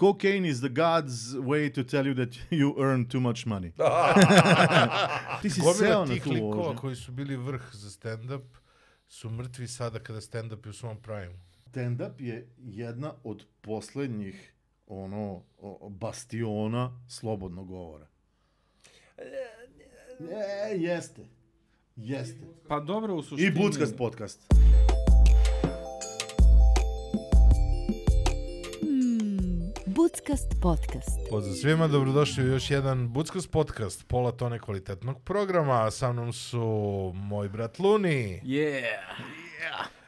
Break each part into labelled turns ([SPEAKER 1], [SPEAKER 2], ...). [SPEAKER 1] Cocaine is the God's way to tell you that you earn too much money. Ti si seo
[SPEAKER 2] Gomila
[SPEAKER 1] na
[SPEAKER 2] tih
[SPEAKER 1] tu
[SPEAKER 2] likova
[SPEAKER 1] vožnju.
[SPEAKER 2] koji su bili vrh za stand-up su mrtvi sada kada stand-up je u svom prime.
[SPEAKER 1] Stand-up je jedna od posljednjih ono, o- o, bastiona slobodnog govora. E, jeste. Jeste.
[SPEAKER 3] Pa dobro u
[SPEAKER 1] I
[SPEAKER 3] suštini.
[SPEAKER 1] Buckast podcast.
[SPEAKER 4] Mm, Budskast podcast.
[SPEAKER 2] Pozdrav svima, dobrodošli u još jedan Buckos podcast, pola tone kvalitetnog programa. a Sa mnom su moj brat Luni,
[SPEAKER 3] Yeah.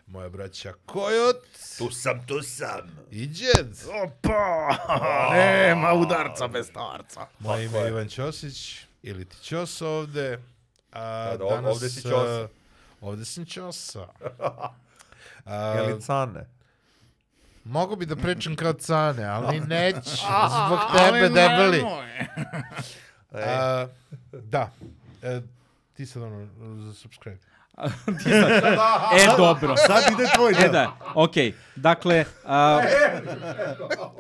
[SPEAKER 2] moja braća Kojot
[SPEAKER 5] Tu sam, tu sam.
[SPEAKER 2] i
[SPEAKER 3] Oh,
[SPEAKER 2] Djed.
[SPEAKER 5] Opa! Nema udarca bez starca.
[SPEAKER 2] Moje ime je Ivan Ćosić, ili ti Ćos ovde. A,
[SPEAKER 5] Da, da, ovde si Ćosa.
[SPEAKER 2] e, Ovde sam Ćosa. A,
[SPEAKER 5] Ili cane.
[SPEAKER 2] Mogu bi da pričam kao cane, ali neću. Zbog tebe, debeli. A, da. E, ti sad ono, za subscribe.
[SPEAKER 3] E, dobro.
[SPEAKER 1] Sad ide tvoj
[SPEAKER 3] E
[SPEAKER 1] deo.
[SPEAKER 3] da, okej. Dakle, a,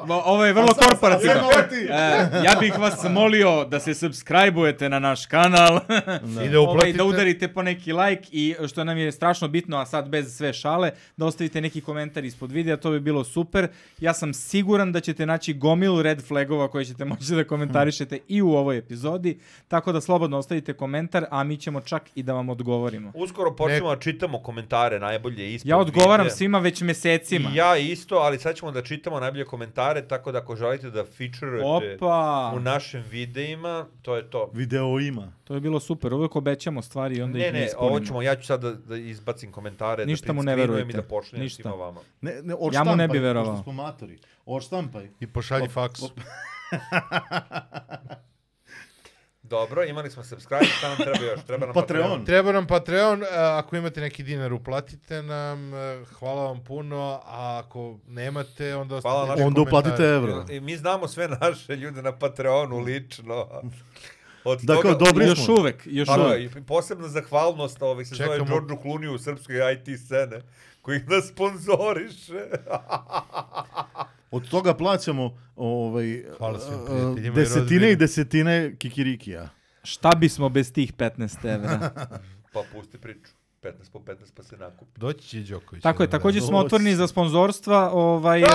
[SPEAKER 3] o- ovo je vrlo korporativno.
[SPEAKER 1] Sad ti.
[SPEAKER 3] E, ja bih vas molio da se subscribe-ujete na naš kanal,
[SPEAKER 2] I da
[SPEAKER 3] ovaj,
[SPEAKER 2] uplatite.
[SPEAKER 3] da udarite po neki like i što nam je strašno bitno, a sad bez sve šale, da ostavite neki komentar ispod videa, to bi bilo super. Ja sam siguran da ćete naći gomilu red flagova koje ćete moći da komentarišete i u ovoj epizodi, tako da slobodno ostavite komentar, a mi ćemo čak i da vam odgovorimo.
[SPEAKER 5] Uskoro počnemo da čitamo komentare najbolje ispod.
[SPEAKER 3] Ja odgovaram
[SPEAKER 5] videa.
[SPEAKER 3] svima već mesecima.
[SPEAKER 5] I ja isto, ali sad ćemo da čitamo najbolje komentare, tako da ako želite da featureujete
[SPEAKER 3] Opa,
[SPEAKER 5] u našim videima, to je to.
[SPEAKER 1] Video ima.
[SPEAKER 3] to je bilo super, uvek obećamo stvari i onda
[SPEAKER 5] Ne,
[SPEAKER 3] ih ne
[SPEAKER 5] ne,
[SPEAKER 3] ispunimo.
[SPEAKER 5] ovo ćemo, ja ću sad da, da izbacim komentare,
[SPEAKER 3] Ništa
[SPEAKER 5] da
[SPEAKER 3] mu ne
[SPEAKER 5] printscreenujem i
[SPEAKER 3] verujte.
[SPEAKER 5] da pošaljem
[SPEAKER 3] Ništa.
[SPEAKER 5] svima vama.
[SPEAKER 1] Ne, ne, odštampaj.
[SPEAKER 3] ne bi verovao.
[SPEAKER 1] Pošto smo matori. Odštampaj.
[SPEAKER 2] I pošalji faks.
[SPEAKER 5] Dobro, imali smo subscribe, šta nam treba još? Treba nam
[SPEAKER 1] Patreon.
[SPEAKER 2] Treba nam Patreon, e, ako imate neki dinar uplatite nam, e, hvala vam puno, a ako nemate onda
[SPEAKER 5] Hvala
[SPEAKER 2] ostavite
[SPEAKER 5] našim
[SPEAKER 1] Onda
[SPEAKER 2] komentar.
[SPEAKER 1] uplatite evro.
[SPEAKER 5] I mi znamo sve naše ljude na Patreonu lično. Od
[SPEAKER 1] Da, kao dobri
[SPEAKER 3] Još
[SPEAKER 1] smo.
[SPEAKER 3] uvek, još
[SPEAKER 5] Pa da,
[SPEAKER 3] uvek.
[SPEAKER 5] i posebna zahvalnost ovih se zove
[SPEAKER 2] Čekamo.
[SPEAKER 5] Đorđu Kluniju u srpskoj IT scene koji nas sponzoriše.
[SPEAKER 1] Od toga plaćamo ovaj,
[SPEAKER 2] Hvala svim
[SPEAKER 1] a,
[SPEAKER 2] prijateljima i
[SPEAKER 1] desetine i
[SPEAKER 2] rodbini.
[SPEAKER 1] desetine kikirikija.
[SPEAKER 3] Šta bismo bez tih 15 evra?
[SPEAKER 5] pa pusti priču. 15 po 15 pa se nakupi.
[SPEAKER 2] Doći će Đoković.
[SPEAKER 3] Tako je,
[SPEAKER 2] jednog
[SPEAKER 3] takođe
[SPEAKER 1] da.
[SPEAKER 3] smo otvoreni za sponzorstva, ovaj... e,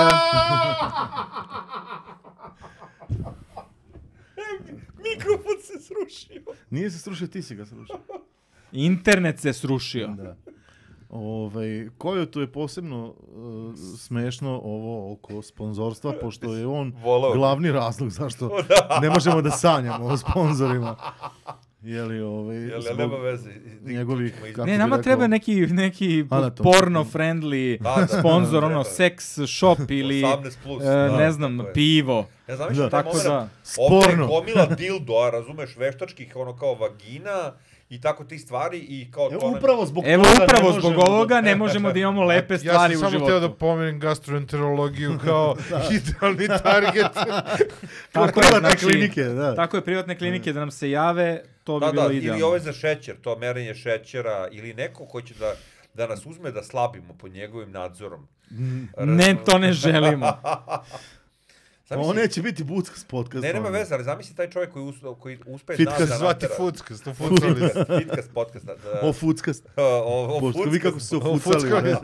[SPEAKER 5] Mikrofon se srušio.
[SPEAKER 1] Nije se srušio, ti si ga srušio.
[SPEAKER 3] internet se srušio.
[SPEAKER 1] Da. Ovaj, koju tu je posebno uh, smešno ovo oko sponzorstva, pošto je on
[SPEAKER 5] Volao.
[SPEAKER 1] glavni razlog zašto ne možemo da sanjamo o sponzorima. Jeli, ovaj,
[SPEAKER 5] Jel, jel
[SPEAKER 1] zbog
[SPEAKER 5] nema veze. i- i-
[SPEAKER 1] njegovih,
[SPEAKER 5] čućemo iz-
[SPEAKER 1] kako
[SPEAKER 3] Ne,
[SPEAKER 1] bi
[SPEAKER 3] nama
[SPEAKER 1] rekao,
[SPEAKER 3] treba neki, neki
[SPEAKER 1] Anatom.
[SPEAKER 3] porno friendly
[SPEAKER 5] Pa Da, da,
[SPEAKER 3] sponzor,
[SPEAKER 5] da,
[SPEAKER 3] ono,
[SPEAKER 5] treba.
[SPEAKER 3] sex shop ili,
[SPEAKER 5] 18 plus,
[SPEAKER 3] e,
[SPEAKER 5] da,
[SPEAKER 3] ne znam,
[SPEAKER 5] tako je.
[SPEAKER 3] pivo.
[SPEAKER 5] Ja znam što
[SPEAKER 1] Da.
[SPEAKER 5] taj
[SPEAKER 3] Tako
[SPEAKER 5] moment,
[SPEAKER 3] da,
[SPEAKER 5] ovdje je
[SPEAKER 1] sporno.
[SPEAKER 5] gomila dildoa, razumeš, veštačkih ono kao vagina i tako tih stvari i kao
[SPEAKER 1] Evo,
[SPEAKER 5] to ne-
[SPEAKER 1] E, upravo zbog
[SPEAKER 3] Evo,
[SPEAKER 1] toga ne
[SPEAKER 3] upravo
[SPEAKER 1] možemo
[SPEAKER 3] zbog
[SPEAKER 1] da-
[SPEAKER 3] ovoga ne možemo da imamo lepe stvari
[SPEAKER 2] ja
[SPEAKER 3] u
[SPEAKER 2] sam samo
[SPEAKER 3] životu.
[SPEAKER 2] htio da pomenem gastroenterologiju kao idealni target.
[SPEAKER 3] Tako je,
[SPEAKER 1] Privatne
[SPEAKER 3] znači,
[SPEAKER 1] klinike, da.
[SPEAKER 3] Tako je, privatne klinike da nam se jave, to bi
[SPEAKER 5] Da,
[SPEAKER 3] bilo
[SPEAKER 5] da,
[SPEAKER 3] idealno.
[SPEAKER 5] ili ove za šećer, to merenje šećera, ili neko ko će da, da nas uzme da slabimo pod njegovim nadzorom.
[SPEAKER 3] Ne, to ne želimo.
[SPEAKER 1] Pa on neće biti Buckas podcast.
[SPEAKER 5] Ne, nema
[SPEAKER 1] ono.
[SPEAKER 5] veze, ali zamisli taj čovjek koji, us, koji uspe
[SPEAKER 1] Fitka
[SPEAKER 5] nas da
[SPEAKER 2] Zvati
[SPEAKER 5] natera.
[SPEAKER 2] Fuckas, to Fucalis.
[SPEAKER 5] Fitkas podcast. Da,
[SPEAKER 1] O, fuckast.
[SPEAKER 5] o, o,
[SPEAKER 1] Pošto vi kako su se
[SPEAKER 5] fuckas.
[SPEAKER 1] ofucali. ovaj.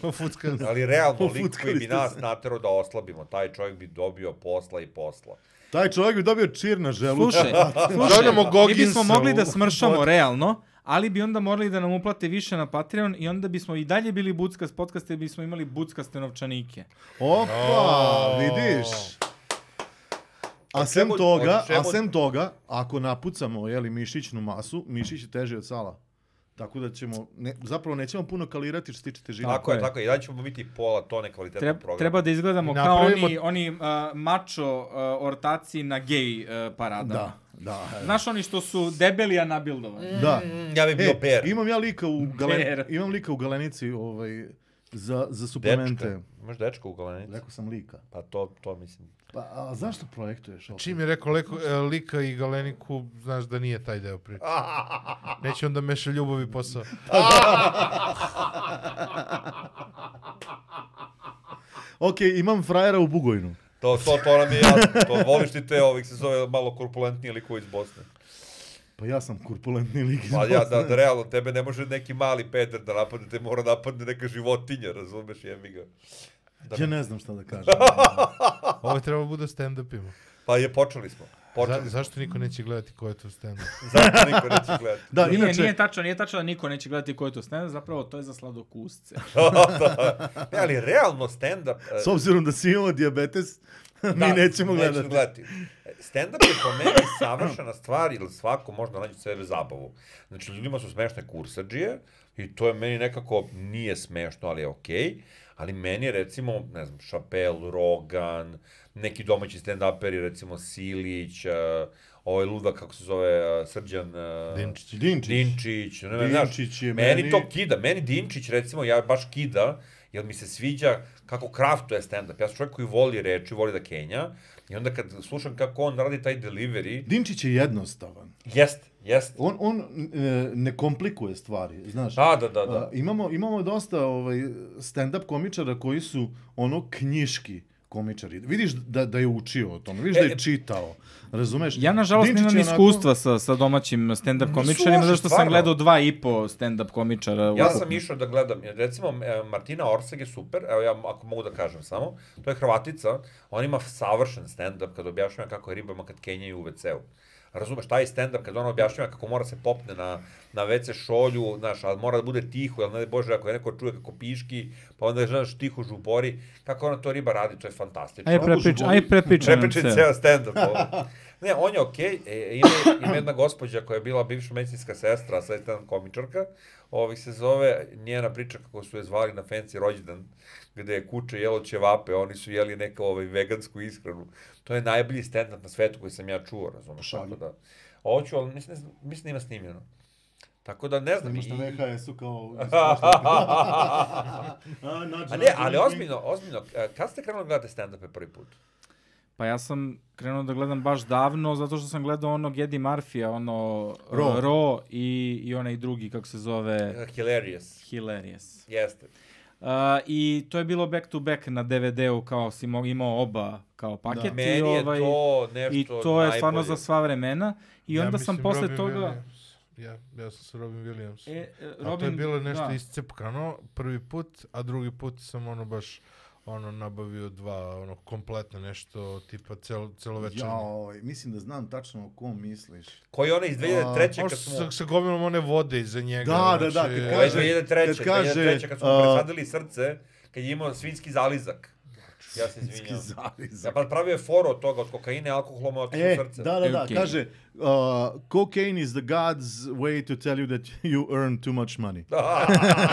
[SPEAKER 2] To Fuckas.
[SPEAKER 5] Ali realno,
[SPEAKER 1] O,
[SPEAKER 5] lik koji bi
[SPEAKER 1] fuckalisti
[SPEAKER 5] nas
[SPEAKER 1] su.
[SPEAKER 5] natero da oslabimo, taj čovjek bi dobio posla i posla.
[SPEAKER 1] Taj čovjek bi dobio čir na želucu.
[SPEAKER 3] Slušaj,
[SPEAKER 2] Zovemo
[SPEAKER 3] slušaj, mi
[SPEAKER 2] Goginsa
[SPEAKER 3] bismo mogli da
[SPEAKER 2] u-
[SPEAKER 3] smršamo realno, ali bi onda morali da nam uplate više na Patreon i onda bismo i dalje bili Buckas podcast jer bismo imali Buckaste novčanike.
[SPEAKER 1] Opa, vidiš. A
[SPEAKER 5] O
[SPEAKER 1] sem
[SPEAKER 5] čemu-
[SPEAKER 1] toga,
[SPEAKER 5] o čemu-
[SPEAKER 1] a sem toga, ako napucamo jeli, mišićnu masu, mišić je teži od sala. Tako da ćemo, ne, zapravo nećemo puno kalirati što se tiče težine.
[SPEAKER 5] Tako je,
[SPEAKER 3] je.
[SPEAKER 5] tako je. I da ćemo biti pola tone kvalitetnog
[SPEAKER 3] Treba,
[SPEAKER 5] programa.
[SPEAKER 3] treba da izgledamo kao
[SPEAKER 2] Napravimo-
[SPEAKER 3] oni, oni uh, mačo uh, ortaci na gej uh, parada.
[SPEAKER 1] Da, da.
[SPEAKER 3] Znaš oni što su debeli, a nabildovani?
[SPEAKER 1] da.
[SPEAKER 5] Mm, Ja bih bio
[SPEAKER 1] E,
[SPEAKER 5] per.
[SPEAKER 1] imam ja lika u,
[SPEAKER 3] Per.
[SPEAKER 1] galen, imam lika u galenici ovaj, za, za suplemente.
[SPEAKER 5] Dečka. Imaš dečka u galenici?
[SPEAKER 1] Rekao sam lika.
[SPEAKER 5] Pa to, to mislim.
[SPEAKER 1] Pa, a zašto projektuješ ovo?
[SPEAKER 2] Čim je rekao leko, e, lika i galeniku, znaš da nije taj deo priče. Neće onda meša ljubavi posao.
[SPEAKER 1] Ok, imam frajera u Bugojnu.
[SPEAKER 5] To, to, to nam je jasno. To voliš ti te ovih se zove malo korpulentnije likove iz Bosne.
[SPEAKER 1] Pa ja sam kurpulentni lik iz
[SPEAKER 5] Pa ja, da, da,
[SPEAKER 1] Bosne.
[SPEAKER 5] realno, tebe ne može neki mali peder da napadne, te mora da napadne neka životinja, razumeš, jebi ga. da-
[SPEAKER 1] Ja ne znam šta da kažem.
[SPEAKER 2] Ovo je trebalo bude stand-up ima.
[SPEAKER 5] Pa je, počeli smo.
[SPEAKER 2] Za,
[SPEAKER 5] Počeli smo.
[SPEAKER 2] zašto niko neće gledati ko je to stand-up?
[SPEAKER 5] Zašto niko neće gledati?
[SPEAKER 1] Da,
[SPEAKER 3] nije,
[SPEAKER 1] inače,
[SPEAKER 3] nije tačno, nije tačno da niko neće gledati ko je to stand zapravo to je za sladokusce.
[SPEAKER 5] da. Ne, ali realno stand-up... e,
[SPEAKER 1] s obzirom da svi imamo diabetes, mi
[SPEAKER 5] Da,
[SPEAKER 1] nećemo
[SPEAKER 5] neću
[SPEAKER 1] gledati.
[SPEAKER 5] gledati. E, Stand-up je po meni savršena stvar, jer svako može da nađe sebe zabavu. Znači, ljudima su smešne kursađije i to je meni nekako nije smešno, ali je okej. Ali meni je recimo, ne znam, Chappelle, Rogan, neki domaći stand-uperi, recimo Silić, uh, ovaj luda, kako se zove, uh, Srđan... Uh,
[SPEAKER 2] Dinčić.
[SPEAKER 1] Dinčić.
[SPEAKER 5] Dinčić. Ne, ne,
[SPEAKER 1] Dinčić
[SPEAKER 5] znaš,
[SPEAKER 1] je
[SPEAKER 5] meni...
[SPEAKER 1] meni-
[SPEAKER 5] to kida. Meni Dinčić, recimo, ja baš kida, jer mi se sviđa kako kraftuje stand-up. Ja sam čovjek koji voli reči, voli da kenja. I onda kad slušam kako on radi taj delivery,
[SPEAKER 1] Dinčić je jednostavan.
[SPEAKER 5] jest, jest.
[SPEAKER 1] On, on e, ne komplikuje stvari, znaš.
[SPEAKER 5] Da, da, da,
[SPEAKER 1] A,
[SPEAKER 5] da.
[SPEAKER 1] imamo, imamo dosta ovaj, stand-up komičara koji su ono knjiški komičari. Vidiš da, da je učio o tome, vidiš da
[SPEAKER 5] E,
[SPEAKER 1] je čitao, razumeš?
[SPEAKER 3] Ja nažalost
[SPEAKER 1] Dinčić
[SPEAKER 3] nemam
[SPEAKER 1] je onako-
[SPEAKER 3] iskustva sa, sa domaćim stand-up komičarima,
[SPEAKER 5] loši,
[SPEAKER 3] zato što sam
[SPEAKER 5] stvarno.
[SPEAKER 3] gledao dva i po stand-up komičara.
[SPEAKER 5] Ja
[SPEAKER 3] ukupno.
[SPEAKER 5] sam išao da gledam, recimo e, Martina Orsag je super, evo ja ako mogu da kažem samo, to je Hrvatica, ona ima savršen stand-up kad objašnjava kako je ribama kad kenjaju u WC-u. Razumeš, taj stand-up kad ona objašnjava kako mora se popne na, na WC šolju, znaš, ali mora da bude tiho, jel ne daj Bože, ako je neko čuje kako piški, pa onda znaš tiho žubori, kako ona to riba radi, to je fantastično.
[SPEAKER 3] Aj prepričaj, aj prepričaj nam
[SPEAKER 5] Prepričaj
[SPEAKER 3] se.
[SPEAKER 5] ceo stand-up ovo. Ne, on je okej, okay. ima, ima jedna gospođa koja je bila bivša medicinska sestra, a sad je stand komičarka, ovih se zove, njena priča kako su je zvali na fancy rođendan, gde je kuće jelo ćevape, oni su jeli neku ovaj, vegansku ishranu. To je najbolji stand-up na svetu koji sam ja čuo, razumiješ, tako
[SPEAKER 1] Šalim.
[SPEAKER 5] da. Ovo ću, ali mislim, ne znam- mislim da ima snimljeno. Tako da ne znam.
[SPEAKER 1] Imaš na
[SPEAKER 5] i-
[SPEAKER 1] VHS-u kao... A,
[SPEAKER 5] A ne, ali ozbiljno, ozbiljno, e, kad ste krenuli da gledate stand-upe prvi put?
[SPEAKER 3] Pa ja sam krenuo da gledam baš davno, zato što sam gledao onog Eddie Murphy-a, ono
[SPEAKER 1] Ro.
[SPEAKER 3] Ro i, i onaj drugi, kako se zove,
[SPEAKER 5] E, Hilarious.
[SPEAKER 3] Hilarious.
[SPEAKER 5] Jeste.
[SPEAKER 3] Uh, I to je bilo back to back na DVD-u, kao si mo- imao oba kao paket. i
[SPEAKER 5] Meni je
[SPEAKER 3] ovaj,
[SPEAKER 5] to nešto
[SPEAKER 3] I to je stvarno
[SPEAKER 5] najbolje.
[SPEAKER 3] za sva vremena. I onda sam
[SPEAKER 2] mislim
[SPEAKER 3] posle
[SPEAKER 2] Robin
[SPEAKER 3] toga...
[SPEAKER 2] Williams. Ja, ja sam sa Robin Williams.
[SPEAKER 3] E, e,
[SPEAKER 2] Robin, a to je bilo nešto
[SPEAKER 3] da.
[SPEAKER 2] da. iscepkano prvi put, a drugi put sam ono baš ono nabavio dva ono kompletno nešto tipa celo celovečernje. Ja,
[SPEAKER 1] Jao, mislim da znam tačno o kom misliš.
[SPEAKER 5] Koji je onaj iz 2003.
[SPEAKER 2] Možda
[SPEAKER 5] kad smo...
[SPEAKER 2] sa, sa gomilom one vode iza njega. znači,
[SPEAKER 1] Da, da, da, kad
[SPEAKER 5] Ovaj
[SPEAKER 1] kaže-
[SPEAKER 5] 2003.
[SPEAKER 1] kad kaže,
[SPEAKER 5] 2003. kad smo
[SPEAKER 1] a-
[SPEAKER 5] presadili srce, kad je imao svinski zalizak. Ja se izvinjam. Ja
[SPEAKER 1] Skizalizam.
[SPEAKER 5] pa pravio je foru od toga, od kokaine, alkoholoma, od
[SPEAKER 1] E,
[SPEAKER 5] srce.
[SPEAKER 1] da, da, da,
[SPEAKER 3] Cocaine.
[SPEAKER 1] kaže, uh, cocaine is the God's way to tell you that you earn too much money.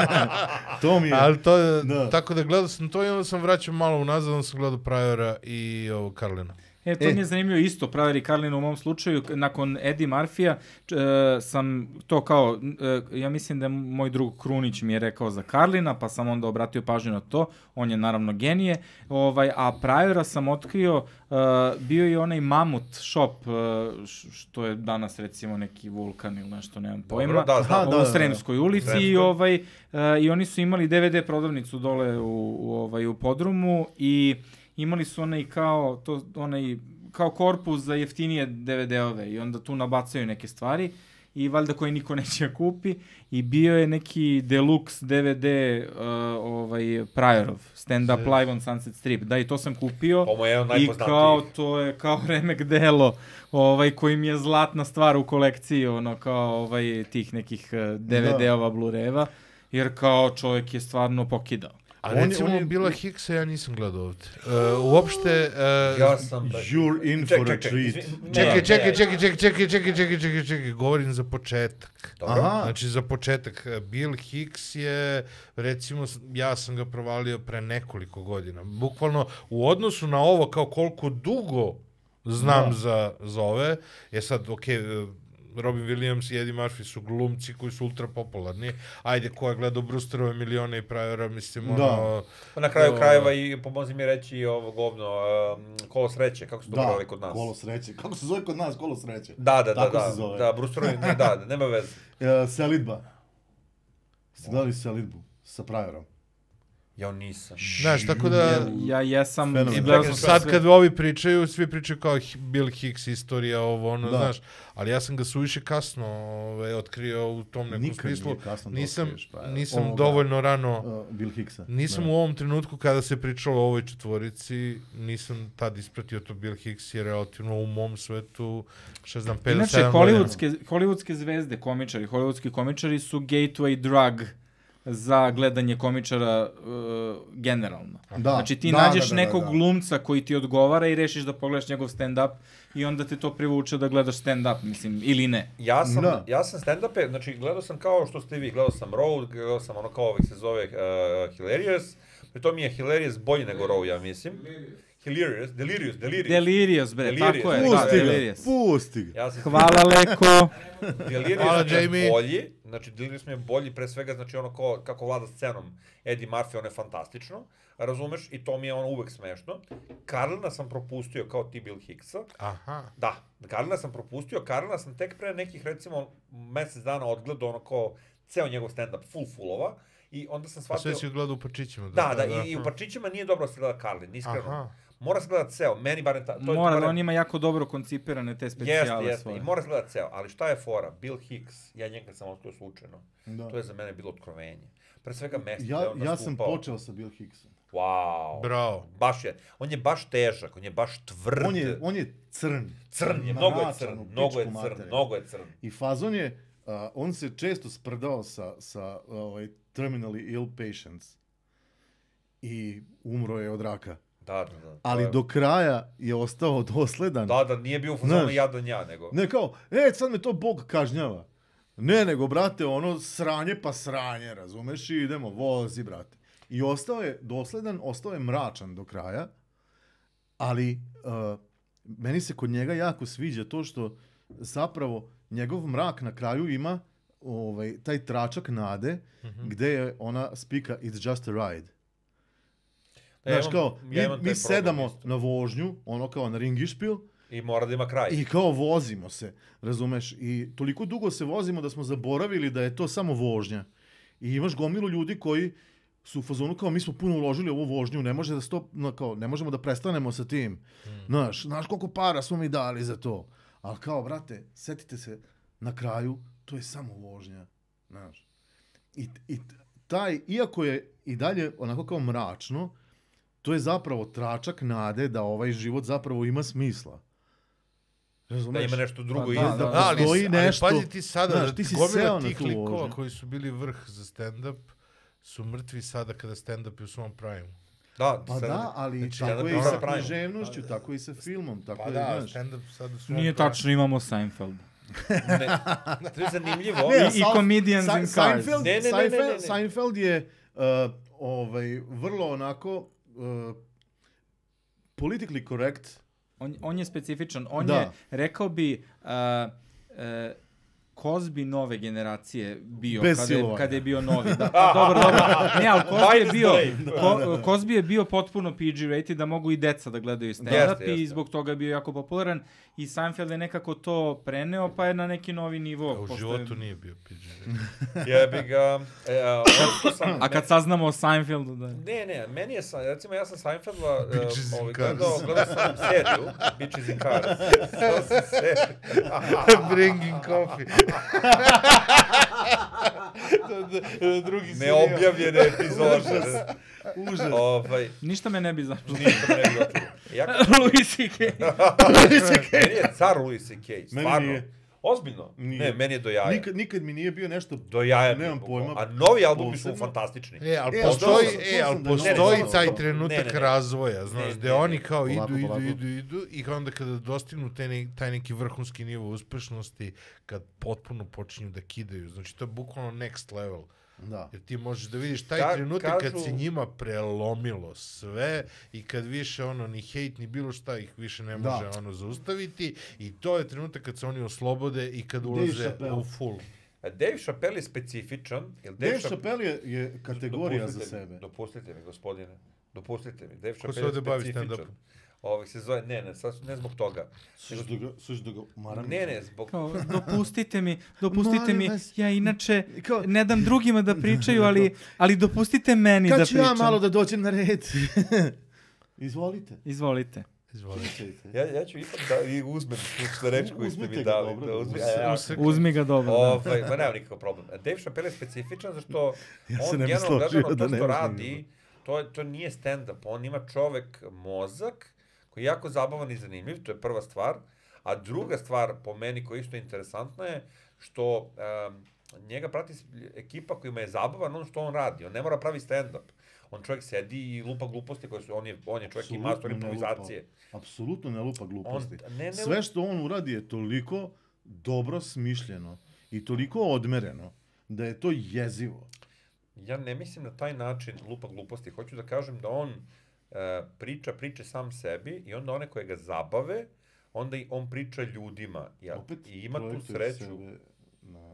[SPEAKER 1] to mi je.
[SPEAKER 2] Ali to je,
[SPEAKER 1] Da.
[SPEAKER 2] tako da gledao sam to i onda sam vraćao malo unazad, onda sam gledao Prajora i ovo Karlina.
[SPEAKER 3] E, to
[SPEAKER 1] E.
[SPEAKER 3] mi je zanimljivo isto, pravi Rikarlin u mom slučaju, k- nakon Eddie Murphy-a č- e, sam to kao, n- e, ja mislim da je moj drug Krunić mi je rekao za Karlina, pa sam onda obratio pažnju na to, on je naravno genije, ovaj, a Prajora sam otkrio, e, bio je onaj Mamut shop, e, š- što je danas recimo neki vulkan ili nešto, nemam
[SPEAKER 5] Dobro,
[SPEAKER 3] pojma,
[SPEAKER 5] da, znam.
[SPEAKER 1] Aha,
[SPEAKER 3] u
[SPEAKER 1] da, da, da.
[SPEAKER 3] Sremskoj ulici i
[SPEAKER 5] Sremskoj.
[SPEAKER 3] ovaj, e, i oni su imali DVD prodavnicu dole u, u, ovaj, u podrumu i imali su onaj kao, to, onaj, kao korpus za jeftinije DVD-ove i onda tu nabacaju neke stvari i valjda koje niko neće da kupi i bio je neki deluxe DVD uh, ovaj Priorov stand up live on Sunset Strip da i to sam kupio
[SPEAKER 5] To mu je jedan
[SPEAKER 3] i
[SPEAKER 5] najpoznatiji.
[SPEAKER 3] kao to je kao remek delo ovaj koji mi je zlatna stvar u kolekciji ono kao ovaj tih nekih eh, DVD-ova Blu-rayeva jer kao čovjek je stvarno pokidao.
[SPEAKER 2] A
[SPEAKER 1] On je-
[SPEAKER 2] recimo
[SPEAKER 1] on je-
[SPEAKER 2] Bila Hicksa ja nisam gledao ovdje. Uh, uopšte, uh,
[SPEAKER 5] Ja sam...
[SPEAKER 1] You're in
[SPEAKER 5] Ček,
[SPEAKER 1] for
[SPEAKER 5] ček,
[SPEAKER 1] a
[SPEAKER 5] ček,
[SPEAKER 1] treat.
[SPEAKER 5] izvin- ne,
[SPEAKER 2] Čekaj,
[SPEAKER 5] ne,
[SPEAKER 2] čekaj,
[SPEAKER 5] ne.
[SPEAKER 2] čekaj, čekaj, čekaj, čekaj, čekaj, čekaj, čekaj, govorim za početak.
[SPEAKER 5] Dobro.
[SPEAKER 1] Aha.
[SPEAKER 2] Znači, za početak, eh, Bill Hicks je, recimo, s- ja sam ga provalio pre nekoliko godina. Bukvalno, u odnosu na ovo, kao koliko dugo znam za, za ove, je sad, okej, eh, Robin Williams i Eddie Murphy su glumci koji su ultra popularni. Ajde, ko je gledao Brewsterove milione i Prajora, mislim,
[SPEAKER 1] Da.
[SPEAKER 2] ono...
[SPEAKER 5] Pa na kraju
[SPEAKER 2] Ovo.
[SPEAKER 5] krajeva i pomozi mi reći i ovo govno, um, kolo sreće, kako se to
[SPEAKER 1] Da,
[SPEAKER 5] brali kod nas.
[SPEAKER 1] kolo sreće. Kako se zove kod nas kolo sreće?
[SPEAKER 5] Da, da, da,
[SPEAKER 1] Tako
[SPEAKER 5] da,
[SPEAKER 1] se zove.
[SPEAKER 5] da, Brusterovi, ne, da, da, nema veze.
[SPEAKER 1] E, selidba. Ste gledali selidbu sa prajerom?
[SPEAKER 5] Ja nisam.
[SPEAKER 2] Znaš, tako da...
[SPEAKER 3] Ja jesam,
[SPEAKER 1] Fenomen.
[SPEAKER 2] Čekaj,
[SPEAKER 3] gledao sam
[SPEAKER 2] Znači, sad
[SPEAKER 3] sve.
[SPEAKER 2] kad ovi pričaju, svi pričaju kao Hi- Bill Hicks istorija, ovo, ono,
[SPEAKER 1] Da.
[SPEAKER 2] znaš. Ali ja sam ga suviše kasno ovaj, otkrio u tom nekom
[SPEAKER 1] Nikad nije
[SPEAKER 2] smislu.
[SPEAKER 1] kasno da
[SPEAKER 2] nisam,
[SPEAKER 1] otkriješ, pa,
[SPEAKER 2] nisam
[SPEAKER 1] ovoga.
[SPEAKER 2] dovoljno rano...
[SPEAKER 1] Uh, Bill Hicksa.
[SPEAKER 2] Nisam
[SPEAKER 1] Da.
[SPEAKER 2] u ovom trenutku kada se pričalo o ovoj četvorici, nisam tad ispratio to Bill Hicks je relativno u mom svetu, šta znam, 57
[SPEAKER 3] Inače, hollywoodske, hollywoodske zvezde, komičari, hollywoodski komičari su gateway drug za gledanje komičara uh, generalno.
[SPEAKER 1] Da,
[SPEAKER 3] znači ti
[SPEAKER 1] da,
[SPEAKER 3] nađeš
[SPEAKER 1] da, da,
[SPEAKER 3] nekog
[SPEAKER 1] da.
[SPEAKER 3] glumca koji ti odgovara i rešiš da pogledaš njegov stand-up i onda te to privuče da gledaš stand-up, mislim, ili ne.
[SPEAKER 5] Ja sam,
[SPEAKER 1] Da.
[SPEAKER 5] ja sam stand-upe, znači gledao sam kao što ste vi, gledao sam Road, gledao sam ono kao ovih se zove uh, Hilarious, pri tom je Hilarious bolji nego Road, ja mislim. Hilarious, Delirious, Delirious.
[SPEAKER 3] Delirious, bre,
[SPEAKER 5] Delirious.
[SPEAKER 3] tako je. Da,
[SPEAKER 1] Pusti ga,
[SPEAKER 3] delirious.
[SPEAKER 1] pusti ga.
[SPEAKER 5] ja sam
[SPEAKER 3] Hvala Leko.
[SPEAKER 5] Delirious
[SPEAKER 2] Hvala,
[SPEAKER 5] mi je
[SPEAKER 2] Jamie.
[SPEAKER 5] bolji, znači Delirious mi je bolji pre svega, znači ono ko, kako vlada scenom Eddie Murphy, ono je fantastično, razumeš, i to mi je ono uvek smešno. Karlina sam propustio kao ti Bill Hicksa,
[SPEAKER 2] Aha.
[SPEAKER 5] Da, Karlina sam propustio, Karlina sam tek pre nekih recimo mesec dana odgledao ono kao ceo njegov stand-up, full fullova, i onda
[SPEAKER 1] Pa
[SPEAKER 5] sam
[SPEAKER 2] A Pa sve
[SPEAKER 5] shvatio...
[SPEAKER 2] si gledao u Pačićima.
[SPEAKER 5] Da, da, i, i u Pačićima nije dobro se gleda Karlin, iskreno.
[SPEAKER 2] Aha.
[SPEAKER 5] Mora se gleda ceo, meni barem... Ta, to
[SPEAKER 3] Mora,
[SPEAKER 5] je,
[SPEAKER 3] da
[SPEAKER 5] barem,
[SPEAKER 3] on ima jako dobro koncipirane te
[SPEAKER 5] Jeste,
[SPEAKER 3] specijale
[SPEAKER 5] jeste,
[SPEAKER 3] svoje.
[SPEAKER 5] i mora se gleda ceo, ali šta je fora? Bill Hicks, ja njega sam otkrio slučajno,
[SPEAKER 1] Da.
[SPEAKER 5] to je za mene bilo otkrovenje. Pre svega mesto gde je
[SPEAKER 1] Ja,
[SPEAKER 5] on
[SPEAKER 1] ja sam
[SPEAKER 5] nastupao.
[SPEAKER 1] počeo sa Bill Hicksom.
[SPEAKER 5] Wow.
[SPEAKER 2] Bravo.
[SPEAKER 5] Baš je, on je baš težak, on je baš tvrd.
[SPEAKER 1] On je, on je crn.
[SPEAKER 5] crn je,
[SPEAKER 1] Ma,
[SPEAKER 5] mnogo je
[SPEAKER 1] mračan,
[SPEAKER 5] crn,
[SPEAKER 1] u
[SPEAKER 5] mnogo je
[SPEAKER 1] pičku
[SPEAKER 5] crn,
[SPEAKER 1] materinu.
[SPEAKER 5] mnogo je crn.
[SPEAKER 1] I fazon je, uh, on se često sprdao sa, sa ovaj, terminally ill patients. I umro je od raka.
[SPEAKER 5] Da, da, da. to
[SPEAKER 1] Ali
[SPEAKER 5] je-
[SPEAKER 1] do kraja je ostao dosledan.
[SPEAKER 5] Da, da, nije bio u fazonu
[SPEAKER 1] Znaš.
[SPEAKER 5] jadan ja, nego.
[SPEAKER 1] Ne kao, e, sad me to Bog kažnjava. Ne, nego, brate, ono, sranje pa sranje, razumeš, i idemo, vozi, brate. I ostao je dosledan, ostao je mračan do kraja, ali uh, meni se kod njega jako sviđa to što zapravo njegov mrak na kraju ima ovaj, taj tračak nade,
[SPEAKER 5] Mhm.
[SPEAKER 1] gde je ona spika It's just a ride.
[SPEAKER 5] Ja
[SPEAKER 1] Znaš
[SPEAKER 5] imam-
[SPEAKER 1] kao,
[SPEAKER 5] ja
[SPEAKER 1] mi,
[SPEAKER 5] imam taj
[SPEAKER 1] mi
[SPEAKER 5] problem
[SPEAKER 1] sedamo
[SPEAKER 5] isto.
[SPEAKER 1] na vožnju, ono kao na ringišpil,
[SPEAKER 5] I mora da ima kraj.
[SPEAKER 1] I kao vozimo se, razumeš? I toliko dugo se vozimo da smo zaboravili da je to samo vožnja. I imaš gomilu ljudi koji su u fazonu kao mi smo puno uložili u ovu vožnju, ne može da stop, no, kao, ne možemo da prestanemo sa tim. Znaš, znaš koliko para smo mi dali za to. Ali kao, brate, setite se, na kraju, to je samo vožnja. Znaš. I, i t- taj, iako je i dalje onako kao mračno, to je zapravo tračak nade da ovaj život zapravo ima smisla.
[SPEAKER 5] Da
[SPEAKER 1] Razumeš?
[SPEAKER 5] ima nešto drugo
[SPEAKER 3] da,
[SPEAKER 5] iza.
[SPEAKER 3] da,
[SPEAKER 1] Pa da.
[SPEAKER 2] ali,
[SPEAKER 1] postoji
[SPEAKER 2] ali
[SPEAKER 1] nešto-
[SPEAKER 2] pazi ti sada,
[SPEAKER 1] znaš,
[SPEAKER 2] da
[SPEAKER 1] ti si
[SPEAKER 2] gomila
[SPEAKER 1] seo na
[SPEAKER 2] tih
[SPEAKER 1] tu
[SPEAKER 2] likova
[SPEAKER 1] vožnju.
[SPEAKER 2] koji su bili vrh za stand-up su mrtvi sada kada stand-up je u svom prime.
[SPEAKER 5] Da,
[SPEAKER 1] Pa
[SPEAKER 5] sada-
[SPEAKER 1] da, ali
[SPEAKER 2] znači,
[SPEAKER 1] tako
[SPEAKER 5] jedan
[SPEAKER 1] je i sa
[SPEAKER 5] program pravimo.
[SPEAKER 1] književnošću,
[SPEAKER 5] Pa
[SPEAKER 1] tako i sa filmom, tako
[SPEAKER 2] Pa
[SPEAKER 1] je,
[SPEAKER 2] da,
[SPEAKER 1] znaš.
[SPEAKER 2] stand-up sada u svom
[SPEAKER 3] Nije
[SPEAKER 2] prime.
[SPEAKER 3] tačno, imamo Seinfeld.
[SPEAKER 5] ne, to je zanimljivo.
[SPEAKER 1] Ne,
[SPEAKER 5] Ne,
[SPEAKER 1] a
[SPEAKER 3] I
[SPEAKER 1] South-
[SPEAKER 3] Comedians
[SPEAKER 1] Sa-
[SPEAKER 3] in Cars.
[SPEAKER 1] Seinfeld,
[SPEAKER 5] Ne, ne, ne, ne,
[SPEAKER 1] Seinfeld,
[SPEAKER 5] ne, ne.
[SPEAKER 1] Seinfeld je uh, ovaj, vrlo onako uh, politically correct.
[SPEAKER 3] On, on je specifičan. On
[SPEAKER 1] Da.
[SPEAKER 3] je, rekao bi, uh, uh, Kozbi nove generacije bio
[SPEAKER 1] Bez
[SPEAKER 3] kada je,
[SPEAKER 1] silovanja.
[SPEAKER 3] kada je bio novi. Da, pa dobro, dobro. Ne, ali Kozbi je
[SPEAKER 5] Minus
[SPEAKER 3] bio,
[SPEAKER 5] Dave.
[SPEAKER 3] ko, Kozbi je bio potpuno PG rated da mogu i deca da gledaju stand-up
[SPEAKER 5] Jeste, jeste.
[SPEAKER 3] i zbog toga je bio jako popularan i Seinfeld je nekako to preneo pa je na neki novi nivo.
[SPEAKER 2] A Pa U
[SPEAKER 3] postao je-
[SPEAKER 2] životu nije bio PG.
[SPEAKER 5] jebi ga. E, a, ono što sam,
[SPEAKER 3] A kad saznamo o Seinfeldu da je...
[SPEAKER 5] Ne, ne, meni je, sa, recimo, ja sam Seinfeldova e,
[SPEAKER 2] Bitches in
[SPEAKER 5] ovaj,
[SPEAKER 2] Cars.
[SPEAKER 5] gledao, gledao sam seriju, Bitches in Cars. Gledao sam seriju.
[SPEAKER 2] Bringing coffee. Drugi
[SPEAKER 5] Neobjavljene epizode.
[SPEAKER 1] Užas.
[SPEAKER 5] ovaj,
[SPEAKER 3] Ništa me ne bi zašlo.
[SPEAKER 5] ništa me ne bi gotovo. Ja,
[SPEAKER 3] Louis C.K.
[SPEAKER 5] meni je car Louis C.K. Stvarno.
[SPEAKER 1] nije.
[SPEAKER 5] Ozbiljno.
[SPEAKER 1] Nije.
[SPEAKER 5] Ne, meni je do jaja.
[SPEAKER 1] Nikad, nikad mi nije bio nešto...
[SPEAKER 5] Do jaja. mi je
[SPEAKER 1] Nemam
[SPEAKER 5] bukvalno.
[SPEAKER 1] pojma.
[SPEAKER 5] A novi albumi su
[SPEAKER 1] Posebno.
[SPEAKER 5] fantastični.
[SPEAKER 2] E, ali
[SPEAKER 1] E, ali
[SPEAKER 2] postoji,
[SPEAKER 1] to sam- to
[SPEAKER 2] e, ali
[SPEAKER 1] sam da je
[SPEAKER 2] postoji
[SPEAKER 1] novo.
[SPEAKER 2] taj
[SPEAKER 5] Ne,
[SPEAKER 2] trenutak
[SPEAKER 5] ne, ne.
[SPEAKER 2] razvoja, znaš,
[SPEAKER 5] Ne,
[SPEAKER 2] gde
[SPEAKER 5] ne, ne.
[SPEAKER 2] oni kao
[SPEAKER 1] Polako,
[SPEAKER 2] idu,
[SPEAKER 1] polako.
[SPEAKER 2] idu, idu, idu i onda kada dostignu taj, ne, taj neki vrhunski nivo uspešnosti, kad potpuno počinju da kidaju, znači to je bukvalno next level.
[SPEAKER 1] Da.
[SPEAKER 2] Jer ti možeš da vidiš taj
[SPEAKER 5] Ka-
[SPEAKER 2] trenutak kad
[SPEAKER 5] kažu-
[SPEAKER 2] se njima prelomilo sve i kad više ono ni hejt ni bilo šta ih više ne
[SPEAKER 1] Da.
[SPEAKER 2] može ono zaustaviti i to je trenutak kad se oni oslobode i kad ulaze
[SPEAKER 1] Chappelle.
[SPEAKER 2] u full.
[SPEAKER 5] A Dave Chappelle je specifičan. Jer Dave,
[SPEAKER 1] Dave
[SPEAKER 5] Chapp-
[SPEAKER 1] Chappelle je, je kategorija za
[SPEAKER 5] Dopustite mi,
[SPEAKER 1] sebe.
[SPEAKER 5] Dopustite mi, gospodine. Dopustite mi. Dave
[SPEAKER 2] Ko se
[SPEAKER 5] Chappelle je
[SPEAKER 2] ovdje bavi
[SPEAKER 5] specifičan.
[SPEAKER 2] stand-upom?
[SPEAKER 5] ovaj, se zove, ne, ne, sad, ne zbog toga.
[SPEAKER 1] Suš da ga, suš da ga maram.
[SPEAKER 5] Ne, ne, zbog,
[SPEAKER 3] Kao, dopustite mi, dopustite
[SPEAKER 1] Molim
[SPEAKER 3] mi,
[SPEAKER 1] vas.
[SPEAKER 3] ja inače
[SPEAKER 1] Kao-
[SPEAKER 3] ne dam drugima da pričaju, ali, ali dopustite meni da
[SPEAKER 1] Kad ću
[SPEAKER 3] pričam.
[SPEAKER 1] ja malo da dođem na red? Izvolite.
[SPEAKER 3] Izvolite.
[SPEAKER 2] Izvolite.
[SPEAKER 5] ja, ja ću ipak da i uzmem što reč koju ste
[SPEAKER 1] Uzmite
[SPEAKER 5] mi
[SPEAKER 1] ga,
[SPEAKER 5] dali.
[SPEAKER 1] dobro,
[SPEAKER 5] da
[SPEAKER 1] dobro.
[SPEAKER 5] uzmem, a, ja,
[SPEAKER 3] Uzmi ga dobro. da.
[SPEAKER 5] Ovaj, ma nema nikakav problem. Dave Chappelle je specifičan zašto
[SPEAKER 1] Ja se
[SPEAKER 5] on
[SPEAKER 1] ne bi
[SPEAKER 5] generalno
[SPEAKER 1] složio
[SPEAKER 5] gledano to
[SPEAKER 1] da ne
[SPEAKER 5] što
[SPEAKER 1] može
[SPEAKER 5] radi, to, je- to nije stand-up. On ima čovek mozak koji je jako zabavan i zanimljiv, to je prva stvar. A druga stvar po meni koja je isto interesantna je što um, njega prati s- ekipa kojima je zabavan on što on radi. On ne mora pravi stand-up. On čovjek sedi i lupa gluposti koje su, on je, on je čovjek i mastor
[SPEAKER 1] Apsolutno ne lupa.
[SPEAKER 5] improvizacije.
[SPEAKER 1] Apsolutno ne lupa gluposti.
[SPEAKER 5] On- ne, ne lupa.
[SPEAKER 1] Sve što on uradi je toliko dobro smišljeno i toliko odmereno da je to jezivo.
[SPEAKER 5] Ja ne mislim na taj način lupa gluposti. Hoću da kažem da on e, priča priče sam sebi i onda one koje ga zabave, onda i on priča ljudima. Ja,
[SPEAKER 1] Opet
[SPEAKER 5] I ima tu
[SPEAKER 1] projektuje
[SPEAKER 5] sreću.
[SPEAKER 1] sebe Na,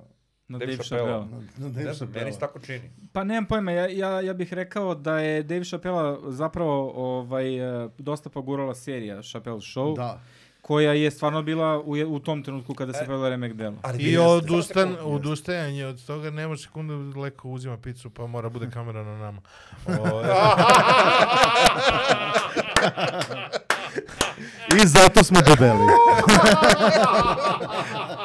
[SPEAKER 3] Na
[SPEAKER 5] Dave
[SPEAKER 3] Dave
[SPEAKER 5] Chappelle.
[SPEAKER 3] Chappelle.
[SPEAKER 1] na, na Dave
[SPEAKER 5] Ne znam,
[SPEAKER 1] Chappelle.
[SPEAKER 5] meni se tako čini.
[SPEAKER 3] Pa nemam pojma, ja, ja, ja bih rekao da je Dave Chappelle zapravo ovaj, eh, dosta pogurala serija Chappelle Show,
[SPEAKER 1] Da.
[SPEAKER 3] koja je stvarno bila u, je- u tom trenutku kada
[SPEAKER 5] E.
[SPEAKER 3] se pojavila remek dela.
[SPEAKER 5] Ali
[SPEAKER 2] I odustan, odustajanje od toga, nema sekundu leko uzima picu, pa mora bude kamera na nama. O, e,
[SPEAKER 1] I zato smo debeli.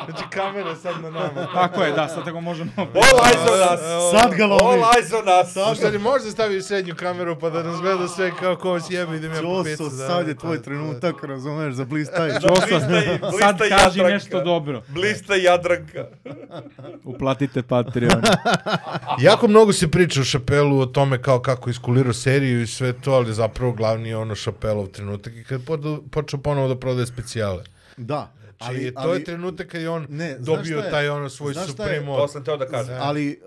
[SPEAKER 2] znači, kamera sad na nama.
[SPEAKER 3] Tako je, da, sad tako možemo...
[SPEAKER 5] All eyes on us!
[SPEAKER 1] Sad ga
[SPEAKER 5] All
[SPEAKER 1] lomi.
[SPEAKER 5] eyes on us!
[SPEAKER 2] Šta li možda stavi srednju kameru pa da nas gleda sve kao ko vas jebe idem ja po picu.
[SPEAKER 1] Ćoso, sad je tvoj trenutak, razumeš, za bliz taj.
[SPEAKER 3] Ćosa,
[SPEAKER 5] Blista i- blista
[SPEAKER 3] sad kaži
[SPEAKER 5] Jadranka.
[SPEAKER 3] nešto dobro.
[SPEAKER 5] Blista Jadranka.
[SPEAKER 3] Uplatite Patreon.
[SPEAKER 2] Jako mnogo se priča o Šapelu o tome kao kako iskulirao seriju i sve to, ali zapravo glavni je ono Šapelov trenutak i kad podo- počeo ponovo da prodaje specijale.
[SPEAKER 1] Da.
[SPEAKER 2] Ali,
[SPEAKER 1] Ali,
[SPEAKER 2] Znači, to je
[SPEAKER 1] ali,
[SPEAKER 2] trenutak kad je on
[SPEAKER 1] Ne, znaš
[SPEAKER 2] dobio
[SPEAKER 1] šta je-
[SPEAKER 2] taj ono svoj
[SPEAKER 1] znaš šta je-
[SPEAKER 2] supremo.
[SPEAKER 5] To sam teo da kažem.
[SPEAKER 1] ali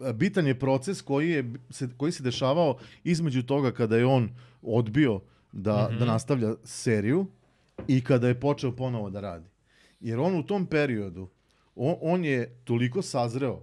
[SPEAKER 1] uh, bitan je proces koji, je, se, koji se dešavao između toga kada je on odbio da,
[SPEAKER 2] Mhm.
[SPEAKER 1] da nastavlja seriju i kada je počeo ponovo da radi. Jer on u tom periodu, on, on je toliko sazreo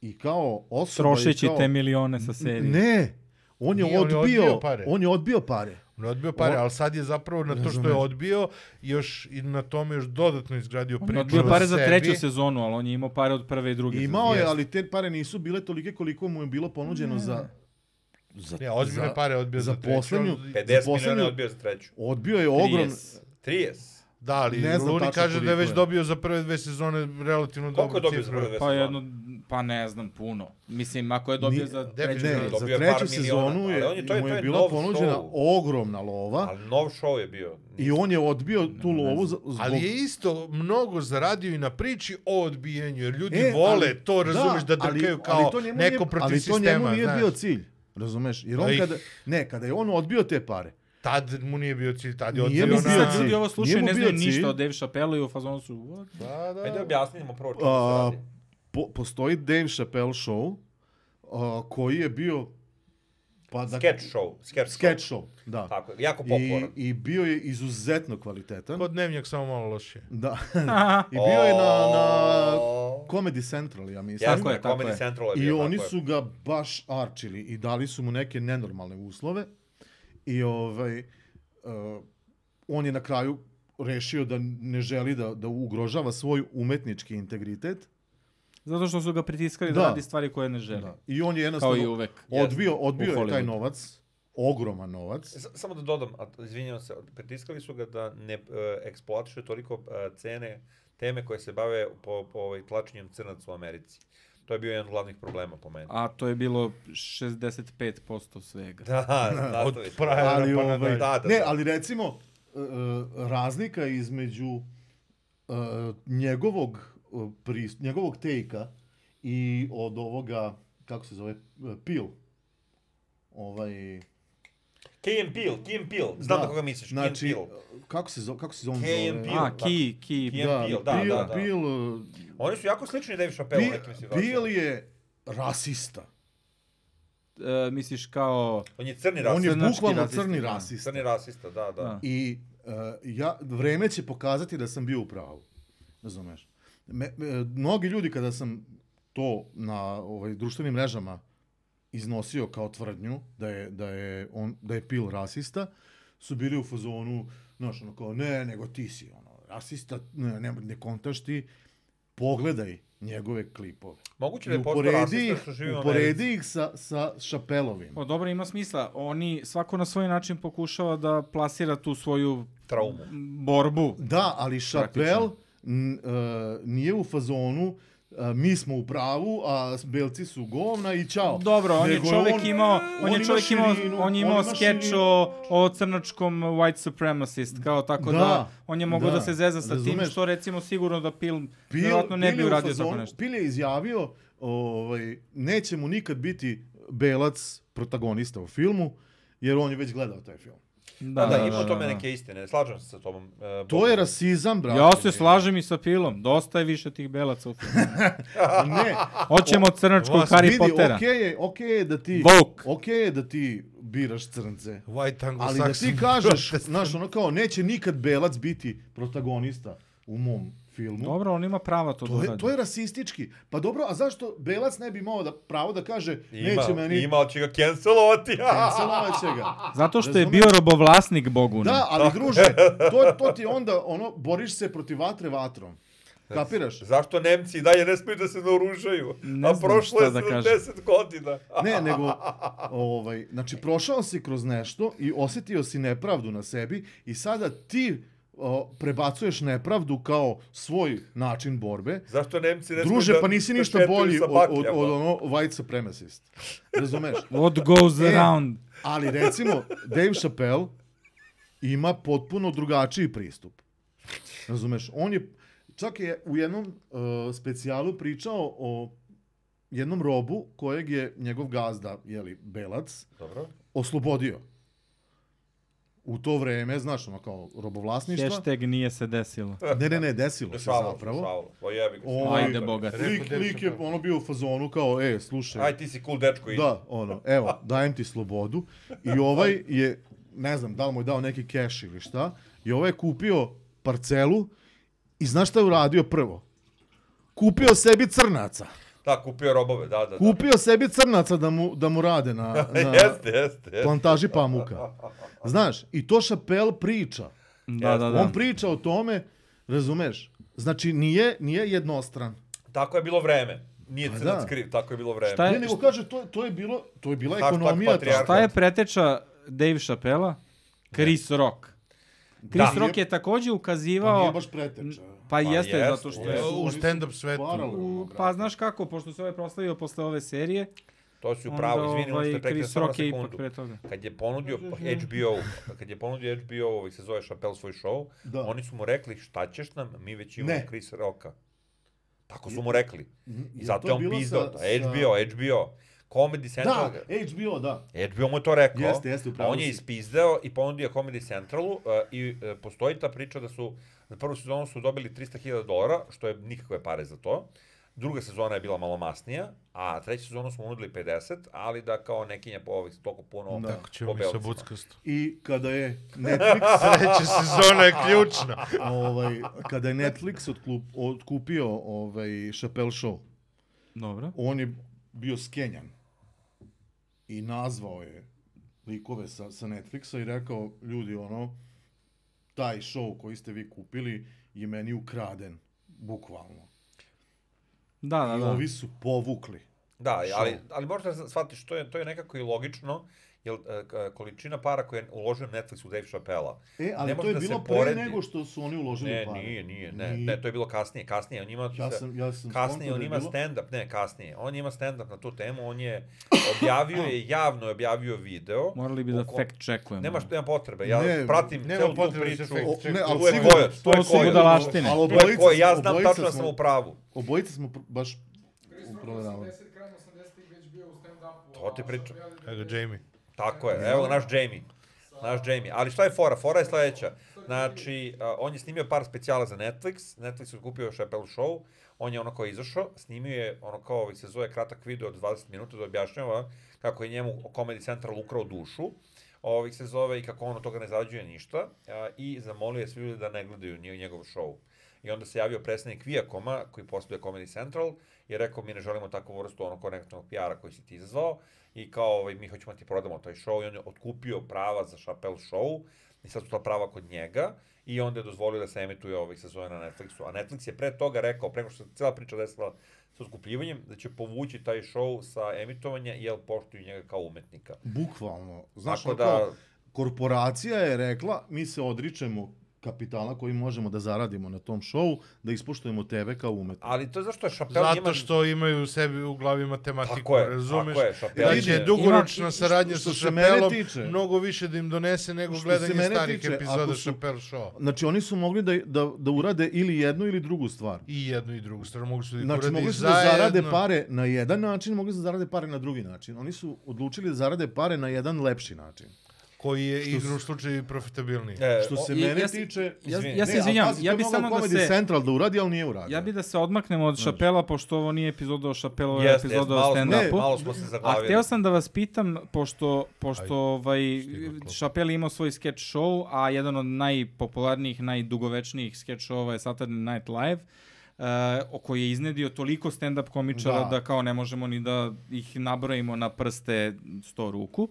[SPEAKER 1] i kao osoba... i
[SPEAKER 3] Trošeći
[SPEAKER 1] kao,
[SPEAKER 3] te milione sa serije.
[SPEAKER 1] Ne, on je,
[SPEAKER 2] Nije, on je
[SPEAKER 1] odbio,
[SPEAKER 2] odbio pare.
[SPEAKER 1] on je odbio pare.
[SPEAKER 2] On je odbio pare,
[SPEAKER 1] O-
[SPEAKER 2] ali sad je zapravo na to što je
[SPEAKER 1] Razumem.
[SPEAKER 2] odbio još i na tome još dodatno izgradio
[SPEAKER 3] On
[SPEAKER 2] priču.
[SPEAKER 3] je odbio
[SPEAKER 2] o
[SPEAKER 3] pare za
[SPEAKER 2] sebi.
[SPEAKER 3] treću sezonu, ali on je imao pare od prve i druge
[SPEAKER 1] Imao je,
[SPEAKER 2] Jeste.
[SPEAKER 1] ali te pare nisu bile tolike koliko mu je bilo ponuđeno za... za
[SPEAKER 2] Ne, ozbiljne
[SPEAKER 1] za-
[SPEAKER 2] pare je odbio za,
[SPEAKER 1] za
[SPEAKER 2] treću,
[SPEAKER 1] poslednju-
[SPEAKER 2] ali-
[SPEAKER 5] 50 miliona
[SPEAKER 1] poslednju-
[SPEAKER 5] je odbio za treću.
[SPEAKER 1] Odbio je
[SPEAKER 3] sezone.
[SPEAKER 1] ogrom...
[SPEAKER 3] 30.
[SPEAKER 5] 30.
[SPEAKER 2] Da, ali
[SPEAKER 1] Ne znam
[SPEAKER 2] Luni
[SPEAKER 1] tačno
[SPEAKER 2] kaže da je
[SPEAKER 1] koliko
[SPEAKER 2] već
[SPEAKER 1] je.
[SPEAKER 2] dobio za prve dve sezone relativno
[SPEAKER 5] Koliko
[SPEAKER 2] dobro
[SPEAKER 5] je dobio za prve dve
[SPEAKER 3] Pa
[SPEAKER 5] sezone?
[SPEAKER 3] jedno, pa ne znam, puno. Mislim, ako je dobio
[SPEAKER 1] Ni-
[SPEAKER 3] za treću
[SPEAKER 2] definitivno
[SPEAKER 1] Ne,
[SPEAKER 2] je
[SPEAKER 5] dobio
[SPEAKER 1] za
[SPEAKER 5] par
[SPEAKER 1] treću
[SPEAKER 5] miliona,
[SPEAKER 1] sezonu
[SPEAKER 5] ali on
[SPEAKER 1] je,
[SPEAKER 5] je- to je-
[SPEAKER 1] mu
[SPEAKER 5] to je
[SPEAKER 1] je bila
[SPEAKER 5] nov
[SPEAKER 1] ponuđena
[SPEAKER 5] show.
[SPEAKER 1] ogromna lova
[SPEAKER 5] Ali nov show je bio.
[SPEAKER 1] i on je odbio tu lovu z- zbog...
[SPEAKER 2] Ali je isto mnogo zaradio i na priči o odbijenju, jer ljudi
[SPEAKER 1] E,
[SPEAKER 2] vole
[SPEAKER 1] ali-
[SPEAKER 2] to, razumeš, da,
[SPEAKER 1] ali-
[SPEAKER 2] drkaju
[SPEAKER 1] ali
[SPEAKER 2] kao
[SPEAKER 1] to njemu nije-
[SPEAKER 2] neko protiv
[SPEAKER 1] ali
[SPEAKER 2] sistema.
[SPEAKER 1] to njemu nije
[SPEAKER 2] znaš.
[SPEAKER 1] bio cilj, razumeš? Jer
[SPEAKER 2] Aj.
[SPEAKER 1] on kada, ne, kada je on odbio te pare,
[SPEAKER 2] Tad mu nije bio cilj, tad je
[SPEAKER 1] Nije
[SPEAKER 2] odbio
[SPEAKER 1] mu
[SPEAKER 3] Mislim
[SPEAKER 2] na...
[SPEAKER 3] da
[SPEAKER 1] bio
[SPEAKER 3] ljudi
[SPEAKER 1] cilj.
[SPEAKER 3] ovo slušaju,
[SPEAKER 1] Nije mu
[SPEAKER 3] ne znaju
[SPEAKER 1] bio cilj.
[SPEAKER 3] ništa o Dave Chappelle i u fazonu su... what?
[SPEAKER 2] Da, da.
[SPEAKER 5] Ajde objasnimo prvo čemu se
[SPEAKER 1] a,
[SPEAKER 5] radi.
[SPEAKER 1] po, postoji Dave Chappelle show a, koji je bio... Pa da,
[SPEAKER 5] Sketch show. Sketch,
[SPEAKER 1] Sketch
[SPEAKER 5] show.
[SPEAKER 1] show, da.
[SPEAKER 5] Tako, je, jako
[SPEAKER 1] I,
[SPEAKER 5] popularan.
[SPEAKER 1] I bio je izuzetno kvalitetan.
[SPEAKER 2] Kod dnevnjak samo malo lošije.
[SPEAKER 1] Da. I bio je na, na Comedy Central, ja mislim.
[SPEAKER 5] Jasno je,
[SPEAKER 3] je, tako
[SPEAKER 5] Comedy
[SPEAKER 3] je.
[SPEAKER 5] Oh. Central je bio.
[SPEAKER 1] I
[SPEAKER 5] tako
[SPEAKER 1] oni
[SPEAKER 5] je.
[SPEAKER 1] su ga baš arčili i dali su mu neke nenormalne uslove i ovaj uh, on je na kraju rešio da ne želi da, da ugrožava svoj umetnički integritet.
[SPEAKER 3] Zato što su ga pritiskali da,
[SPEAKER 1] Da.
[SPEAKER 3] radi stvari koje ne žele.
[SPEAKER 1] Da. I on je
[SPEAKER 3] Kao i
[SPEAKER 1] jednostavno
[SPEAKER 3] uvek.
[SPEAKER 1] odbio, odbio
[SPEAKER 3] U
[SPEAKER 1] je taj
[SPEAKER 3] Hollywoodu.
[SPEAKER 1] novac, ogroman novac.
[SPEAKER 5] S- Samo da dodam, a, izvinjavam se, pritiskali su ga da ne e, eksploatiše toliko e, cene, teme koje se bave po, po ovaj, tlačenjem crnaca u Americi. To je bio jedan od glavnih problema po meni.
[SPEAKER 3] A to je bilo 65% svega.
[SPEAKER 5] Da,
[SPEAKER 2] Od
[SPEAKER 5] nastavi.
[SPEAKER 2] prajera
[SPEAKER 1] Ali,
[SPEAKER 2] pa
[SPEAKER 1] ovaj,
[SPEAKER 2] nadalje.
[SPEAKER 5] Da, da,
[SPEAKER 1] ne,
[SPEAKER 5] da.
[SPEAKER 1] ali recimo e, e, razlika između e, njegovog e, pris- njegovog tejka i od ovoga kako se zove e, Peel. Ovaj
[SPEAKER 5] Key and Peele, Key and Peele. Znam da, koga misliš,
[SPEAKER 1] znači,
[SPEAKER 5] Key and Peele.
[SPEAKER 1] Kako se zove, kako se zove? on
[SPEAKER 5] Key and
[SPEAKER 1] zove?
[SPEAKER 5] Peele.
[SPEAKER 3] A, ki, ki,
[SPEAKER 5] Ki-
[SPEAKER 1] Da, Peel,
[SPEAKER 5] Peel, da,
[SPEAKER 1] Peel,
[SPEAKER 5] da, da. Oni su jako slični Dave Chappelle u
[SPEAKER 1] Peel,
[SPEAKER 5] nekim
[SPEAKER 1] Peel,
[SPEAKER 5] situacijama.
[SPEAKER 1] Peel je rasista.
[SPEAKER 3] e, misliš kao...
[SPEAKER 5] On je crni
[SPEAKER 1] On je
[SPEAKER 5] rasista.
[SPEAKER 3] Crnački
[SPEAKER 1] bukvalno
[SPEAKER 3] rasista,
[SPEAKER 1] crni
[SPEAKER 3] da.
[SPEAKER 1] rasista.
[SPEAKER 5] Crni rasista, da, da.
[SPEAKER 3] Da.
[SPEAKER 1] I uh, ja, vreme će pokazati da sam bio u pravu. Razumeš? Me, me, mnogi ljudi kada sam to na ovaj, društvenim mrežama iznosio kao tvrdnju da je, da je, on, da je pil rasista, su bili u fazonu, znaš, ono kao, ne, nego ti si, ono, rasista, ne, ne, ne kontaš ti, pogledaj njegove klipove. I
[SPEAKER 5] Moguće da je postao
[SPEAKER 1] uporedi
[SPEAKER 5] rasista
[SPEAKER 1] ih,
[SPEAKER 5] što živi u Americi.
[SPEAKER 1] uporedi ih sa, sa Šapelovim.
[SPEAKER 3] O, dobro, ima smisla. Oni svako na svoj način pokušava da plasira tu svoju
[SPEAKER 5] Traumu.
[SPEAKER 3] borbu.
[SPEAKER 1] Da, ali Šapel n, e, nije u fazonu e, mi smo u pravu, a belci su govna i čao.
[SPEAKER 3] Dobro, on je
[SPEAKER 1] Nego
[SPEAKER 3] čovjek
[SPEAKER 1] on-
[SPEAKER 3] imao, on,
[SPEAKER 1] on
[SPEAKER 3] je
[SPEAKER 1] ima
[SPEAKER 3] čovjek imao,
[SPEAKER 1] širinu,
[SPEAKER 3] on je imao
[SPEAKER 1] on ima
[SPEAKER 3] skeč
[SPEAKER 1] širinu.
[SPEAKER 3] o, o crnačkom white supremacist, kao tako da,
[SPEAKER 1] Da,
[SPEAKER 3] on je mogao da,
[SPEAKER 1] da,
[SPEAKER 3] se zeza sa tim,
[SPEAKER 1] razumeš?
[SPEAKER 3] što recimo sigurno da film vjerojatno ne bi
[SPEAKER 1] je u
[SPEAKER 3] uradio
[SPEAKER 1] fazonu-
[SPEAKER 3] tako nešto.
[SPEAKER 1] Pil je izjavio, ovaj, neće mu nikad biti belac protagonista u filmu, jer on je već gledao taj film.
[SPEAKER 5] Da, da, ima u tome neke istine. Slažem se sa tobom. e,
[SPEAKER 1] To je
[SPEAKER 5] Bogom.
[SPEAKER 1] rasizam, brate.
[SPEAKER 3] Ja se slažem i sa Pilom, dosta je više tih belaca u filmu.
[SPEAKER 1] Ne,
[SPEAKER 3] Hoćemo crnačkog
[SPEAKER 2] Vas
[SPEAKER 3] Harry
[SPEAKER 1] vidi,
[SPEAKER 3] Pottera.
[SPEAKER 1] okej je, okej je da ti...
[SPEAKER 3] Vogue.
[SPEAKER 1] Okej je da ti biraš crnce.
[SPEAKER 2] White
[SPEAKER 1] Ali da ti
[SPEAKER 2] Anglo-Saxon
[SPEAKER 1] kažeš,
[SPEAKER 2] protest.
[SPEAKER 1] znaš, ono kao, neće nikad belac biti protagonista u mom filmu.
[SPEAKER 3] Dobro, on ima prava to,
[SPEAKER 1] To
[SPEAKER 3] da
[SPEAKER 1] je, to
[SPEAKER 3] radi.
[SPEAKER 1] je rasistički. Pa dobro, a zašto Belac ne bi imao da pravo da kaže
[SPEAKER 5] Ima,
[SPEAKER 1] neće meni
[SPEAKER 5] Ima, ali će ga cancelovati.
[SPEAKER 1] cancelovat će ga.
[SPEAKER 3] Zato što je
[SPEAKER 1] Razumeš?
[SPEAKER 3] bio robovlasnik Bogu.
[SPEAKER 1] Da, ali druže, to, to ti je onda, ono, boriš se protiv vatre vatrom. Kapiraš?
[SPEAKER 5] Zašto Nemci i dalje ne smiju da se naoružaju?
[SPEAKER 3] Ne
[SPEAKER 5] A
[SPEAKER 3] znam
[SPEAKER 5] prošlo
[SPEAKER 3] šta
[SPEAKER 5] je
[SPEAKER 3] da kažem.
[SPEAKER 5] 70 godina.
[SPEAKER 1] Ne, nego, ovaj, znači, prošao si kroz nešto i osjetio si nepravdu na sebi i sada ti o, prebacuješ nepravdu kao svoj način borbe
[SPEAKER 5] Zašto Nemci ne smiju
[SPEAKER 1] Druže,
[SPEAKER 5] da,
[SPEAKER 1] pa nisi
[SPEAKER 5] da
[SPEAKER 1] ništa
[SPEAKER 5] šetuju
[SPEAKER 1] bolji
[SPEAKER 5] sa
[SPEAKER 1] od, od,
[SPEAKER 5] bakljama?
[SPEAKER 1] od ono white supremacist. Razumeš?
[SPEAKER 3] What goes
[SPEAKER 1] E,
[SPEAKER 3] around.
[SPEAKER 1] Ali recimo, Dave Chappelle ima potpuno drugačiji pristup. Razumeš? On je, čak je u jednom uh, specijalu pričao o jednom robu kojeg je njegov gazda, jeli, Belac,
[SPEAKER 5] Dobro.
[SPEAKER 1] oslobodio. U to vreme, znaš, ono kao robovlasništva.
[SPEAKER 3] Hashtag nije se desilo.
[SPEAKER 1] Ne, ne, ne, desilo se
[SPEAKER 5] Dešavalo,
[SPEAKER 1] zapravo.
[SPEAKER 5] dešavalo. O jebi ga.
[SPEAKER 1] Ovaj- Ajde,
[SPEAKER 3] boga.
[SPEAKER 1] Lik, lik je ono bio u fazonu kao, e, slušaj,
[SPEAKER 5] Aj, ti si cool dečko. i-
[SPEAKER 1] Da, ono, evo, dajem ti slobodu. I ovaj je, ne znam, da li mu je dao neki keš ili šta, i ovaj je kupio parcelu i znaš šta je uradio prvo? Kupio sebi crnaca.
[SPEAKER 5] Da, kupio robove, da, da, da.
[SPEAKER 1] Kupio sebi crnaca da mu, da mu rade na, na
[SPEAKER 5] jeste, jeste, jeste.
[SPEAKER 1] plantaži pamuka. Znaš, i to Šapel priča.
[SPEAKER 3] Da, da, da.
[SPEAKER 1] On priča o tome, razumeš? Znači, nije, nije jednostran.
[SPEAKER 5] Tako je bilo vreme. Nije
[SPEAKER 1] Pa
[SPEAKER 5] crnac
[SPEAKER 1] da.
[SPEAKER 5] kriv, tako je bilo vreme.
[SPEAKER 3] E, Šta je-
[SPEAKER 1] Ne, nego kaže, to, to je, bilo, to je bila
[SPEAKER 5] Hashtag
[SPEAKER 1] ekonomija.
[SPEAKER 5] patrijarhat.
[SPEAKER 1] takva.
[SPEAKER 3] Šta je preteča Dave Chappella? Chris Rock. Chris
[SPEAKER 1] Da.
[SPEAKER 3] Rock je također
[SPEAKER 1] Pa
[SPEAKER 3] ukazivao...
[SPEAKER 1] nije baš preteča.
[SPEAKER 3] Pa jeste,
[SPEAKER 5] jeste,
[SPEAKER 3] zato što je...
[SPEAKER 5] jeste.
[SPEAKER 2] U stand-up svetu.
[SPEAKER 1] Paralelno,
[SPEAKER 3] U,
[SPEAKER 1] brate.
[SPEAKER 3] pa znaš kako, pošto se ovaj proslavio posle ove serije,
[SPEAKER 5] To si
[SPEAKER 3] onda
[SPEAKER 5] upravo, izvini, ono
[SPEAKER 3] ovaj,
[SPEAKER 5] ste prekli
[SPEAKER 3] Chris
[SPEAKER 5] samo na
[SPEAKER 3] Rock je ipak
[SPEAKER 5] sekundu.
[SPEAKER 3] pre toga.
[SPEAKER 5] Kad je ponudio HBO, kad je ponudio HBO, ovaj se zove Chappelle svoj show,
[SPEAKER 1] Da.
[SPEAKER 5] oni su mu rekli šta ćeš nam, mi već imamo
[SPEAKER 1] Ne.
[SPEAKER 5] Chris Rocka. Tako su mu rekli. I
[SPEAKER 1] je
[SPEAKER 5] zato
[SPEAKER 1] to
[SPEAKER 5] je on
[SPEAKER 1] bilo
[SPEAKER 5] pizdao.
[SPEAKER 1] sa-
[SPEAKER 5] to.
[SPEAKER 1] sa-
[SPEAKER 5] HBO, HBO. Comedy Central.
[SPEAKER 1] Da, HBO, da.
[SPEAKER 5] HBO mu je to rekao.
[SPEAKER 1] Jeste, jeste,
[SPEAKER 5] a
[SPEAKER 1] upravo
[SPEAKER 5] on je
[SPEAKER 1] si.
[SPEAKER 5] ispizdeo i pa ponudio Comedy Centralu uh, i uh, postoji ta priča da su na prvu sezonu su dobili 300.000 dolara, što je nikakve pare za to. Druga sezona je bila malo masnija, a treća sezonu smo nudili 50, ali da kao nekinja po ovih toliko puno
[SPEAKER 1] Da.
[SPEAKER 5] po
[SPEAKER 1] Tako
[SPEAKER 2] Ćemo mi sa
[SPEAKER 5] belcima.
[SPEAKER 2] buckastu.
[SPEAKER 1] I kada je Netflix,
[SPEAKER 2] Treća sezona je ključna.
[SPEAKER 1] ovaj, kada je Netflix odklup, odkupio ovaj Chappelle Show,
[SPEAKER 3] Dobro.
[SPEAKER 1] on je bio skenjan i nazvao je likove sa, sa Netflixa i rekao, ljudi, ono, taj show koji ste vi kupili je meni ukraden, bukvalno.
[SPEAKER 3] Da, da,
[SPEAKER 1] I
[SPEAKER 3] da.
[SPEAKER 1] ovi su povukli.
[SPEAKER 5] Da, ali, ali možda da shvatiš, to je, to je nekako i logično, jer uh, k- količina para koje je uložio Netflix u Dave Chappella.
[SPEAKER 1] E, ali
[SPEAKER 5] Ne
[SPEAKER 1] to
[SPEAKER 5] može
[SPEAKER 1] je
[SPEAKER 5] da se
[SPEAKER 1] bilo pre
[SPEAKER 5] poredi.
[SPEAKER 1] nego što su oni uložili
[SPEAKER 5] Ne,
[SPEAKER 1] pare.
[SPEAKER 5] nije, nije, ne, ne, to je bilo kasnije, kasnije, on ima
[SPEAKER 1] Ja
[SPEAKER 5] se-
[SPEAKER 1] sam, ja sam
[SPEAKER 5] Kasnije
[SPEAKER 1] skontao
[SPEAKER 5] on
[SPEAKER 1] da je
[SPEAKER 5] ima
[SPEAKER 1] bilo-
[SPEAKER 5] stand-up, ne kasnije, on ima stand-up na tu temu, on je objavio je, javno je objavio video.
[SPEAKER 3] Morali bi da
[SPEAKER 5] u kom-
[SPEAKER 3] fact checkujemo.
[SPEAKER 5] Nema, što- nema potrebe, ja
[SPEAKER 1] Ne,
[SPEAKER 5] pratim
[SPEAKER 2] nema
[SPEAKER 5] celu tu
[SPEAKER 2] potrebe da se
[SPEAKER 5] priču.
[SPEAKER 2] fact
[SPEAKER 1] O, ne, ali
[SPEAKER 5] Tu je
[SPEAKER 1] sigurno,
[SPEAKER 5] kojac, tu je
[SPEAKER 3] to su
[SPEAKER 5] kojac.
[SPEAKER 3] budalaštine.
[SPEAKER 1] Ali
[SPEAKER 5] Tu je
[SPEAKER 1] obojica,
[SPEAKER 5] kojac, ja znam
[SPEAKER 1] obojica
[SPEAKER 5] tačno da sam
[SPEAKER 1] smo-
[SPEAKER 5] u pravu.
[SPEAKER 1] Obojica smo pr- baš uproveravali.
[SPEAKER 5] To te pričam.
[SPEAKER 2] Evo ga, Jamie.
[SPEAKER 5] Tako je, evo ga naš Jamie. Naš Jamie. Ali šta je fora? Fora je sljedeća. Znači, a, on je snimio par specijala za Netflix. Netflix je kupio Chappelle Show. On je ono kao izašao, snimio je ono kao ovaj se zove kratak video od 20 minuta da objašnjava kako je njemu Comedy Central ukrao dušu. Ovih se zove i kako on od toga ne zarađuje ništa. A, I zamolio je svi ljudi da ne gledaju nje- njegov show. I onda se javio predstavnik Viacoma, koji posluje Comedy Central, i rekao mi ne želimo takvu vrstu ono konektivnog PR-a koji si ti izazvao i kao ovaj, mi hoćemo ti prodamo taj show i on je otkupio prava za Chappelle show I sad su ta prava kod njega i onda je dozvolio da se emituje ovih sezona na Netflixu. A Netflix je pre toga rekao, preko što se cijela priča desila sa skupljivanjem, da će povući taj show sa emitovanja, jel poštuju njega kao umetnika.
[SPEAKER 1] Bukvalno. Znaš,
[SPEAKER 5] Tako
[SPEAKER 1] ono
[SPEAKER 5] da-
[SPEAKER 1] da... kao, korporacija je rekla, mi se odričemo kapitala koji možemo da zaradimo na tom šovu, da ispoštujemo tebe kao umetnika.
[SPEAKER 5] Ali to je zašto je Chappelle
[SPEAKER 2] Zato
[SPEAKER 5] njima-
[SPEAKER 2] što imaju u sebi u glavi matematiku,
[SPEAKER 5] Tako je,
[SPEAKER 2] razumeš?
[SPEAKER 5] tako je, Chappelle
[SPEAKER 2] da
[SPEAKER 1] je-
[SPEAKER 2] će
[SPEAKER 1] Imam-
[SPEAKER 2] dugoročna
[SPEAKER 1] i- i-
[SPEAKER 2] saradnja
[SPEAKER 1] što
[SPEAKER 2] sa
[SPEAKER 1] se mene
[SPEAKER 2] Šapelom
[SPEAKER 1] tiče-
[SPEAKER 2] mnogo više da im donese nego
[SPEAKER 1] Što se
[SPEAKER 2] gledanje
[SPEAKER 1] mene
[SPEAKER 2] starih
[SPEAKER 1] tiče,
[SPEAKER 2] epizoda
[SPEAKER 1] ako su-
[SPEAKER 2] Chappelle Show.
[SPEAKER 1] Znači, oni su mogli da, da, da urade ili jednu ili drugu stvar.
[SPEAKER 2] I jednu i drugu stranu mogu su da ih
[SPEAKER 1] Znači,
[SPEAKER 2] urade i
[SPEAKER 1] mogli su da
[SPEAKER 2] zajedno.
[SPEAKER 1] zarade pare na jedan način, mogli su da zarade pare na drugi način. Oni su odlučili da zarade pare na jedan lepši način.
[SPEAKER 2] Koji je igrom slučaju i profitabilniji.
[SPEAKER 5] E,
[SPEAKER 1] Što
[SPEAKER 5] o-
[SPEAKER 1] se
[SPEAKER 3] i-
[SPEAKER 1] mene
[SPEAKER 3] ja se-
[SPEAKER 1] tiče...
[SPEAKER 3] ja-
[SPEAKER 1] Ne,
[SPEAKER 3] ja se
[SPEAKER 1] ali
[SPEAKER 3] izvinjavam,
[SPEAKER 1] pazi,
[SPEAKER 3] ja
[SPEAKER 1] to je
[SPEAKER 3] bi
[SPEAKER 1] mogao
[SPEAKER 3] samo da
[SPEAKER 1] Comedy
[SPEAKER 3] se-
[SPEAKER 1] Central da uradi, ali nije uradio.
[SPEAKER 3] Ja bi da se odmaknemo od Šapela, pošto ovo nije epizoda o Šapelu, ovo je
[SPEAKER 5] Jeste, jeste,
[SPEAKER 3] epizoda o
[SPEAKER 5] malo, smo,
[SPEAKER 1] stand-upu.
[SPEAKER 5] ne,
[SPEAKER 1] Ne,
[SPEAKER 3] stand-upu.
[SPEAKER 5] malo smo se
[SPEAKER 3] A
[SPEAKER 5] zaglavili.
[SPEAKER 3] hteo sam da vas pitam, pošto, pošto
[SPEAKER 2] Ajde,
[SPEAKER 3] ovaj,
[SPEAKER 2] stigla klopa.
[SPEAKER 3] Chappelle je imao svoj sketch show, a jedan od najpopularnijih, najdugovečnijih sketch showova je Saturday Night Live, uh, o koji je iznedio toliko stand-up komičara da.
[SPEAKER 1] Da.
[SPEAKER 3] da kao ne možemo ni da ih nabrojimo na prste 100 ruku.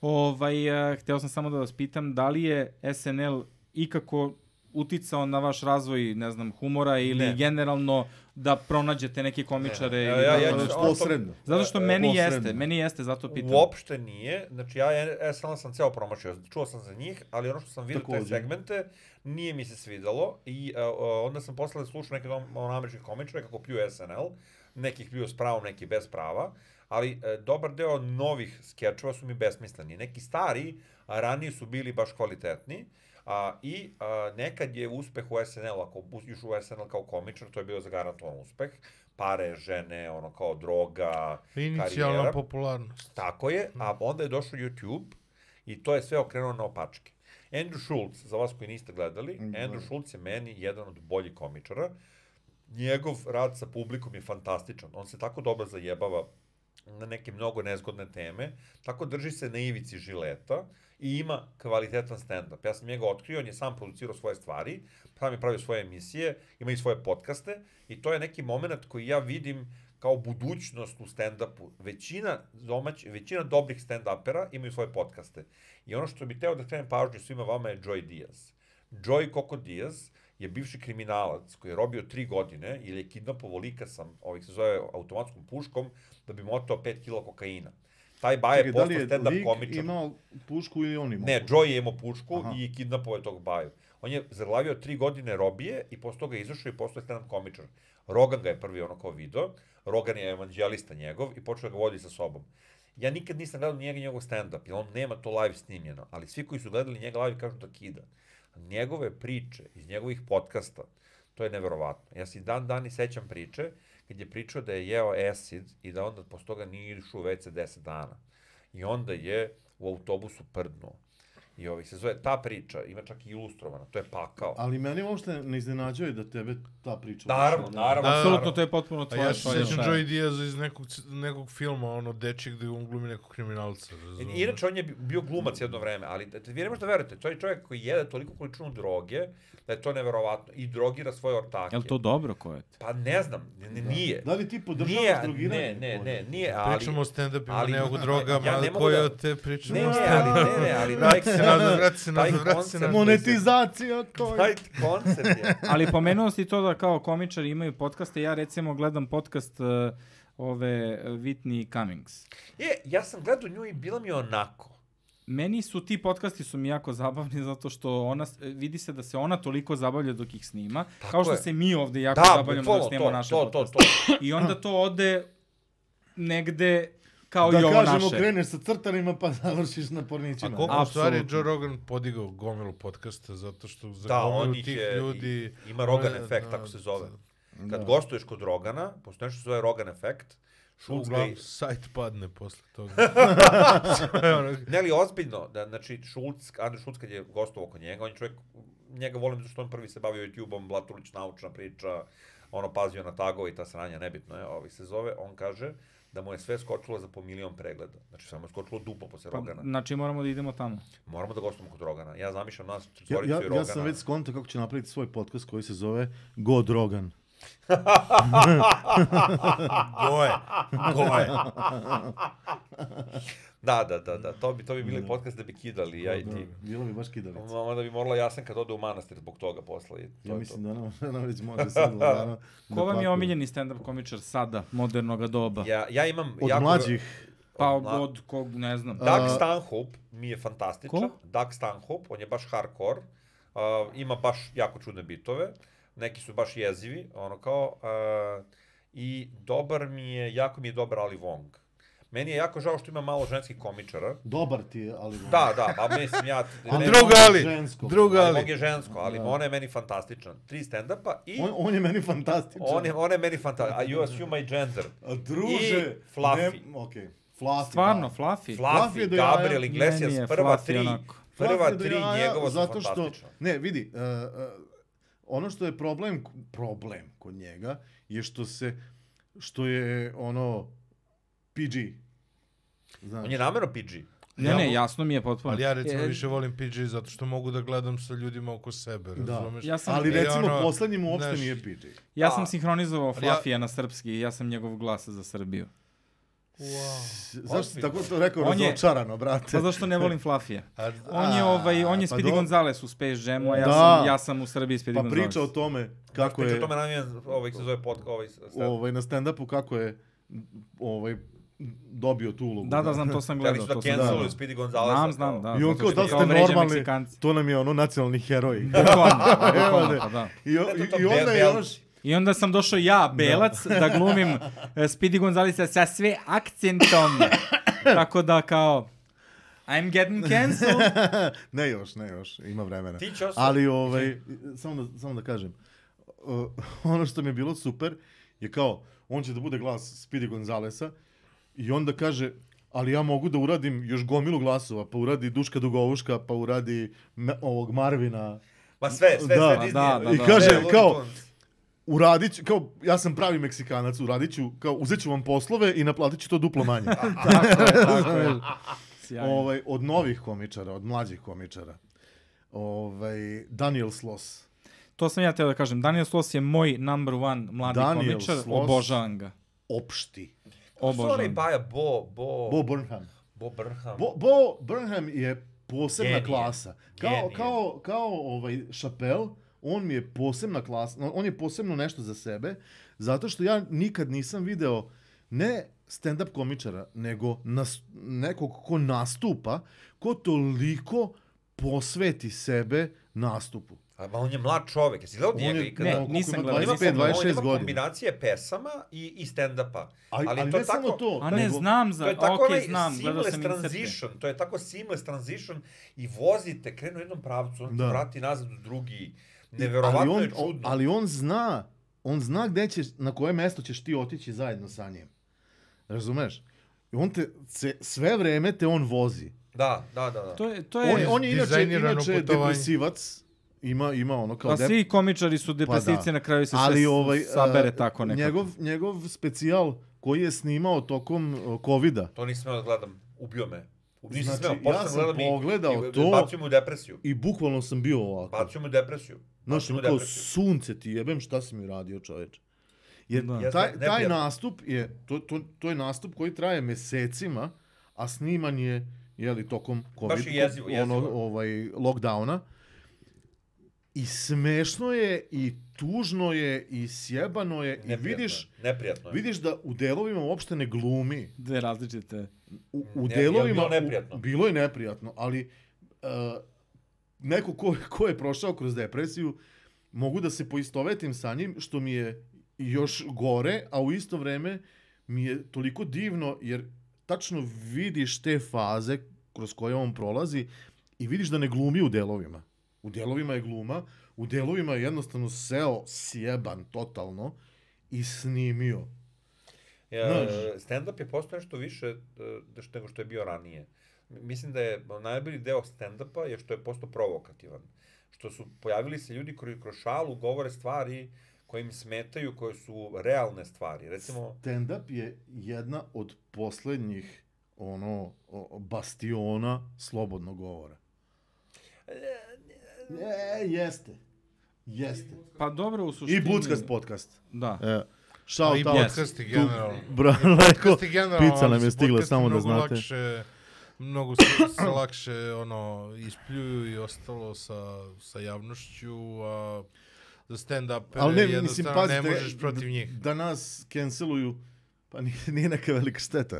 [SPEAKER 3] Ovaj, uh, hteo sam samo da vas pitam, da li je SNL ikako uticao na vaš razvoj, ne znam, humora ili
[SPEAKER 5] Ne.
[SPEAKER 3] ne. generalno da pronađete neke komičare?
[SPEAKER 5] Ne.
[SPEAKER 3] Ne.
[SPEAKER 5] Evo,
[SPEAKER 3] Ili
[SPEAKER 5] ja-
[SPEAKER 3] da-
[SPEAKER 5] ja
[SPEAKER 1] Ono,
[SPEAKER 5] ću-
[SPEAKER 1] posredno.
[SPEAKER 3] Zato što meni
[SPEAKER 1] posredno.
[SPEAKER 3] jeste, meni jeste, zato pitam.
[SPEAKER 5] Uopšte nije, znači ja SNL sam ceo promašio, čuo sam za njih, ali ono što sam vidio te
[SPEAKER 1] Također.
[SPEAKER 5] segmente, nije mi se svidalo i uh, uh, onda sam posle slušao neke dom- ono, američke komičare kako pljuju SNL, nekih pljuju s pravom, neki bez prava, ali e, dobar deo novih skečeva su mi besmisleni. Neki stari, a ranije su bili baš kvalitetni, a, i a, nekad je uspeh u SNL, ako uđeš u SNL kao komičar, to je bio zagarantovan uspeh, pare, žene, ono kao droga,
[SPEAKER 2] Inicijalna
[SPEAKER 5] karijera.
[SPEAKER 2] popularnost.
[SPEAKER 5] Tako je, a onda je došao YouTube i to je sve okrenuo na opačke. Andrew Schultz, za vas koji niste gledali, Andrew Schultz je meni jedan od boljih komičara. Njegov rad sa publikom je fantastičan. On se tako dobro zajebava na neke mnogo nezgodne teme, tako drži se na ivici žileta i ima kvalitetan stand-up. Ja sam njega otkrio, on je sam producirao svoje stvari, sam je pravio svoje emisije, ima i svoje podcaste i to je neki moment koji ja vidim kao budućnost u stand-upu. Većina, domać, većina dobrih stand-upera imaju svoje podcaste. I ono što bih teo da krenem pažnju svima vama je Joy Diaz. Joy Coco Diaz je bivši kriminalac koji je robio tri godine ili je kidnapovo lika sa, ovih se zove automatskom puškom, da bi mu otao 5 kila kokaina. Taj baje
[SPEAKER 1] Čekaj,
[SPEAKER 5] je
[SPEAKER 1] da
[SPEAKER 5] postao
[SPEAKER 1] li je
[SPEAKER 5] stand-up
[SPEAKER 1] lik
[SPEAKER 5] komičar.
[SPEAKER 1] imao pušku ili on imao?
[SPEAKER 5] Ne,
[SPEAKER 1] pušku?
[SPEAKER 5] Joy je imao pušku
[SPEAKER 1] Aha.
[SPEAKER 5] i kidnapovao je tog baju. On je zaglavio tri godine robije i posle toga je izašao i postao je stand-up komičar. Rogan ga je prvi ono kao video, Rogan je evanđelista njegov i počeo da ga vodi sa sobom. Ja nikad nisam gledao njega i njegov stand-up, jer on nema to live snimljeno, ali svi koji su gledali njega live kažu da kida. Njegove priče iz njegovih podcasta, to je neverovatno. Ja se i dan dan i sećam priče kad je pričao da je jeo acid i da onda posle toga nije išao u WC 10 dana. I onda je u autobusu prdnuo. I ovaj se zove, ta priča ima čak i ilustrovana, to je pakao.
[SPEAKER 1] Ali meni uopšte ne iznenađuje da tebe ta priča...
[SPEAKER 5] Naravno,
[SPEAKER 1] uopšte ne-
[SPEAKER 5] naravno.
[SPEAKER 3] Apsolutno, to je potpuno
[SPEAKER 2] A
[SPEAKER 3] tvoje.
[SPEAKER 2] ja Znači, se
[SPEAKER 3] tvoje
[SPEAKER 2] sjećam
[SPEAKER 3] šta je.
[SPEAKER 2] Joey Diaz iz nekog, nekog filma, ono, dečeg gdje on glumi nekog kriminalca, razumiješ?
[SPEAKER 5] I- Inače, on je bi- bio glumac jedno vreme, ali da- vi ne možete da verujete, to je čovjek koji jede toliko količinu droge, da je to neverovatno, i drogira svoje ortake.
[SPEAKER 3] Je li to dobro koje te?
[SPEAKER 5] Pa ne znam, n- n- nije.
[SPEAKER 1] Da li ti
[SPEAKER 5] Nije,
[SPEAKER 1] podržavaš drogiranje?
[SPEAKER 5] ne, ne, ne, nije, ali...
[SPEAKER 2] Pričamo o stand-upima,
[SPEAKER 5] ali-
[SPEAKER 2] ne o drogama,
[SPEAKER 5] ja ne
[SPEAKER 2] ali
[SPEAKER 5] mogu
[SPEAKER 2] koje
[SPEAKER 5] da-
[SPEAKER 2] od te pričamo
[SPEAKER 5] Ne,
[SPEAKER 2] o
[SPEAKER 5] ne,
[SPEAKER 2] stand-upima?
[SPEAKER 5] ali, ne, ne, ali...
[SPEAKER 2] Vrati
[SPEAKER 5] taj
[SPEAKER 2] se nazad,
[SPEAKER 5] koncept-
[SPEAKER 2] vrati se
[SPEAKER 5] taj
[SPEAKER 2] nazad, vrati se
[SPEAKER 5] koncept-
[SPEAKER 2] nazad.
[SPEAKER 1] Monetizacija, to je...
[SPEAKER 5] Taj koncept je...
[SPEAKER 3] Ali pomenuo si to da kao komičari imaju podcaste. Ja recimo gledam podcast uh, ove uh, Whitney Cummings.
[SPEAKER 5] E, ja sam gledao nju i bila mi je onako.
[SPEAKER 3] Meni su ti podcasti su mi jako zabavni zato što ona, s- vidi se da se ona toliko zabavlja dok ih snima,
[SPEAKER 5] Tako
[SPEAKER 3] kao što
[SPEAKER 5] je.
[SPEAKER 3] se mi ovdje jako
[SPEAKER 5] Da,
[SPEAKER 3] zabavljamo dok
[SPEAKER 5] bukvalno,
[SPEAKER 3] snimamo naše
[SPEAKER 5] to, to, to,
[SPEAKER 3] podcaste.
[SPEAKER 5] to.
[SPEAKER 3] I onda to ode negde kao i
[SPEAKER 1] Da
[SPEAKER 3] ovo
[SPEAKER 1] kažemo,
[SPEAKER 3] naše.
[SPEAKER 1] kreneš sa crtarima pa završiš na pornićima.
[SPEAKER 2] A koliko u stvari
[SPEAKER 3] Apsolutno.
[SPEAKER 2] Joe Rogan podigao gomilu podcasta, zato što za
[SPEAKER 5] Da,
[SPEAKER 2] gomilu
[SPEAKER 5] on ih
[SPEAKER 2] tih
[SPEAKER 5] je,
[SPEAKER 2] ljudi...
[SPEAKER 5] i- ima Rogan
[SPEAKER 2] on je,
[SPEAKER 5] efekt,
[SPEAKER 2] da,
[SPEAKER 5] tako se zove. Kad
[SPEAKER 1] Da.
[SPEAKER 5] gostuješ kod Rogana, postoji nešto što se zove Rogan efekt, Schultz ga
[SPEAKER 2] Uglavnom,
[SPEAKER 5] je-
[SPEAKER 2] sajt padne posle toga.
[SPEAKER 5] Ne, ali ozbiljno, da, znači, Šulc, Andrej Šulc kad je gostovao kod njega, on je čovjek, njega volim zato što on prvi se bavio YouTube-om, Blatulić naučna priča, ono, pazio na tagove i ta sranja, nebitno je, ovih se zove, on kaže da mu je sve skočilo za po milion pregleda. Znači, samo je skočilo duplo posle
[SPEAKER 3] Pa,
[SPEAKER 5] Rogana. Znači,
[SPEAKER 3] znači moramo da idemo tamo.
[SPEAKER 5] Moramo da gostujemo kod Rogana. Ja zamišljam nas
[SPEAKER 1] Ja,
[SPEAKER 5] četvoricu
[SPEAKER 1] ja,
[SPEAKER 5] i
[SPEAKER 1] ja
[SPEAKER 5] Rogana.
[SPEAKER 1] sam već skontao kako će napraviti svoj podcast koji se zove Go Drogan.
[SPEAKER 2] Goje, goje.
[SPEAKER 5] Da, da, da, da, to bi, to bi bili podcast da bi kidali, ja i ti.
[SPEAKER 1] Bilo bi baš kidalica.
[SPEAKER 5] Ma- Onda bi morala Jasenka da ode u manastir zbog toga posla i to
[SPEAKER 1] Ja
[SPEAKER 5] je to.
[SPEAKER 1] mislim da nam, nam već može sad lagano. da
[SPEAKER 3] Ko vam je
[SPEAKER 1] pakuje.
[SPEAKER 3] omiljeni stand-up komičar sada, modernog doba?
[SPEAKER 5] Ja, ja imam
[SPEAKER 1] Od
[SPEAKER 5] jako...
[SPEAKER 1] mlađih.
[SPEAKER 3] Pa
[SPEAKER 5] od mla-
[SPEAKER 3] od kog, ne znam.
[SPEAKER 5] Doug
[SPEAKER 1] A-
[SPEAKER 5] Stanhope mi je fantastičan.
[SPEAKER 3] Ko?
[SPEAKER 5] Doug Stanhope, on je baš hardcore. Uh, ima baš jako čudne bitove. Neki su baš jezivi, ono kao... Uh, I dobar mi je, jako mi je dobar Ali Wong. Meni je jako žao što ima malo ženskih komičara.
[SPEAKER 1] Dobar ti je, ali...
[SPEAKER 5] Da, da, pa mislim ja...
[SPEAKER 1] Ali
[SPEAKER 5] ne-
[SPEAKER 2] Druga ali,
[SPEAKER 1] žensko.
[SPEAKER 2] druga
[SPEAKER 5] Ali Wong
[SPEAKER 2] ali.
[SPEAKER 5] je žensko, ali
[SPEAKER 1] Da.
[SPEAKER 5] ona je meni fantastičan. Tri stand-upa i...
[SPEAKER 1] On, on je meni fantastičan.
[SPEAKER 5] On je, on je meni fantastičan. I you assume my gender.
[SPEAKER 1] A druže...
[SPEAKER 5] I Fluffy.
[SPEAKER 1] Ne, okej. Fluffy,
[SPEAKER 3] Stvarno,
[SPEAKER 1] da.
[SPEAKER 3] Fluffy?
[SPEAKER 5] Fluffy,
[SPEAKER 1] je do jaja.
[SPEAKER 5] Gabriel Iglesias,
[SPEAKER 3] Meni je
[SPEAKER 5] prva
[SPEAKER 3] Fluffy
[SPEAKER 5] tri,
[SPEAKER 3] onako.
[SPEAKER 1] Fluffy
[SPEAKER 5] prva
[SPEAKER 1] je do
[SPEAKER 5] tri
[SPEAKER 1] jaja
[SPEAKER 5] njegova su
[SPEAKER 1] zato što,
[SPEAKER 5] fantastična.
[SPEAKER 1] Ne, vidi, uh, uh, ono što je problem, problem kod njega je što se, što je ono PG. Znaš,
[SPEAKER 5] On je namjerno PG.
[SPEAKER 3] Ne,
[SPEAKER 2] Ja
[SPEAKER 3] ne,
[SPEAKER 2] vo-
[SPEAKER 3] jasno mi je potpuno.
[SPEAKER 2] Ali ja recimo
[SPEAKER 3] E,
[SPEAKER 2] više volim PG zato što mogu da gledam sa ljudima oko sebe,
[SPEAKER 1] Da.
[SPEAKER 2] razumeš?
[SPEAKER 3] Ja sam-
[SPEAKER 1] ali
[SPEAKER 2] E,
[SPEAKER 1] recimo
[SPEAKER 2] ono,
[SPEAKER 1] poslednjim uopšte
[SPEAKER 2] znaš,
[SPEAKER 1] nije PG.
[SPEAKER 3] Ja
[SPEAKER 5] A-
[SPEAKER 3] sam sinhronizovao
[SPEAKER 2] Ali ja-
[SPEAKER 3] Fluffija na srpski i ja sam njegov glas za Srbiju.
[SPEAKER 1] Zašto si tako to rekao
[SPEAKER 3] On je-
[SPEAKER 1] razočarano, brate?
[SPEAKER 3] Pa zašto ne volim Fluffija?
[SPEAKER 2] A,
[SPEAKER 3] On je ovaj on je
[SPEAKER 1] pa
[SPEAKER 3] Speedy
[SPEAKER 1] dobro.
[SPEAKER 3] Gonzales u Space Jamu, a ja
[SPEAKER 1] Da.
[SPEAKER 3] sam ja sam u Srbiji Speedy
[SPEAKER 1] Pa
[SPEAKER 3] Gonzales.
[SPEAKER 1] priča o tome kako
[SPEAKER 5] Priča o
[SPEAKER 1] je
[SPEAKER 5] tome namijen, ovaj se zove podcast, ovaj stand.
[SPEAKER 1] ovaj, na stand-upu, kako je ovaj, dobio tu ulogu.
[SPEAKER 3] Da, da, znam, to sam
[SPEAKER 5] Hteli
[SPEAKER 3] gledao,
[SPEAKER 5] su da
[SPEAKER 3] to sam gledao.
[SPEAKER 5] canceluju Speedy Gonzalesa.
[SPEAKER 3] Znam, znam, da.
[SPEAKER 1] I on
[SPEAKER 3] zato
[SPEAKER 1] kao,
[SPEAKER 3] što
[SPEAKER 1] da
[SPEAKER 3] kao
[SPEAKER 1] ste
[SPEAKER 3] vređa
[SPEAKER 1] normalni,
[SPEAKER 3] Meksikance.
[SPEAKER 1] to nam je ono nacionalni heroj.
[SPEAKER 3] Bukvalno,
[SPEAKER 1] Evo
[SPEAKER 3] bukvalno,
[SPEAKER 1] ne.
[SPEAKER 3] pa da.
[SPEAKER 1] I, o-
[SPEAKER 5] Eto to,
[SPEAKER 1] i onda
[SPEAKER 5] Bel-
[SPEAKER 1] je
[SPEAKER 5] Bel-
[SPEAKER 1] još...
[SPEAKER 3] I onda sam došao ja, belac, da, glumim e, Speedy Gonzalesa sa sve akcentom. Tako da kao, I'm getting cancelled.
[SPEAKER 1] Ne još, ne još, ima vremena.
[SPEAKER 5] Ti će ostati.
[SPEAKER 1] Ali ovaj, samo da, samo da kažem, uh, ono što mi je bilo super je kao, on će da bude glas Speedy Gonzalesa i onda kaže, ali ja mogu da uradim još gomilu glasova, pa uradi Duška Dugovuška, pa uradi me, ovog Marvina.
[SPEAKER 5] Ma sve,
[SPEAKER 1] Da,
[SPEAKER 5] sve, sve
[SPEAKER 1] da,
[SPEAKER 5] Disney.
[SPEAKER 3] da, I da.
[SPEAKER 1] kaže,
[SPEAKER 5] Sve, Looney
[SPEAKER 1] kao-
[SPEAKER 5] Tunes.
[SPEAKER 1] Uradit ću, kao, ja sam pravi Meksikanac, uradit ću, kao, uzet ću vam poslove i naplatit ću to duplo manje.
[SPEAKER 3] tako je, tako je. Sjajno.
[SPEAKER 1] ovaj, od novih komičara, od mlađih komičara. Ovaj, Daniel Sloss.
[SPEAKER 3] To sam ja teo da kažem. Daniel Sloss je moj number one mladi
[SPEAKER 1] Daniel
[SPEAKER 3] komičar.
[SPEAKER 1] Sloss.
[SPEAKER 3] Obožavam ga.
[SPEAKER 1] opšti.
[SPEAKER 5] Sorry,
[SPEAKER 3] Obožavam.
[SPEAKER 5] Pa Baja, Bo, Bo,
[SPEAKER 1] Bo
[SPEAKER 5] Bo,
[SPEAKER 1] Burnham.
[SPEAKER 5] Bo Burnham.
[SPEAKER 1] Bo, Bo Burnham je posebna
[SPEAKER 5] Genije.
[SPEAKER 1] klasa. Kao,
[SPEAKER 5] Genije.
[SPEAKER 1] kao, kao ovaj Chappelle, on mi je posebna klasa, on je posebno nešto za sebe, zato što ja nikad nisam video ne stand-up komičara, nego nas, nekog ko nastupa, ko toliko posveti sebe nastupu.
[SPEAKER 5] A, Ma on je mlad čovek, jesi gledao
[SPEAKER 1] On
[SPEAKER 5] njega
[SPEAKER 1] je-
[SPEAKER 5] ikada?
[SPEAKER 3] ne,
[SPEAKER 1] koliko ima,
[SPEAKER 3] nisam gledao, nisam
[SPEAKER 1] 25,
[SPEAKER 3] gledao.
[SPEAKER 1] 26
[SPEAKER 5] On ima
[SPEAKER 1] godina.
[SPEAKER 5] kombinacije pesama i, i stand-upa.
[SPEAKER 1] Ali,
[SPEAKER 5] Ali
[SPEAKER 1] ali,
[SPEAKER 5] to
[SPEAKER 1] ne samo
[SPEAKER 5] tako-
[SPEAKER 1] to.
[SPEAKER 3] A ne,
[SPEAKER 1] nego-
[SPEAKER 3] znam
[SPEAKER 5] To
[SPEAKER 3] za...
[SPEAKER 5] je tako
[SPEAKER 3] Ok,
[SPEAKER 5] onaj
[SPEAKER 3] znam, gledao
[SPEAKER 5] seamless
[SPEAKER 3] sam Inception.
[SPEAKER 5] transition, to je tako seamless transition i vozite, krenu u jednom pravcu, on te
[SPEAKER 1] Da.
[SPEAKER 5] vrati nazad u drugi. Neverovatno
[SPEAKER 1] ali
[SPEAKER 5] je
[SPEAKER 1] on,
[SPEAKER 5] čudno.
[SPEAKER 1] Ali on zna, on zna gde ćeš, na koje mesto ćeš ti otići zajedno sa njim. Razumeš? I on te, se, sve vreme te on vozi.
[SPEAKER 5] Da, da, da. da.
[SPEAKER 3] To je, to je...
[SPEAKER 1] On, on je inače,
[SPEAKER 2] dizajnirano
[SPEAKER 1] inače
[SPEAKER 2] putovanje.
[SPEAKER 1] depresivac, ima, ima ono kao
[SPEAKER 3] Pa svi komičari su depresivci,
[SPEAKER 1] da.
[SPEAKER 3] na kraju se
[SPEAKER 1] ali
[SPEAKER 3] sve
[SPEAKER 1] ovaj,
[SPEAKER 3] ovaj, sabere
[SPEAKER 1] a,
[SPEAKER 3] tako nekako.
[SPEAKER 1] Njegov, njegov specijal koji je snimao tokom uh, COVID-a
[SPEAKER 5] To nisam smeo da gledam, ubio me. Nisam
[SPEAKER 1] Znači,
[SPEAKER 5] smeo,
[SPEAKER 1] ja
[SPEAKER 5] počnem
[SPEAKER 1] sam
[SPEAKER 5] gledam i-
[SPEAKER 1] pogledao
[SPEAKER 5] i,
[SPEAKER 1] to-
[SPEAKER 5] Bacio Pa mu u depresiju.
[SPEAKER 1] i bukvalno sam bio ovako.
[SPEAKER 5] Bacio mu u depresiju.
[SPEAKER 1] Znaš,
[SPEAKER 5] Bacio mu
[SPEAKER 1] ono
[SPEAKER 5] u
[SPEAKER 1] kao
[SPEAKER 5] depresiju.
[SPEAKER 1] sunce ti jebem, šta si mi radio čoveče? Jer
[SPEAKER 3] Da.
[SPEAKER 1] da.
[SPEAKER 5] Jeste,
[SPEAKER 1] taj, taj
[SPEAKER 5] neprijatno.
[SPEAKER 1] nastup je, to, to, to je nastup koji traje mesecima, a sniman je, jeli, tokom COVID,
[SPEAKER 5] je jezivo, jezivo.
[SPEAKER 1] ono, ovaj, lockdowna. I smešno je, i tužno je, i sjebano je, i
[SPEAKER 5] Neprijatno je,
[SPEAKER 1] vidiš,
[SPEAKER 5] Neprijatno je.
[SPEAKER 1] vidiš da u delovima uopšte ne glumi
[SPEAKER 3] Dve različite.
[SPEAKER 1] u, u
[SPEAKER 5] Ne, je
[SPEAKER 1] delovima...
[SPEAKER 5] bilo
[SPEAKER 1] u-
[SPEAKER 5] neprijatno?
[SPEAKER 1] bilo je neprijatno, ali uh, neko ko, ko je prošao kroz depresiju, mogu da se poistovetim sa njim, što mi je još gore, a u isto vreme mi je toliko divno, jer tačno vidiš te faze kroz koje on prolazi i vidiš da ne glumi u delovima. U delovima je gluma, u delovima je jednostavno seo sjeban totalno i snimio.
[SPEAKER 5] Ja,
[SPEAKER 1] Znaš.
[SPEAKER 5] stand-up je postao nešto više e, da što- nego što je bio ranije. M- Mislim da je najbolji deo stand-upa je što je postao provokativan. Što su pojavili se ljudi koji kroz šalu govore stvari koje im smetaju, koje su realne stvari. Recimo,
[SPEAKER 1] Stand-up je jedna od poslednjih ono o- o, bastiona slobodnog govora. E, jeste. Jeste.
[SPEAKER 3] Pa dobro u suštini.
[SPEAKER 1] I Budskast podcast.
[SPEAKER 3] Da.
[SPEAKER 1] E,
[SPEAKER 2] Pa
[SPEAKER 1] shout
[SPEAKER 2] i
[SPEAKER 1] out.
[SPEAKER 2] podcasti
[SPEAKER 1] Tu-
[SPEAKER 2] generalno.
[SPEAKER 1] Bra,
[SPEAKER 2] Kad
[SPEAKER 1] Lajko,
[SPEAKER 2] ste generalno,
[SPEAKER 1] pica nam je
[SPEAKER 2] mislim,
[SPEAKER 1] stigla,
[SPEAKER 2] podcasti
[SPEAKER 1] samo da
[SPEAKER 2] mnogo
[SPEAKER 1] znate.
[SPEAKER 2] Lakše, mnogo se, se lakše ono, ispljuju i ostalo sa, sa javnošću, a za stand-up
[SPEAKER 1] Ali ne,
[SPEAKER 2] jednostavno
[SPEAKER 1] mislim, pazite,
[SPEAKER 2] ne možeš protiv njih.
[SPEAKER 1] da nas canceluju, pa nije, nije neka velika šteta.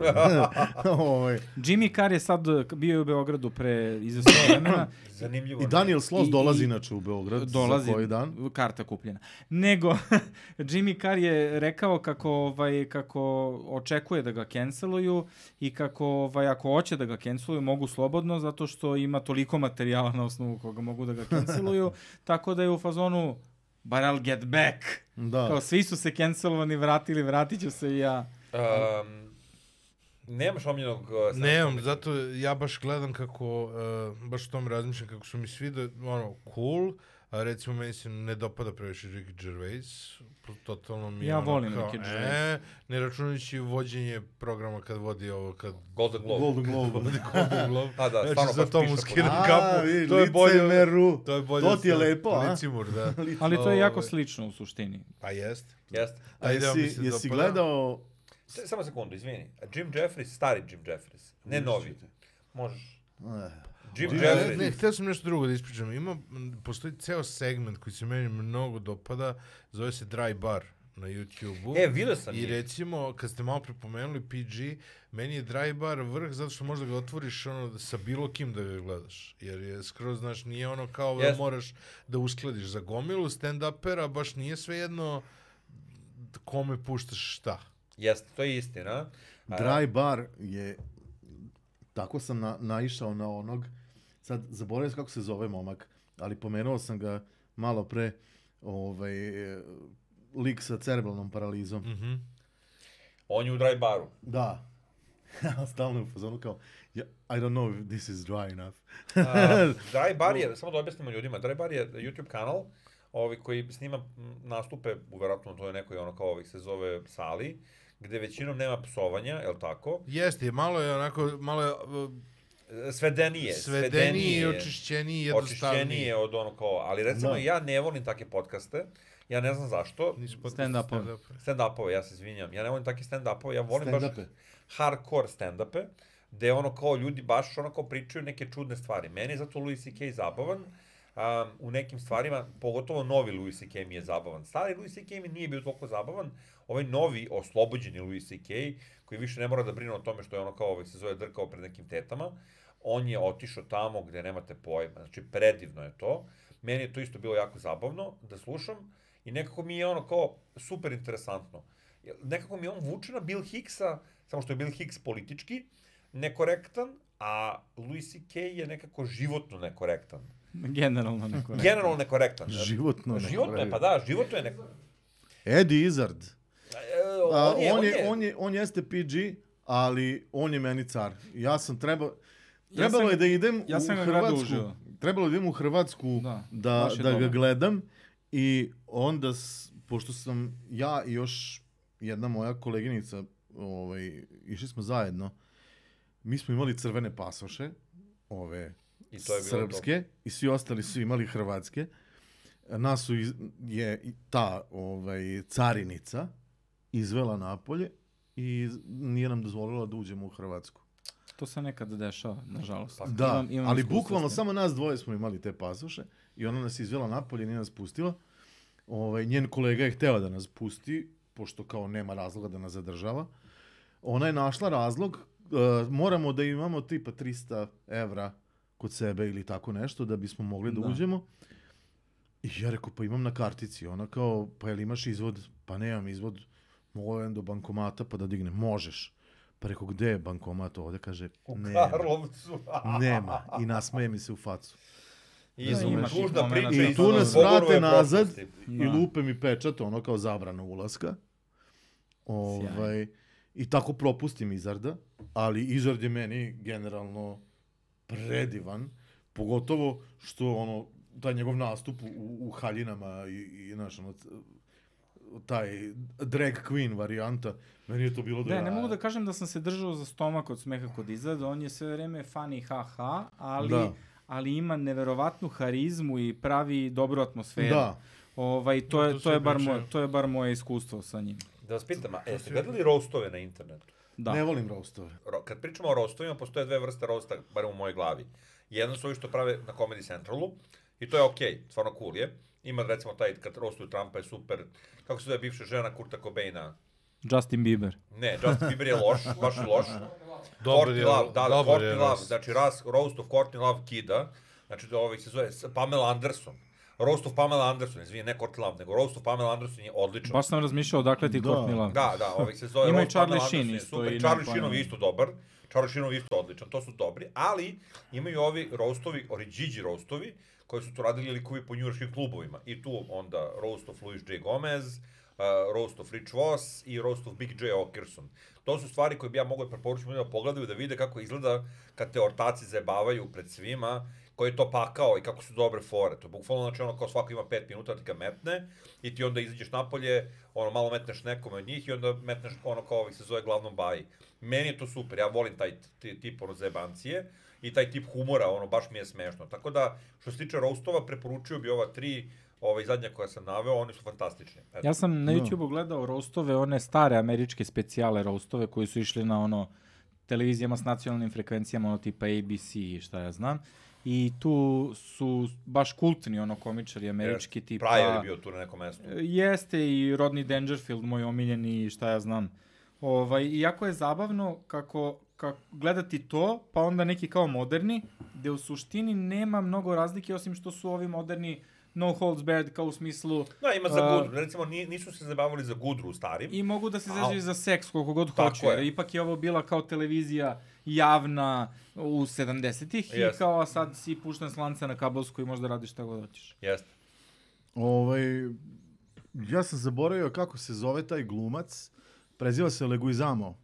[SPEAKER 1] Ovaj.
[SPEAKER 3] Jimmy Carr je sad eh, bio je u Beogradu pre izvesnog vremena.
[SPEAKER 5] Zanimljivo.
[SPEAKER 1] I Daniel Sloss
[SPEAKER 3] I-
[SPEAKER 1] dolazi
[SPEAKER 3] i-
[SPEAKER 1] inače u Beograd
[SPEAKER 3] dolazi
[SPEAKER 1] za koji dan.
[SPEAKER 3] karta kupljena. Nego, Jimmy Carr je rekao kako, ovaj, kako očekuje da ga canceluju i kako ovaj, ako hoće da ga canceluju mogu slobodno zato što ima toliko materijala na osnovu koga mogu da ga canceluju. tako da je u fazonu but I'll get back.
[SPEAKER 1] Da.
[SPEAKER 3] Kao svi su se cancelovani, vratili, vratit ću se i ja.
[SPEAKER 5] Um, nemaš omljenog... uh,
[SPEAKER 2] Nemam, zato ja baš gledam kako, uh, baš o tom razmišljam kako su mi svi da, ono, cool, a recimo meni se ne dopada previše Ricky Gervais, pro- totalno mi je
[SPEAKER 3] Ja
[SPEAKER 2] ono
[SPEAKER 3] volim
[SPEAKER 2] kao,
[SPEAKER 3] Ricky
[SPEAKER 2] e,
[SPEAKER 3] Gervais.
[SPEAKER 2] ne računajući vođenje programa kad vodi ovo, kad
[SPEAKER 5] Golden Globe.
[SPEAKER 1] Golden Globe.
[SPEAKER 2] Golden Globe,
[SPEAKER 5] A da, stvarno pa
[SPEAKER 2] znači za
[SPEAKER 5] baš
[SPEAKER 2] to
[SPEAKER 5] piše
[SPEAKER 2] mu
[SPEAKER 5] po-
[SPEAKER 2] skidam
[SPEAKER 1] A,
[SPEAKER 2] kapu,
[SPEAKER 1] vidi,
[SPEAKER 2] to je bolje,
[SPEAKER 1] licemeru.
[SPEAKER 2] to je bolje,
[SPEAKER 1] To ti je
[SPEAKER 2] sta-
[SPEAKER 1] lepo, a?
[SPEAKER 2] Licimur, da,
[SPEAKER 3] Ali to je jako
[SPEAKER 2] Ovaj.
[SPEAKER 3] slično u suštini.
[SPEAKER 2] pa jest,
[SPEAKER 5] Jeste.
[SPEAKER 1] A
[SPEAKER 2] Ajde, evo mi
[SPEAKER 1] jesi,
[SPEAKER 2] se
[SPEAKER 1] jesi
[SPEAKER 2] dopada.
[SPEAKER 1] gledao
[SPEAKER 5] S- Samo sekundu, izvini. A Jim Jeffries, stari Jim Jeffries. Ne novi. Možeš. Jim
[SPEAKER 1] Jim
[SPEAKER 2] Pa Ne, ne,
[SPEAKER 5] Jeffries.
[SPEAKER 2] htio sam nešto drugo da ispričam. Ima, m, postoji ceo segment koji se meni mnogo dopada, zove se Dry Bar na YouTube-u.
[SPEAKER 5] E, vidio sam
[SPEAKER 2] I
[SPEAKER 5] njih.
[SPEAKER 2] recimo, kad ste malo prepomenuli PG, meni je Dry Bar vrh zato što možda ga otvoriš ono, sa bilo kim da ga gledaš. Jer je skroz, znaš, nije ono kao da
[SPEAKER 5] Jeste.
[SPEAKER 2] moraš da uskladiš za gomilu stand-upera, baš nije svejedno kome puštaš šta.
[SPEAKER 5] Jeste, to je istina. A,
[SPEAKER 1] Dry Bar je, tako sam na, naišao na onog, sad zaboravio sam kako se zove momak, ali pomenuo sam ga malo pre, ovaj, e, lik sa cerebralnom paralizom. Mm.
[SPEAKER 2] Mhm.
[SPEAKER 5] On je u dry baru.
[SPEAKER 1] Da. Stalno je u fazonu kao, yeah, I don't know if this is dry enough.
[SPEAKER 5] A, Dry Bar je, samo da objasnimo ljudima, Dry Bar je YouTube kanal ovaj, koji snima m, nastupe, u verovatno to je nekoj ono kao ovih se zove sali, gde većinom nema psovanja, je li tako?
[SPEAKER 2] Jeste, je, malo je onako, malo je uh,
[SPEAKER 5] E, Svedenije,
[SPEAKER 2] svedeniji, i očišćeniji, jednostavniji.
[SPEAKER 5] očišćenije od ono kao, ali recimo
[SPEAKER 1] Da.
[SPEAKER 5] ja ne volim take podcaste, ja ne znam zašto,
[SPEAKER 2] Nisu potpuno
[SPEAKER 3] Stand-upove.
[SPEAKER 2] stand-upove.
[SPEAKER 5] stand-upove, ja se izvinjam, ja ne volim take stand-upove, ja volim baš
[SPEAKER 1] Stand-upe.
[SPEAKER 5] hardcore stand-upe, gde ono kao ljudi baš ono kao pričaju neke čudne stvari. Meni je zato Louis C.K. zabavan, um, u nekim stvarima, pogotovo novi Louis C.K. mi je zabavan. Stari Louis C.K. mi nije bio toliko zabavan, ovaj novi, oslobođeni Louis C.K. koji više ne mora da brine o tome što je ono kao ovaj se zove drkao pred nekim tetama, on je otišao tamo gde nemate pojma. Znači, predivno je to. Meni je to isto bilo jako zabavno da slušam i nekako mi je ono kao super interesantno. Jer Nekako mi on vuče na Bill Hicksa, samo što je Bill Hicks politički nekorektan, a Louis C.K. je nekako životno nekorektan.
[SPEAKER 3] Generalno neko. rekao.
[SPEAKER 5] Generalno nekorektan.
[SPEAKER 1] Životno. ne
[SPEAKER 5] Životno je,
[SPEAKER 1] pravi.
[SPEAKER 5] pa da, životno je neko...
[SPEAKER 1] Eddie Izzard.
[SPEAKER 5] E,
[SPEAKER 1] A, on, je, on, je, on, je, on jeste PG, ali on je meni car. Ja sam trebao... Trebalo
[SPEAKER 3] sam-
[SPEAKER 1] je da idem
[SPEAKER 3] ja
[SPEAKER 1] u
[SPEAKER 3] sam ga gledao
[SPEAKER 1] Hrvatsku.
[SPEAKER 3] uživo.
[SPEAKER 1] Trebalo je da idem u Hrvatsku
[SPEAKER 3] Da,
[SPEAKER 1] da, da,
[SPEAKER 3] baš je
[SPEAKER 1] da ga
[SPEAKER 3] dobar.
[SPEAKER 1] gledam. I onda, s, pošto sam ja i još jedna moja koleginica, ovaj, išli smo zajedno, mi smo imali crvene pasoše, ove
[SPEAKER 5] I to je bilo
[SPEAKER 1] srpske, i svi ostali su imali hrvatske. Nas su iz, je i ta ovaj, carinica izvela napolje i nije nam dozvolila da uđemo u Hrvatsku.
[SPEAKER 3] To se nekad dešava, nažalost.
[SPEAKER 2] Pa,
[SPEAKER 1] Da,
[SPEAKER 3] Imam- imam
[SPEAKER 1] ali
[SPEAKER 3] iskustva s
[SPEAKER 1] bukvalno
[SPEAKER 3] tim.
[SPEAKER 1] samo nas dvoje smo imali te pasoše i ona nas je izvela napolje, nije nas pustila. Ovaj, njen kolega je hteo da nas pusti, pošto kao nema razloga da nas zadržava. Ona je našla razlog, e, moramo da imamo tipa 300 evra kod sebe ili tako nešto da bismo mogli da,
[SPEAKER 3] Da.
[SPEAKER 1] uđemo. I ja rekao, pa imam na kartici. Ona kao, pa jel imaš izvod? Pa nemam izvod. Mogu da idem do bankomata pa da dignem. Možeš. Pa rekao, gde je bankomat ovde? Kaže,
[SPEAKER 5] U
[SPEAKER 1] nema.
[SPEAKER 5] Karlovcu.
[SPEAKER 1] Nema. I nasmeje mi se u facu.
[SPEAKER 5] I
[SPEAKER 1] Razumeš.
[SPEAKER 5] tužna
[SPEAKER 3] Ima
[SPEAKER 5] priča.
[SPEAKER 3] tih
[SPEAKER 1] I
[SPEAKER 5] iz
[SPEAKER 1] tu nas
[SPEAKER 5] Bogorove
[SPEAKER 1] vrate nazad
[SPEAKER 5] prošlosti.
[SPEAKER 1] i
[SPEAKER 3] Da.
[SPEAKER 1] lupe mi pečat, ono kao zabrana ulaska. Ovaj, I tako propustim Izarda, ali Izard je meni generalno predivan, pogotovo što ono, taj njegov nastup u, u haljinama i, i znaš, ono, c- taj drag queen varijanta, meni je to bilo do
[SPEAKER 3] Da, ne
[SPEAKER 1] jaja.
[SPEAKER 3] mogu da kažem da sam se držao za stomak od smeha kod izgleda, on je sve vreme funny haha, ali,
[SPEAKER 1] Da.
[SPEAKER 3] ali ima neverovatnu harizmu i pravi dobru atmosferu.
[SPEAKER 1] Da.
[SPEAKER 3] Ovaj, to,
[SPEAKER 2] to
[SPEAKER 3] je, to,
[SPEAKER 2] sve
[SPEAKER 3] je bar
[SPEAKER 2] pričaju.
[SPEAKER 3] moj, to je bar moje iskustvo sa njim.
[SPEAKER 5] Da vas pitam, a jeste gledali roastove na internetu?
[SPEAKER 1] Da.
[SPEAKER 3] Da.
[SPEAKER 1] Ne volim roastove.
[SPEAKER 5] Ro, kad pričamo o roastovima, postoje dve vrste roasta, bar u mojoj glavi. Jedan su ovi što prave na Comedy Centralu, i to je okej, okay, stvarno cool je. Ima recimo taj, kad roastuju Trumpa je super, kako se zove bivša žena Kurta Cobaina,
[SPEAKER 3] Justin Bieber.
[SPEAKER 5] Ne, Justin Bieber je loš, baš je loš.
[SPEAKER 2] Dobar
[SPEAKER 5] Courtney
[SPEAKER 2] je-
[SPEAKER 5] Love, da,
[SPEAKER 2] dobar
[SPEAKER 5] da,
[SPEAKER 2] je
[SPEAKER 5] Courtney Love,
[SPEAKER 2] roast.
[SPEAKER 5] znači ras, roast of Courtney Love Kida, znači da ovaj se zove s- Pamela Anderson. Roast of Pamela Anderson, izvini, ne Courtney Love, nego Roast of Pamela Anderson je odličan.
[SPEAKER 3] Baš sam razmišljao odakle ti
[SPEAKER 1] Da.
[SPEAKER 3] Courtney Love.
[SPEAKER 5] Da, da, ovaj se zove
[SPEAKER 3] Ima i
[SPEAKER 5] Roast Pamela
[SPEAKER 3] Charlie Sheen
[SPEAKER 5] Anderson je
[SPEAKER 3] isto
[SPEAKER 5] super,
[SPEAKER 3] i ono.
[SPEAKER 5] Charlie
[SPEAKER 3] Nepal.
[SPEAKER 5] Sheenov je isto dobar, Charlie Sheenov je isto odličan, to su dobri, ali imaju ovi roastovi, oriđiđi roastovi, koji su tu radili likovi po njurškim klubovima. I tu onda roast of Louis J. Gomez, uh, roast of Rich Voss i roast of Big J. Okerson. To su stvari koje bi ja mogao preporučiti ljudima da pogledaju da vide kako izgleda kad te ortaci zajebavaju pred svima, koji je to pakao i kako su dobre fore. To je bukvalno znači ono kao svako ima 5 minuta da ti ga metne i ti onda izađeš napolje, ono malo metneš nekome od njih i onda metneš ono kao ovih se zove glavnom baji. Meni je to super, ja volim taj t- tip ono zebancije i taj tip humora, ono baš mi je smešno. Tako da što se tiče roastova preporučio bi ova tri ovaj zadnja koja sam naveo, oni su fantastični. Eto.
[SPEAKER 3] Ja sam na
[SPEAKER 1] Da.
[SPEAKER 3] YouTube-u gledao roastove, one stare američke specijale roastove koji su išli na ono televizijama s nacionalnim frekvencijama, ono tipa ABC i šta ja znam. I tu su baš kultni ono komičari američki
[SPEAKER 5] Jer
[SPEAKER 3] tipa...
[SPEAKER 5] Pryor je bio tu na nekom mestu.
[SPEAKER 3] E, Jeste i Rodney Dangerfield, moj omiljeni, i šta ja znam. Ovaj, i jako je zabavno kako, kako gledati to, pa onda neki kao moderni, gde u suštini nema mnogo razlike, osim što su ovi moderni no holds barred, kao u smislu
[SPEAKER 5] Da, ima za
[SPEAKER 3] A-
[SPEAKER 5] Gudru. Recimo, ni- nisu se zabavili za Gudru u starim.
[SPEAKER 3] i mogu da se
[SPEAKER 5] Au.
[SPEAKER 3] zezaju za seks koliko god
[SPEAKER 5] Tako
[SPEAKER 3] hoće,
[SPEAKER 5] je.
[SPEAKER 3] jer ipak je ovo bila kao televizija javna u 70-ih i
[SPEAKER 5] Jeste.
[SPEAKER 3] kao a sad si pušten s lanca na kabelsku i možda radiš šta god hoćeš.
[SPEAKER 5] Jeste.
[SPEAKER 1] Ovaj, ja sam zaboravio kako se zove taj glumac. Preziva se Leguizamo.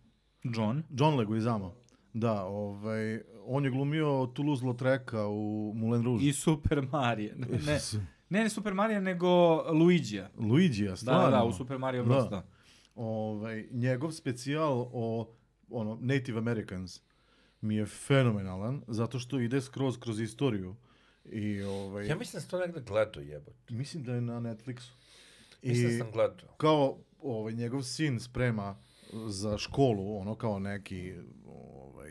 [SPEAKER 3] John?
[SPEAKER 1] John Leguizamo. Da, ovaj, on je glumio Toulouse-Lautreka u Moulin Rouge.
[SPEAKER 3] I Super Mario. Ne, ne.
[SPEAKER 1] Isuse.
[SPEAKER 3] Ne, ne Super Mario, nego Luigija.
[SPEAKER 1] Luigi-a,
[SPEAKER 3] Da, da,
[SPEAKER 1] stvarno.
[SPEAKER 3] da, u Super Mario Bros.
[SPEAKER 1] Da.
[SPEAKER 3] Da.
[SPEAKER 1] Ovaj, njegov specijal o ono, Native Americans mi je fenomenalan, zato što ide skroz kroz istoriju. I, ovaj,
[SPEAKER 5] Ja mislim da sam to negde gledao jebot.
[SPEAKER 1] mislim da je na Netflixu. I,
[SPEAKER 5] Mislim da sam gledao.
[SPEAKER 1] kao ovaj njegov sin sprema za školu, ono kao neki ovaj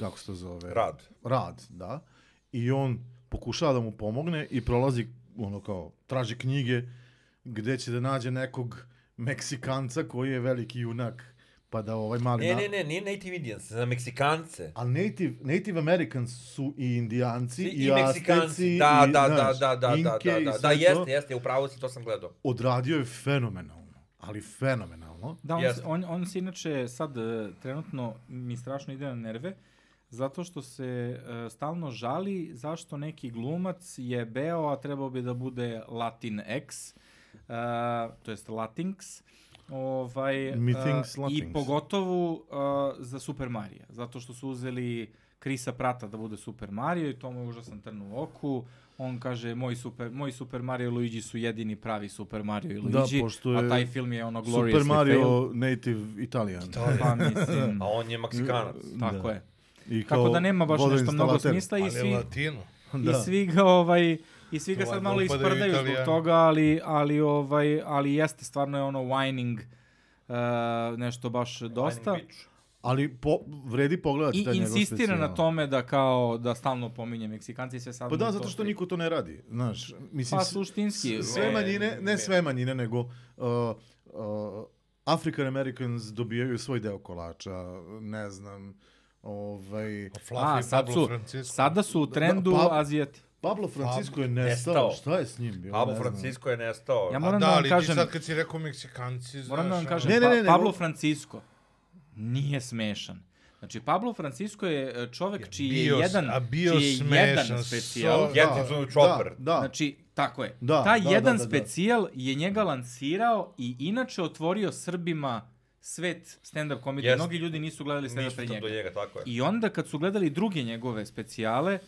[SPEAKER 1] kako se to zove?
[SPEAKER 5] Rad.
[SPEAKER 1] Rad, da. I on pokušava da mu pomogne i prolazi ono kao traži knjige gde će da nađe nekog Meksikanca koji je veliki junak pa da ovaj mali
[SPEAKER 5] Ne,
[SPEAKER 1] na-
[SPEAKER 5] ne, ne, nije Native Indians, za Meksikance.
[SPEAKER 1] A Native, Native Americans su i Indijanci, i,
[SPEAKER 5] I,
[SPEAKER 1] i
[SPEAKER 5] i Meksikanci,
[SPEAKER 1] Azteci,
[SPEAKER 5] da,
[SPEAKER 1] i,
[SPEAKER 5] da, da,
[SPEAKER 1] znaš,
[SPEAKER 5] da, da, da,
[SPEAKER 1] Inke
[SPEAKER 5] da,
[SPEAKER 1] i
[SPEAKER 5] da, da,
[SPEAKER 1] sve to.
[SPEAKER 5] jeste, jeste, upravo si, to sam gledao.
[SPEAKER 1] Odradio je fenomenalno, ali fenomenalno.
[SPEAKER 3] Da, on,
[SPEAKER 5] Jeste.
[SPEAKER 3] se- on, on se inače sad e, trenutno mi strašno ide na nerve, zato što se e, stalno žali zašto neki glumac je beo, a trebao bi da bude Latinx, e, to jest Latinx, ovaj, e,
[SPEAKER 1] Methinks
[SPEAKER 3] i
[SPEAKER 1] Latinx.
[SPEAKER 3] pogotovo e, za Super Mario, zato što su uzeli Krisa Prata da bude Super Mario i to mu je užasan trn u oku. On kaže, moj Super, moj Super Mario i Luigi su jedini pravi Super Mario i
[SPEAKER 1] Da,
[SPEAKER 3] Luigi,
[SPEAKER 1] pošto
[SPEAKER 3] a
[SPEAKER 1] je
[SPEAKER 3] taj film je ono gloriously
[SPEAKER 1] Super Mario
[SPEAKER 3] failed.
[SPEAKER 1] Native Italian.
[SPEAKER 3] Pa mislim,
[SPEAKER 5] A on je Meksikanac.
[SPEAKER 3] tako
[SPEAKER 1] Da.
[SPEAKER 3] je.
[SPEAKER 1] I
[SPEAKER 3] Tako da nema baš nešto mnogo
[SPEAKER 1] vodoinstalater.
[SPEAKER 3] smisla Pa i
[SPEAKER 2] Ali
[SPEAKER 3] svi,
[SPEAKER 2] latino.
[SPEAKER 3] i
[SPEAKER 1] Da.
[SPEAKER 3] svi ga, ovaj, i svi ga
[SPEAKER 2] To
[SPEAKER 3] sad
[SPEAKER 2] valjda
[SPEAKER 3] malo
[SPEAKER 2] upadaju
[SPEAKER 3] isprdaju zbog
[SPEAKER 2] Italijani.
[SPEAKER 3] toga, ali, ali, ovaj, ali jeste, stvarno je ono whining uh, nešto baš dosta.
[SPEAKER 5] Lightning Beach.
[SPEAKER 1] Ali po, vredi pogledati taj
[SPEAKER 3] I
[SPEAKER 1] Znači, njegov
[SPEAKER 3] insistira
[SPEAKER 1] specijal.
[SPEAKER 3] na tome da kao da stalno pominje Meksikanci i sve sad.
[SPEAKER 1] Pa
[SPEAKER 3] mu
[SPEAKER 1] da,
[SPEAKER 3] je
[SPEAKER 1] zato
[SPEAKER 3] to
[SPEAKER 1] što
[SPEAKER 3] pri-
[SPEAKER 1] niko to ne radi. Znaš, mislim,
[SPEAKER 3] Pa
[SPEAKER 1] s-
[SPEAKER 3] suštinski. e,
[SPEAKER 1] s- sve
[SPEAKER 5] ne,
[SPEAKER 1] manjine, ne
[SPEAKER 5] ne.
[SPEAKER 1] sve manjine, nego uh, uh, African Americans dobijaju svoj deo kolača, ne znam, ovaj...
[SPEAKER 3] A,
[SPEAKER 2] Fluffy
[SPEAKER 3] sad
[SPEAKER 2] Pablo
[SPEAKER 3] su,
[SPEAKER 2] Francisco.
[SPEAKER 3] sada su u trendu
[SPEAKER 1] pa-
[SPEAKER 3] Azijati.
[SPEAKER 1] Pablo Francisco je nestao.
[SPEAKER 5] nestao.
[SPEAKER 1] Šta je s njim bilo?
[SPEAKER 5] Pablo
[SPEAKER 1] Ne znam.
[SPEAKER 5] Francisco je nestao.
[SPEAKER 3] Ja
[SPEAKER 5] Ja
[SPEAKER 3] moram
[SPEAKER 2] da,
[SPEAKER 3] da, vam
[SPEAKER 2] ali ti
[SPEAKER 3] kažem,
[SPEAKER 2] sad kad si rekao Meksikanci, znaš...
[SPEAKER 3] Moram da vam
[SPEAKER 2] ono-
[SPEAKER 3] kažem,
[SPEAKER 1] Ne, ne, ne, ne,
[SPEAKER 3] pa, Pablo
[SPEAKER 1] mogu-
[SPEAKER 3] Francisco nije smešan. Znači, Pablo Francisco je e, čovek čiji
[SPEAKER 2] bio
[SPEAKER 3] je
[SPEAKER 2] s-
[SPEAKER 3] jedan,
[SPEAKER 2] a bio
[SPEAKER 3] čiji je
[SPEAKER 2] smešan,
[SPEAKER 3] jedan specijal.
[SPEAKER 1] Da,
[SPEAKER 5] Jetic zove Chopper.
[SPEAKER 1] Da, da.
[SPEAKER 3] Znači, tako je.
[SPEAKER 1] Da,
[SPEAKER 3] Ta
[SPEAKER 1] da,
[SPEAKER 3] jedan
[SPEAKER 1] da, da, da.
[SPEAKER 3] specijal je njega lansirao i inače otvorio Srbima svet stand-up komedije.
[SPEAKER 5] Jeste.
[SPEAKER 3] Mnogi ljudi nisu gledali stand-up
[SPEAKER 5] Ništa
[SPEAKER 3] pre njega.
[SPEAKER 5] do njega, tako je.
[SPEAKER 3] I onda kad su gledali druge njegove specijale,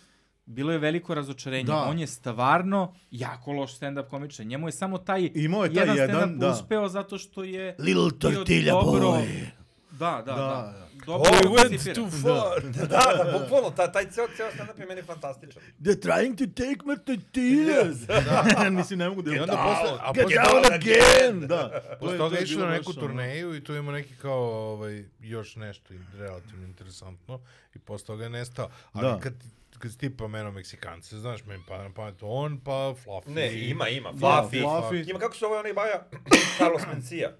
[SPEAKER 3] bilo je veliko razočarenje.
[SPEAKER 1] Da.
[SPEAKER 3] On je stvarno jako loš stand-up komičar. Njemu je samo taj,
[SPEAKER 1] Imao je taj jedan,
[SPEAKER 3] stand-up
[SPEAKER 1] da.
[SPEAKER 3] uspeo zato što je
[SPEAKER 1] Little
[SPEAKER 3] bio
[SPEAKER 1] tortilla boy.
[SPEAKER 3] Da, da, da. da. Dobro,
[SPEAKER 2] Oh, I went
[SPEAKER 3] koncipira.
[SPEAKER 2] too far. Da.
[SPEAKER 5] da, da, bukvalno, taj, taj ceo, ceo stand-up je meni fantastičan.
[SPEAKER 1] They're trying to take my tortillas. da. Mislim, ne mogu da...
[SPEAKER 2] I onda
[SPEAKER 1] Da,
[SPEAKER 2] posle, a
[SPEAKER 1] Get
[SPEAKER 2] posle,
[SPEAKER 1] out again! Da. To
[SPEAKER 2] posle
[SPEAKER 1] je- to
[SPEAKER 2] toga
[SPEAKER 1] je
[SPEAKER 2] išli
[SPEAKER 1] bilo
[SPEAKER 2] na
[SPEAKER 1] baš
[SPEAKER 2] neku
[SPEAKER 1] ono-
[SPEAKER 2] turneju i tu ima neki kao ovaj, još nešto i relativno interesantno i posle toga je nestao. Ali
[SPEAKER 1] Da.
[SPEAKER 2] kad, kad si ti pomenuo Meksikance, znaš, meni pada na pamet on, pa Fluffy.
[SPEAKER 5] Ne, ima, ima,
[SPEAKER 1] Fluffy.
[SPEAKER 5] Fluffy. Ima, kako se ovaj onaj baja, Carlos Mencia.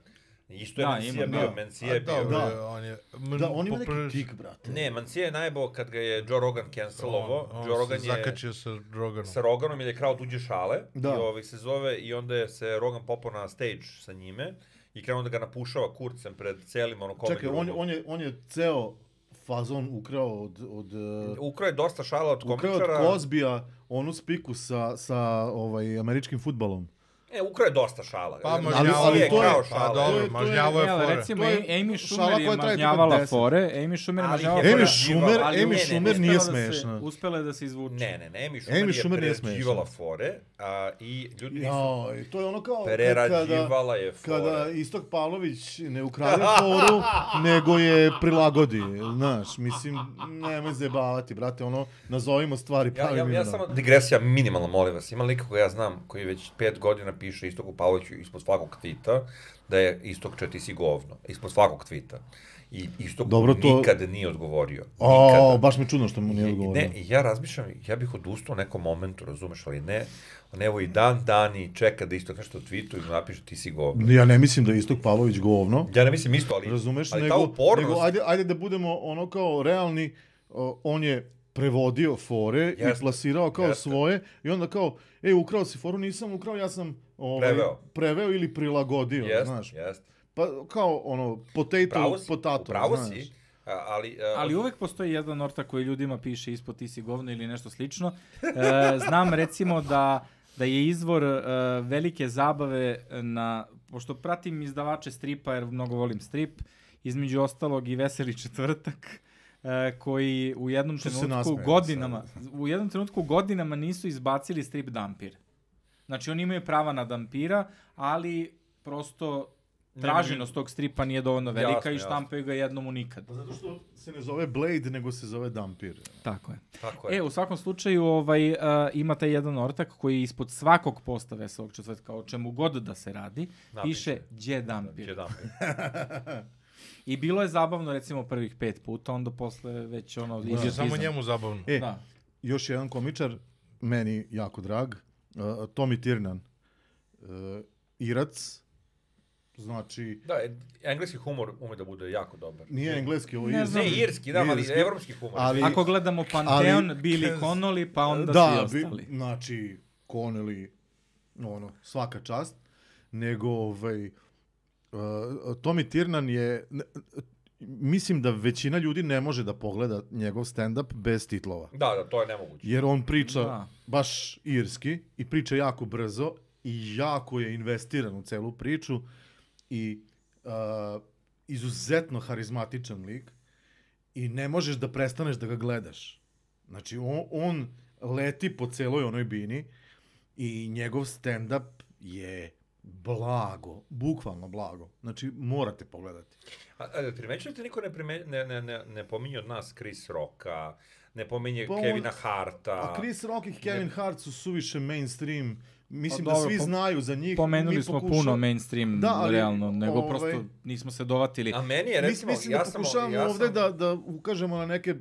[SPEAKER 5] Isto je
[SPEAKER 3] Da,
[SPEAKER 5] da, Mencia
[SPEAKER 3] ima,
[SPEAKER 5] bio,
[SPEAKER 1] da.
[SPEAKER 5] Mencia
[SPEAKER 2] A
[SPEAKER 5] je bio.
[SPEAKER 2] dobro,
[SPEAKER 1] Da.
[SPEAKER 2] on je...
[SPEAKER 1] Da, on ima neki tik, brate.
[SPEAKER 5] Ne, Mencia je najbo kad ga je Joe Rogan cancelovo. Joe Rogan
[SPEAKER 2] se
[SPEAKER 5] je
[SPEAKER 2] zakačio sa Roganom.
[SPEAKER 5] sa Roganom jer je krao tuđe šale
[SPEAKER 1] Da.
[SPEAKER 5] da. i ovih se zove i onda je se Rogan popao na stage sa njime i krenuo da ga napušava kurcem pred celim ono komedi.
[SPEAKER 1] Čekaj, on, on, je, on je ceo fazon ukrao od... od uh,
[SPEAKER 5] Ukrao je dosta šala od
[SPEAKER 1] ukrao od
[SPEAKER 5] komičara.
[SPEAKER 1] Kozbija onu spiku sa, sa ovaj, američkim futbalom.
[SPEAKER 5] E, ukrao je dosta šala.
[SPEAKER 2] Pa
[SPEAKER 5] Mencia
[SPEAKER 1] ali-
[SPEAKER 2] mažnjavo
[SPEAKER 1] ali
[SPEAKER 5] je
[SPEAKER 1] to je-
[SPEAKER 5] krao
[SPEAKER 2] Pa
[SPEAKER 5] šala.
[SPEAKER 1] to je- to
[SPEAKER 2] dobro,
[SPEAKER 1] je-
[SPEAKER 2] mažnjavo je
[SPEAKER 3] Evo,
[SPEAKER 2] fore.
[SPEAKER 3] recimo,
[SPEAKER 1] To je
[SPEAKER 3] Amy
[SPEAKER 1] šala
[SPEAKER 3] Schumer
[SPEAKER 1] koja
[SPEAKER 3] je
[SPEAKER 1] traje tipa
[SPEAKER 3] mažnjavala
[SPEAKER 1] 10.
[SPEAKER 3] fore. Amy Schumer je
[SPEAKER 5] Ali
[SPEAKER 3] mažnjavala
[SPEAKER 5] je
[SPEAKER 3] fore.
[SPEAKER 1] Amy
[SPEAKER 5] Dobra,
[SPEAKER 1] Schumer,
[SPEAKER 5] ali
[SPEAKER 1] Amy
[SPEAKER 5] ne, ne,
[SPEAKER 1] Schumer
[SPEAKER 5] ne,
[SPEAKER 1] nije
[SPEAKER 3] Uspela da se-
[SPEAKER 1] smešna.
[SPEAKER 3] Uspela je da se izvuče.
[SPEAKER 5] Ne, ne, ne, Amy Schumer,
[SPEAKER 1] Amy Schumer
[SPEAKER 5] je
[SPEAKER 1] nije smešan.
[SPEAKER 5] prerađivala fore a, i ljudi nisu
[SPEAKER 1] Joj, to je ono kao kada,
[SPEAKER 5] prerađivala je fore.
[SPEAKER 1] kada Istok Pavlović ne ukrade foru, nego je prilagodi, znaš, mislim, nemoj zajebavati, brate, ono, nazovimo stvari
[SPEAKER 5] Pa, Ja,
[SPEAKER 1] pravim
[SPEAKER 5] ja, ja
[SPEAKER 1] imenom.
[SPEAKER 5] samo digresija minimalna, molim vas. Ima lika koga ja znam, koji već pet godina piše Istoku Pavloviću ispod svakog tvita, da je Istok če ti si govno. Ispod svakog tvita. I Istoku
[SPEAKER 1] Dobro,
[SPEAKER 5] Dobro,
[SPEAKER 1] to-
[SPEAKER 5] to... nikad nije odgovorio.
[SPEAKER 1] O,
[SPEAKER 5] Nikada.
[SPEAKER 1] baš mi je čudno što mu nije
[SPEAKER 5] I,
[SPEAKER 1] odgovorio.
[SPEAKER 5] ne, i ja razmišljam, ja bih odustao u nekom momentu, razumeš, ali ne. On evo i dan dani čeka da Istok nešto tweetuje i mu napiše ti si govno.
[SPEAKER 1] Ja ne mislim da je Istok Pavlović govno,
[SPEAKER 5] Ja ne mislim isto, ali,
[SPEAKER 1] Razumeš,
[SPEAKER 5] ali
[SPEAKER 1] nego,
[SPEAKER 5] ta upornost,
[SPEAKER 1] nego ajde, ajde da budemo ono kao realni, o, on je prevodio fore i
[SPEAKER 5] Jeste,
[SPEAKER 1] plasirao kao
[SPEAKER 5] jeste.
[SPEAKER 1] svoje i onda kao, e, ukrao si foru, nisam ukrao, ja sam ovaj,
[SPEAKER 5] Preveo.
[SPEAKER 1] preveo ili prilagodio,
[SPEAKER 5] jest,
[SPEAKER 1] znaš.
[SPEAKER 5] jest.
[SPEAKER 1] Pa kao ono, potato,
[SPEAKER 5] Pravo si,
[SPEAKER 1] potato,
[SPEAKER 5] pravo
[SPEAKER 1] znaš.
[SPEAKER 5] si, a- ali... a,
[SPEAKER 3] Ali uvek postoji jedan orta koji ljudima piše ispod ti si govno ili nešto slično. E, znam recimo da, da je izvor e, velike zabave na, pošto pratim izdavače stripa jer mnogo volim strip, između ostalog i Veseli četvrtak, e, koji u jednom
[SPEAKER 1] Što se
[SPEAKER 3] trenutku
[SPEAKER 1] nasmejao
[SPEAKER 3] godinama, u jednom trenutku godinama nisu izbacili strip Dampir. Znači oni imaju prava na Dampira, ali prosto traženost tog stripa nije dovoljno velika
[SPEAKER 5] Jasno,
[SPEAKER 3] i
[SPEAKER 5] jasno.
[SPEAKER 3] štampaju ga jednom u nikad.
[SPEAKER 1] Pa zato što se ne zove Blade, nego se zove Dampir.
[SPEAKER 3] Tako je.
[SPEAKER 5] Tako
[SPEAKER 3] E, u svakom slučaju ovaj, uh, ima taj jedan ortak koji ispod svakog posta veselog četvrtka, o čemu god da se radi,
[SPEAKER 5] Napiše.
[SPEAKER 3] piše Đe Dampir.
[SPEAKER 5] Jedan.
[SPEAKER 3] I bilo je zabavno recimo prvih pet puta, onda posle već ono
[SPEAKER 2] Mislim,
[SPEAKER 3] idiotizam.
[SPEAKER 2] Samo njemu zabavno.
[SPEAKER 1] E,
[SPEAKER 3] Da.
[SPEAKER 1] još jedan komičar, meni jako drag, uh, Tommy Tiernan, uh, Irac, znači,
[SPEAKER 5] Da, e, engleski humor ume da bude jako dobar.
[SPEAKER 1] nije engleski, ovo je
[SPEAKER 3] Ne
[SPEAKER 1] irski.
[SPEAKER 3] znam.
[SPEAKER 5] Ne, irski, da, ali
[SPEAKER 1] Irski.
[SPEAKER 5] evropski humor.
[SPEAKER 1] Ali-
[SPEAKER 3] Ako gledamo Panteon,
[SPEAKER 1] E, ali-
[SPEAKER 3] Billy Connolly, pa onda
[SPEAKER 1] da,
[SPEAKER 3] svi ostali.
[SPEAKER 1] Bi, znači, Connelly, ono, svaka čast, nego, ovaj, uh, Tommy Tiernan je, ne, mislim da većina ljudi ne može da pogleda njegov stand-up bez titlova.
[SPEAKER 5] Da, da, to je nemoguće.
[SPEAKER 1] Jer on priča
[SPEAKER 3] Da.
[SPEAKER 1] baš irski i priča jako brzo i jako je investiran u celu priču i uh, izuzetno harizmatičan lik i ne možeš da prestaneš da ga gledaš. Znači, on, on leti po celoj onoj bini i njegov stand-up je blago, bukvalno blago. Znači, morate pogledati.
[SPEAKER 5] A, a primećujete, niko ne, prime, ne, ne, ne, ne pominje od nas Chris Rocka, ne pominje
[SPEAKER 1] Pa on-
[SPEAKER 5] Kevina Harta.
[SPEAKER 1] A Chris Rock i Kevin Hart su suviše mainstream. Mislim
[SPEAKER 3] Pa
[SPEAKER 1] da
[SPEAKER 3] dobro,
[SPEAKER 1] svi
[SPEAKER 3] pom-
[SPEAKER 1] znaju za njih.
[SPEAKER 3] Pomenuli
[SPEAKER 1] mi
[SPEAKER 3] smo
[SPEAKER 1] pokuša-
[SPEAKER 3] puno mainstream,
[SPEAKER 1] Da, ali,
[SPEAKER 3] realno, nego
[SPEAKER 1] ovaj-
[SPEAKER 3] prosto nismo se dovatili.
[SPEAKER 5] A meni je, recimo,
[SPEAKER 1] Mislim, mislim
[SPEAKER 5] ja
[SPEAKER 1] da
[SPEAKER 5] sam...
[SPEAKER 1] pokušavamo
[SPEAKER 5] ja sam-
[SPEAKER 1] ovde da, da ukažemo na neke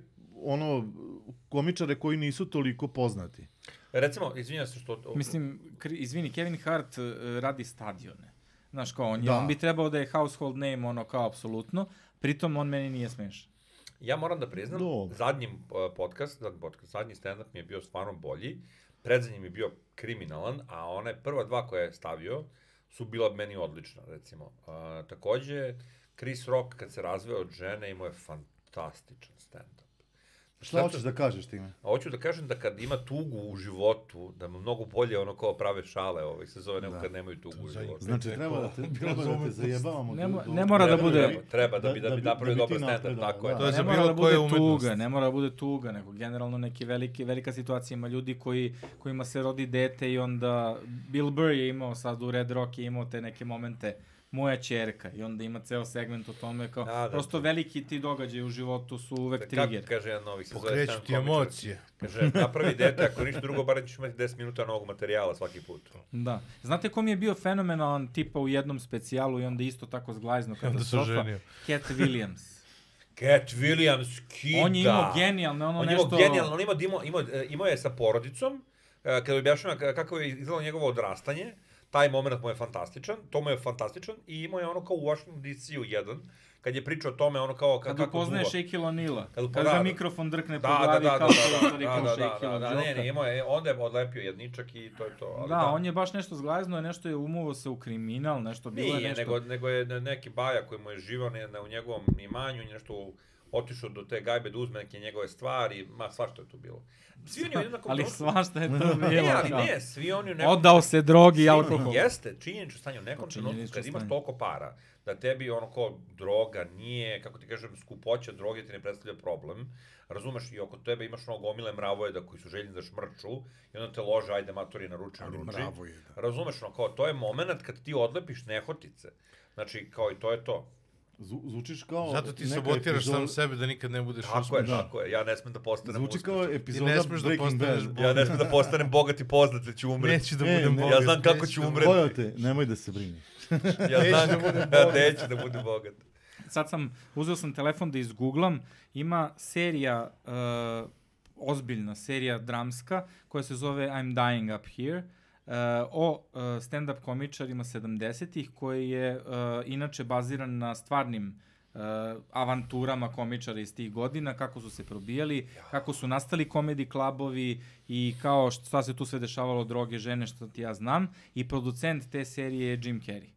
[SPEAKER 1] ono komičare koji nisu toliko poznati.
[SPEAKER 5] Recimo, izvinjam se što...
[SPEAKER 3] Mislim, kri- izvini, Kevin Hart eh, radi stadione. Znaš, kao on, je,
[SPEAKER 1] Da.
[SPEAKER 3] on bi trebao da je household name, ono, kao, apsolutno. Pritom, on meni nije smešan.
[SPEAKER 5] Ja moram da priznam,
[SPEAKER 1] Dobro.
[SPEAKER 5] zadnji uh, podcast, zadnji podcast, zadnji stand-up mi je bio stvarno bolji, predzadnji mi je bio kriminalan, a one prva dva koje je stavio su bila meni odlična, recimo. Uh, takođe, Chris Rock kad se razveo od žene imao je fantastičan stand-up.
[SPEAKER 1] Šta hoćeš da kažeš time?
[SPEAKER 5] A hoću da kažem da kad ima tugu u životu, da mu mnogo bolje ono kao prave šale, ovaj se zove nego kad nemaju tugu u životu.
[SPEAKER 1] Znači, treba da te, treba da te zajebavamo.
[SPEAKER 3] Ne
[SPEAKER 1] do-
[SPEAKER 3] mo-
[SPEAKER 1] do-
[SPEAKER 3] ne mora da
[SPEAKER 1] do-
[SPEAKER 3] bude-
[SPEAKER 1] do-
[SPEAKER 5] Treba da bi- da bi napravio
[SPEAKER 1] ti
[SPEAKER 5] dobar stand-up,
[SPEAKER 1] napredovao,
[SPEAKER 5] tako je.
[SPEAKER 1] da.
[SPEAKER 2] To je za
[SPEAKER 3] ne mora
[SPEAKER 2] bilo
[SPEAKER 3] da bude
[SPEAKER 2] koju umetnost.
[SPEAKER 3] tuga, ne mora da bude tuga, nego generalno neki veliki, velika situacija ima ljudi koji, kojima se rodi dete i onda Bill Burr je imao sad u Red Rock je imao te neke momente moja čerka i onda ima ceo segment o tome kao
[SPEAKER 5] Da, da,
[SPEAKER 3] prosto
[SPEAKER 5] to-
[SPEAKER 3] veliki ti događaji u životu su uvek
[SPEAKER 5] Kako
[SPEAKER 3] trigger.
[SPEAKER 5] kaže jedan novih se zove
[SPEAKER 2] Pokreću
[SPEAKER 5] stan
[SPEAKER 2] ti
[SPEAKER 5] komičar.
[SPEAKER 2] emocije.
[SPEAKER 5] Kaže, napravi dete, ako ništa drugo, barem ćeš imati 10 minuta novog materijala svaki put.
[SPEAKER 3] Da. Znate kom je bio fenomenalan tipa u jednom specijalu i onda isto tako zglajzno
[SPEAKER 2] onda
[SPEAKER 3] kada
[SPEAKER 2] se
[SPEAKER 3] sofa?
[SPEAKER 2] oženio.
[SPEAKER 3] Cat Williams.
[SPEAKER 5] Cat Williams kida.
[SPEAKER 3] On je imao genijalne ono
[SPEAKER 5] on je
[SPEAKER 3] nešto...
[SPEAKER 5] imao genijalno, on imao, imao, imao, e, imao je sa porodicom, e, kada objašnjava ka- kako je izgledalo njegovo odrastanje, taj moment mu je fantastičan, to mu je fantastičan i imao je ono kao u Washington DC-u jedan, kad je pričao o tome ono kao ka,
[SPEAKER 3] Kad
[SPEAKER 5] kako
[SPEAKER 3] upoznaje
[SPEAKER 5] duva.
[SPEAKER 3] Shaquille O'Neal,
[SPEAKER 5] Kad
[SPEAKER 3] kad,
[SPEAKER 5] upo-
[SPEAKER 3] kad
[SPEAKER 5] da,
[SPEAKER 3] ga
[SPEAKER 5] da.
[SPEAKER 3] mikrofon drkne po
[SPEAKER 5] Da, da,
[SPEAKER 3] glavi
[SPEAKER 5] da, da,
[SPEAKER 3] kao što
[SPEAKER 5] da,
[SPEAKER 3] je
[SPEAKER 5] da,
[SPEAKER 3] rekao
[SPEAKER 5] da,
[SPEAKER 3] Shaquille
[SPEAKER 5] da, da, da, ne, ne,
[SPEAKER 3] O'Neal.
[SPEAKER 5] imao je, onda je odlepio jedničak i to je to. Ali
[SPEAKER 3] Da, on je baš nešto zglajzno, je nešto je umovo se u kriminal, nešto bilo je
[SPEAKER 5] Nije,
[SPEAKER 3] nešto.
[SPEAKER 5] nego, nego je ne- neki baja koji mu je živao ne, ne, u njegovom imanju, nešto u- otišao do te gajbe da uzme neke njegove stvari, ma svašta je tu bilo. Svi oni u jednakom
[SPEAKER 3] Ali
[SPEAKER 5] trenutku-
[SPEAKER 3] svašta je to bilo.
[SPEAKER 5] Ne, ali
[SPEAKER 3] kao.
[SPEAKER 5] ne, svi oni u nekom...
[SPEAKER 3] Odao se drogi i
[SPEAKER 5] Svi-
[SPEAKER 3] alkoholu.
[SPEAKER 5] Jeste, činjenično stanje u nekom
[SPEAKER 3] To
[SPEAKER 5] trenutku
[SPEAKER 3] činjenično
[SPEAKER 5] kad imaš
[SPEAKER 3] stanje.
[SPEAKER 5] toliko para, da tebi ono kao droga nije, kako ti kažem, skupoća droge ti ne predstavlja problem. Razumeš, i oko tebe imaš ono gomile mravojeda koji su željni da šmrču i onda te lože, ajde matori naruči,
[SPEAKER 6] Ali
[SPEAKER 5] naruči.
[SPEAKER 6] mravo je, da.
[SPEAKER 5] Razumeš, ono kao, to je moment kad ti odlepiš nehotice. Znači, kao i to je to.
[SPEAKER 1] Zvu- Zvučiš kao...
[SPEAKER 2] Zato ti
[SPEAKER 1] neka
[SPEAKER 2] sabotiraš sam
[SPEAKER 1] epizoda-
[SPEAKER 2] sebe da nikad ne budeš
[SPEAKER 5] Tako je,
[SPEAKER 2] uspešan.
[SPEAKER 5] tako je. Ja ne smem da postanem
[SPEAKER 1] Zvuči kao
[SPEAKER 5] uspešan.
[SPEAKER 1] epizoda
[SPEAKER 2] smeš da
[SPEAKER 1] Breaking
[SPEAKER 2] postaneš
[SPEAKER 1] Bad.
[SPEAKER 2] bo-
[SPEAKER 5] Ja ne smem da postanem bogat i poznat, da ću umreti.
[SPEAKER 2] Neću da
[SPEAKER 1] E,
[SPEAKER 2] budem
[SPEAKER 1] ne.
[SPEAKER 2] bogat.
[SPEAKER 5] Ja znam kako
[SPEAKER 2] neću
[SPEAKER 5] ću
[SPEAKER 2] da-
[SPEAKER 5] umreti.
[SPEAKER 1] Bojao te, nemoj da se brini.
[SPEAKER 5] Ja
[SPEAKER 2] Neću
[SPEAKER 5] znam,
[SPEAKER 2] da budem
[SPEAKER 5] ja neću da budem bogat.
[SPEAKER 3] Sad sam, uzeo sam telefon da izgooglam, ima serija, uh, ozbiljna serija dramska, koja se zove I'm Dying Up Here, uh, o uh, stand-up komičarima 70-ih, koji je uh, inače baziran na stvarnim uh, avanturama komičara iz tih godina, kako su se probijali, kako su nastali komedi klabovi i kao šta se tu sve dešavalo, droge, žene, što ti ja znam. I producent te serije je Jim Carrey.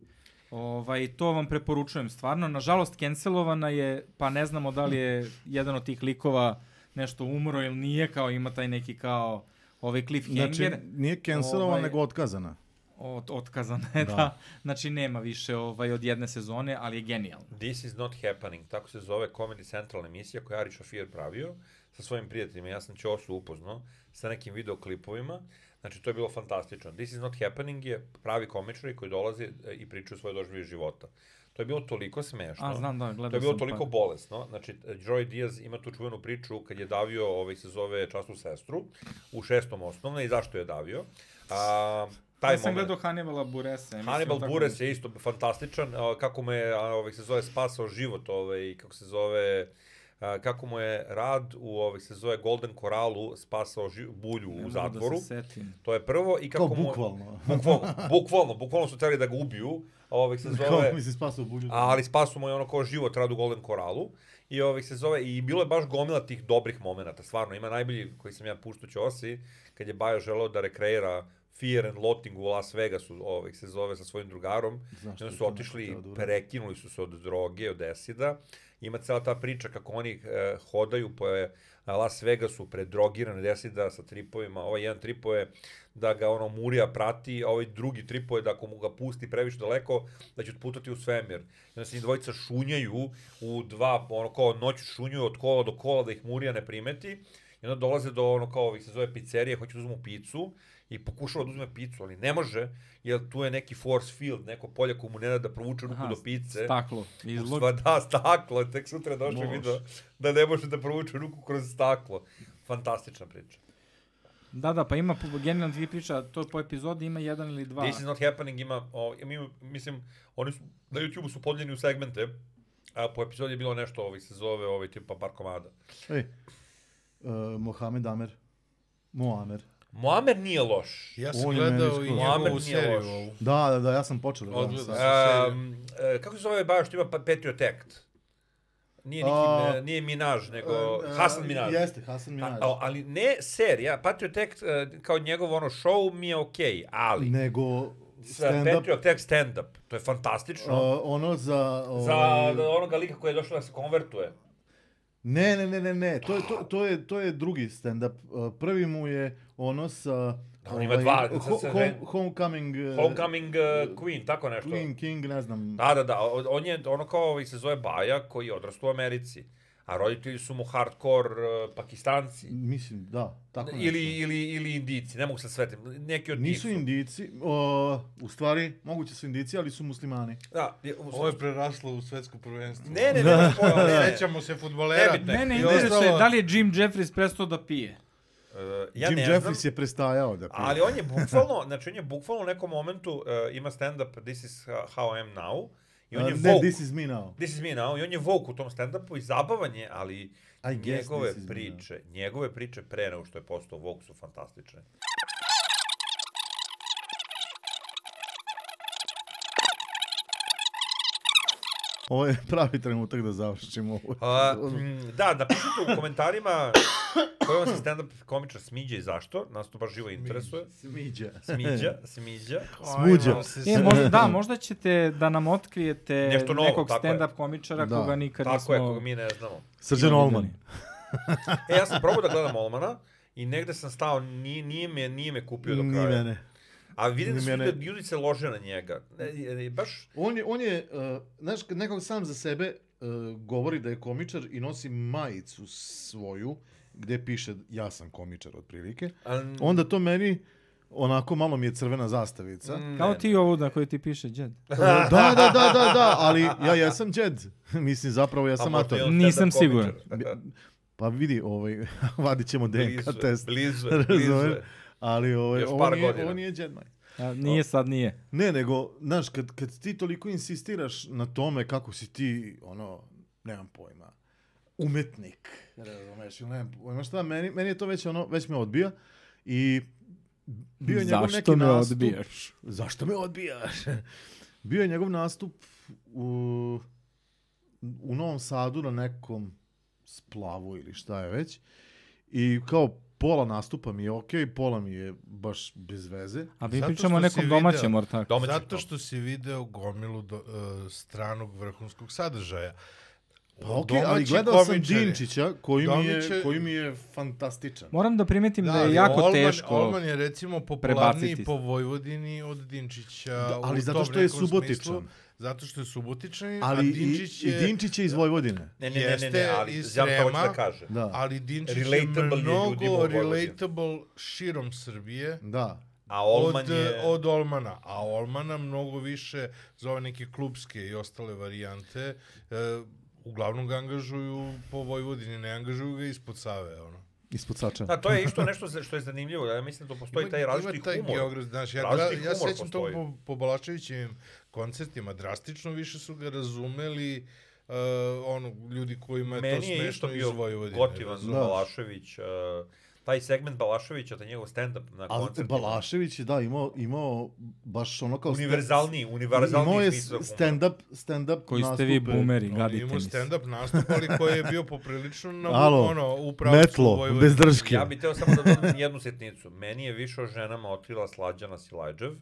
[SPEAKER 3] Ovaj, to vam preporučujem stvarno. Nažalost, cancelovana je, pa ne znamo da li je jedan od tih likova nešto umro ili nije, kao ima taj neki kao ovaj cliffhanger.
[SPEAKER 1] Znači,
[SPEAKER 3] Znači,
[SPEAKER 1] nije cancelovan,
[SPEAKER 3] Ovaj-
[SPEAKER 1] nego otkazana.
[SPEAKER 3] od, otkazana je, da. Znači, nema više ovaj, od jedne sezone, ali je genijalno.
[SPEAKER 5] This is not happening, tako se zove Comedy Central emisija koju je Ari Šofir pravio sa svojim prijateljima, ja sam Ćosu upoznao sa nekim videoklipovima, znači to je bilo fantastično. This is not happening je pravi komičari koji dolaze e, i pričaju svoje doživlje života. To je bilo toliko smešno.
[SPEAKER 3] A, znam, da, gledao
[SPEAKER 5] To je bilo
[SPEAKER 3] sam pa-
[SPEAKER 5] toliko
[SPEAKER 3] par.
[SPEAKER 5] bolesno. Znači, e, Joey Diaz ima tu čuvenu priču kad je davio, ovaj se zove Časnu sestru, u šestom osnovne i zašto je davio. A, taj
[SPEAKER 3] ja sam
[SPEAKER 5] moment-
[SPEAKER 3] gledao Hannibala Buresa. ja mislim,
[SPEAKER 5] Hannibal
[SPEAKER 3] tako
[SPEAKER 5] Bures je isto fantastičan, a, kako mu je, a, ovaj, se zove, spasao život, ovaj, kako se zove, a, kako mu je rad u, ovaj, se zove Golden Koralu spasao ži, bulju
[SPEAKER 3] Ne
[SPEAKER 5] u
[SPEAKER 3] mogu
[SPEAKER 5] zatvoru.
[SPEAKER 3] Da se setim.
[SPEAKER 5] To je prvo i kako
[SPEAKER 1] Kao
[SPEAKER 5] mu...
[SPEAKER 1] bukvalno.
[SPEAKER 5] Bukvalno, bukvalno, bukvalno su trebali da ga ubiju, a ovaj se
[SPEAKER 1] Kao
[SPEAKER 5] zove...
[SPEAKER 1] mi se spasao bulju.
[SPEAKER 5] Ali spasu mu je ono kao život rad u Golden Koralu. I ovih se zove, i bilo je baš gomila tih dobrih momenata, stvarno. Ima najbolji koji sam ja puštuću osi, kad je Bajo želeo da rekreira Fear and Loathing u Las Vegasu, ovih se zove sa svojim drugarom.
[SPEAKER 1] Zašto
[SPEAKER 5] I onda
[SPEAKER 1] je
[SPEAKER 5] su
[SPEAKER 1] to neko
[SPEAKER 5] otišli,
[SPEAKER 1] hteo
[SPEAKER 5] i
[SPEAKER 1] da uradi?
[SPEAKER 5] prekinuli su se od droge, od esida. Ima cela ta priča kako oni e, hodaju po e, Las Vegasu predrogirani od esida sa tripovima. Ovaj jedan tripo je da ga ono Murija prati, a ovaj drugi tripo je da ako mu ga pusti previše daleko, da će otputati u svemir. I onda se njih dvojica šunjaju u dva, ono kao noću šunjaju od kola do kola da ih Murija ne primeti. I onda dolaze do ono kao ovih se zove pizzerije, hoće da uzmu picu i pokušava da uzme picu, ali ne može, jer tu je neki force field, neko polje koje mu ne da da provuče ruku
[SPEAKER 3] Aha,
[SPEAKER 5] do pice.
[SPEAKER 3] Staklo.
[SPEAKER 5] Izlog...
[SPEAKER 3] Izlog...
[SPEAKER 5] Sva da, staklo, tek sutra došli
[SPEAKER 1] Može.
[SPEAKER 5] video da ne može da provuče ruku kroz staklo. Fantastična priča.
[SPEAKER 3] Da, da, pa ima po- genijalno dvije priča, to po epizodi ima jedan ili dva.
[SPEAKER 5] This is not happening ima, o, ima mislim, oni su, na YouTube-u su podeljeni u segmente, a po epizodi je bilo nešto ovih se zove, ovaj tipa par komada.
[SPEAKER 1] Ej, uh, Mohamed Amer. Moamer.
[SPEAKER 5] Moamer nije loš.
[SPEAKER 2] Ja sam
[SPEAKER 1] On je meni
[SPEAKER 2] gledao i
[SPEAKER 1] skoro.
[SPEAKER 2] njegovu
[SPEAKER 5] Mohamed nije
[SPEAKER 2] seriju
[SPEAKER 5] loš.
[SPEAKER 2] ovu.
[SPEAKER 1] Da, da, da, ja sam počeo. da gledam
[SPEAKER 2] Odgledao
[SPEAKER 1] sad.
[SPEAKER 2] sam. serija.
[SPEAKER 5] Um, e, kako se zove baš što ima pa- Patriot Act? Nije, neki,
[SPEAKER 1] A-
[SPEAKER 5] e, nije Minaj, nego
[SPEAKER 1] E,
[SPEAKER 5] Hasan Minaj.
[SPEAKER 1] Jeste, Hasan Minaj.
[SPEAKER 5] A, ali ne serija, Patriot Act e, kao njegov ono show mi je okej, okay, ali
[SPEAKER 1] Nego
[SPEAKER 5] sa
[SPEAKER 1] stand-up,
[SPEAKER 5] Patriot Act stand-up, to je fantastično.
[SPEAKER 1] uh, ono za...
[SPEAKER 5] Uh,
[SPEAKER 1] ovaj,
[SPEAKER 5] za onoga lika koji je došao da se konvertuje.
[SPEAKER 1] Ne, ne, ne, ne, ne, to je, to, to je, to je drugi stand-up. Uh, prvi mu je ono sa... ovaj,
[SPEAKER 5] Da, on ima dva, sad
[SPEAKER 1] ho,
[SPEAKER 5] se
[SPEAKER 1] home,
[SPEAKER 5] re-
[SPEAKER 1] homecoming, uh,
[SPEAKER 5] Homecoming e, Queen, tako nešto.
[SPEAKER 1] Queen King, ne znam.
[SPEAKER 5] Da, da, da, on je ono kao ovaj se zove Baja koji je odrastao u Americi. a roditelji su mu hardcore e, pakistanci.
[SPEAKER 1] Mislim, da, tako nešto.
[SPEAKER 5] Ili, ili, ili indici, ne mogu se svetim, neki od
[SPEAKER 1] Nisu
[SPEAKER 5] tih. su.
[SPEAKER 1] indici, o, u stvari, moguće su indici, ali su muslimani.
[SPEAKER 5] Da, je,
[SPEAKER 2] Ovo je preraslo u svetsko prvenstvo. Ono,
[SPEAKER 5] Ne, ne, ne, ne, pojma, ne, ne.
[SPEAKER 2] Sećamo se futbolera.
[SPEAKER 5] Nebitno je.
[SPEAKER 3] Mene
[SPEAKER 2] I
[SPEAKER 3] interesuje
[SPEAKER 2] ostalo-
[SPEAKER 3] da li je Jim Jeffries prestao da pije.
[SPEAKER 5] E, ja
[SPEAKER 1] Jim
[SPEAKER 5] ne znam.
[SPEAKER 1] Jeffries je prestajao da pije.
[SPEAKER 5] Ali on je bukvalno, znači on je bukvalno u nekom momentu uh, ima stand-up This is how I am now i on
[SPEAKER 1] A,
[SPEAKER 5] je
[SPEAKER 1] ne,
[SPEAKER 5] woke.
[SPEAKER 1] this is me now.
[SPEAKER 5] This is me now i on je woke u tom stand-upu i zabavan je, ali
[SPEAKER 1] I guess
[SPEAKER 5] njegove
[SPEAKER 1] this is me
[SPEAKER 5] priče, njegove priče pre nego što je postao woke su fantastične.
[SPEAKER 1] Ovo je pravi trenutak da završimo ovo.
[SPEAKER 5] A, mm, da, napišite u komentarima koji vam se stand-up komičar smiđa i zašto, nas to baš živo interesuje.
[SPEAKER 1] Smiđa.
[SPEAKER 5] Smiđa, smiđa.
[SPEAKER 1] Smuđa.
[SPEAKER 2] Ajmo se
[SPEAKER 3] E, možda, da, možda ćete da nam otkrijete
[SPEAKER 5] Nešto novo,
[SPEAKER 3] nekog
[SPEAKER 5] tako je.
[SPEAKER 3] stand-up komičara
[SPEAKER 1] Da.
[SPEAKER 3] koga nikad
[SPEAKER 5] Tako
[SPEAKER 3] nismo...
[SPEAKER 5] je, koga mi ne znamo.
[SPEAKER 1] Srđan Olman.
[SPEAKER 5] E, ja sam probao da gledam Olmana i negde sam stao, nije, nije, me, nije me kupio do
[SPEAKER 1] Ni
[SPEAKER 5] kraja.
[SPEAKER 1] mene.
[SPEAKER 5] A vidim da su
[SPEAKER 1] Ni mene.
[SPEAKER 5] ljudi, ljudi se lože na njega. Ne, e, e, baš,
[SPEAKER 1] On je, on je uh, znaš, kad nekog sam za sebe uh, govori da je komičar i nosi majicu svoju, gde piše ja sam komičar, otprilike.
[SPEAKER 5] al,
[SPEAKER 1] Onda to meni, onako malo mi je crvena zastavica.
[SPEAKER 5] ne,
[SPEAKER 3] Kao ti ovu na kojoj ti piše Jed.
[SPEAKER 1] Da, da, da, da, da, ali ja jesam džed. Mislim, zapravo ja
[SPEAKER 5] a
[SPEAKER 1] sam
[SPEAKER 5] možda
[SPEAKER 1] ator.
[SPEAKER 5] Pa je on
[SPEAKER 3] Nisam
[SPEAKER 5] stand-up komičar.
[SPEAKER 1] Pa vidi, ovaj, vadit ćemo DNK
[SPEAKER 5] Blizu je,
[SPEAKER 1] test.
[SPEAKER 5] Blizu, je, blizu.
[SPEAKER 1] Razumem.
[SPEAKER 5] je.
[SPEAKER 1] Ali ovaj,
[SPEAKER 5] Još
[SPEAKER 1] on,
[SPEAKER 5] par
[SPEAKER 1] je,
[SPEAKER 5] godina.
[SPEAKER 1] on je džed maj.
[SPEAKER 3] A, nije sad, nije.
[SPEAKER 1] Ne, nego, znaš, kad, kad ti toliko insistiraš na tome kako si ti, ono, nemam pojma, umetnik, razumeš, ili nemam pojma šta, meni, meni je to već, ono, već me odbija i bio je njegov
[SPEAKER 3] Zašto
[SPEAKER 1] neki
[SPEAKER 3] me
[SPEAKER 1] nastup.
[SPEAKER 3] odbijaš?
[SPEAKER 1] Zašto me odbijaš? bio je njegov nastup u, u Novom Sadu na nekom splavu ili šta je već i kao pola nastupa mi je okej, pola mi je baš bez veze.
[SPEAKER 3] A mi
[SPEAKER 2] Zato
[SPEAKER 3] pričamo o
[SPEAKER 2] što si
[SPEAKER 3] nekom
[SPEAKER 2] video-
[SPEAKER 3] domaćem ortaku.
[SPEAKER 5] Domaći
[SPEAKER 2] Zato
[SPEAKER 5] to.
[SPEAKER 2] što si video gomilu do, uh, stranog vrhunskog sadržaja.
[SPEAKER 1] Pa
[SPEAKER 2] O,
[SPEAKER 1] okej, ali
[SPEAKER 2] domaći
[SPEAKER 1] gledao sam
[SPEAKER 2] komičari.
[SPEAKER 1] Dinčića koji mi je
[SPEAKER 2] Domaće-
[SPEAKER 1] koji mi je fantastičan.
[SPEAKER 3] Moram da primetim da, je
[SPEAKER 2] ali
[SPEAKER 3] jako
[SPEAKER 2] Olman,
[SPEAKER 3] teško.
[SPEAKER 2] Olman je recimo popularniji
[SPEAKER 3] prebaciti.
[SPEAKER 2] po Vojvodini od Dinčića.
[SPEAKER 1] Da, ali
[SPEAKER 2] u
[SPEAKER 1] zato
[SPEAKER 2] tom
[SPEAKER 1] što je
[SPEAKER 2] nekom
[SPEAKER 1] subotičan.
[SPEAKER 2] smislu. zato što je subotičan,
[SPEAKER 1] Ali
[SPEAKER 2] a
[SPEAKER 1] i,
[SPEAKER 2] Dinčić
[SPEAKER 1] Dinčić
[SPEAKER 2] je...
[SPEAKER 1] i Dinčić je iz Vojvodine.
[SPEAKER 5] Ne, ne, ne, ne, ne,
[SPEAKER 2] Jeste
[SPEAKER 5] ali
[SPEAKER 2] iz
[SPEAKER 5] znam to hoću da
[SPEAKER 2] Srema.
[SPEAKER 5] kažem.
[SPEAKER 1] Da.
[SPEAKER 2] Ali Dinčić
[SPEAKER 5] Relatable je
[SPEAKER 2] je
[SPEAKER 5] ljudima u
[SPEAKER 2] mnogo
[SPEAKER 5] Vojvodini.
[SPEAKER 2] relatable širom Srbije.
[SPEAKER 1] Da.
[SPEAKER 5] A Olman
[SPEAKER 2] od,
[SPEAKER 5] je...
[SPEAKER 2] od Olmana, a Olmana mnogo više zove neke klubske i ostale varijante, e, uglavnom ga angažuju po Vojvodini, ne angažuju ga ispod Save, ono.
[SPEAKER 1] Ispod Sača.
[SPEAKER 5] Da, to je isto nešto za- što je zanimljivo. Ja mislim da postoji taj različiti
[SPEAKER 2] Ima taj
[SPEAKER 5] humor.
[SPEAKER 2] geograf, znaš, ja, ja,
[SPEAKER 5] Različiti
[SPEAKER 2] ja
[SPEAKER 5] humor
[SPEAKER 2] sećam to
[SPEAKER 5] postoji.
[SPEAKER 2] po, po Balaševićevim koncertima, drastično više su ga razumeli uh, ono, ljudi kojima je to
[SPEAKER 5] Meni je isto
[SPEAKER 2] smešno iz
[SPEAKER 5] bio
[SPEAKER 2] Vojvodine.
[SPEAKER 5] gotivan
[SPEAKER 2] razumeš?
[SPEAKER 5] za Balašević. Uh, taj segment Balaševića, taj njegov stand-up na
[SPEAKER 1] Ali
[SPEAKER 5] koncertu.
[SPEAKER 1] Balašević je da imao imao baš ono kao
[SPEAKER 5] Univerzalniji,
[SPEAKER 1] Imao
[SPEAKER 5] univerzalniji
[SPEAKER 1] je
[SPEAKER 5] smisla humora.
[SPEAKER 1] stand up stand up
[SPEAKER 3] Koji ste vi bumeri,
[SPEAKER 2] On je
[SPEAKER 3] gadite
[SPEAKER 2] imao
[SPEAKER 3] mi se.
[SPEAKER 2] stand-up nastup, ali koji je bio poprilično na,
[SPEAKER 1] Alo,
[SPEAKER 2] ono, u pravcu
[SPEAKER 1] Metlo,
[SPEAKER 2] Vojvodine.
[SPEAKER 1] bez drške.
[SPEAKER 5] Ja bih teo samo da dodam jednu sitnicu. Meni je više o ženama otkrila Slađana Silajđev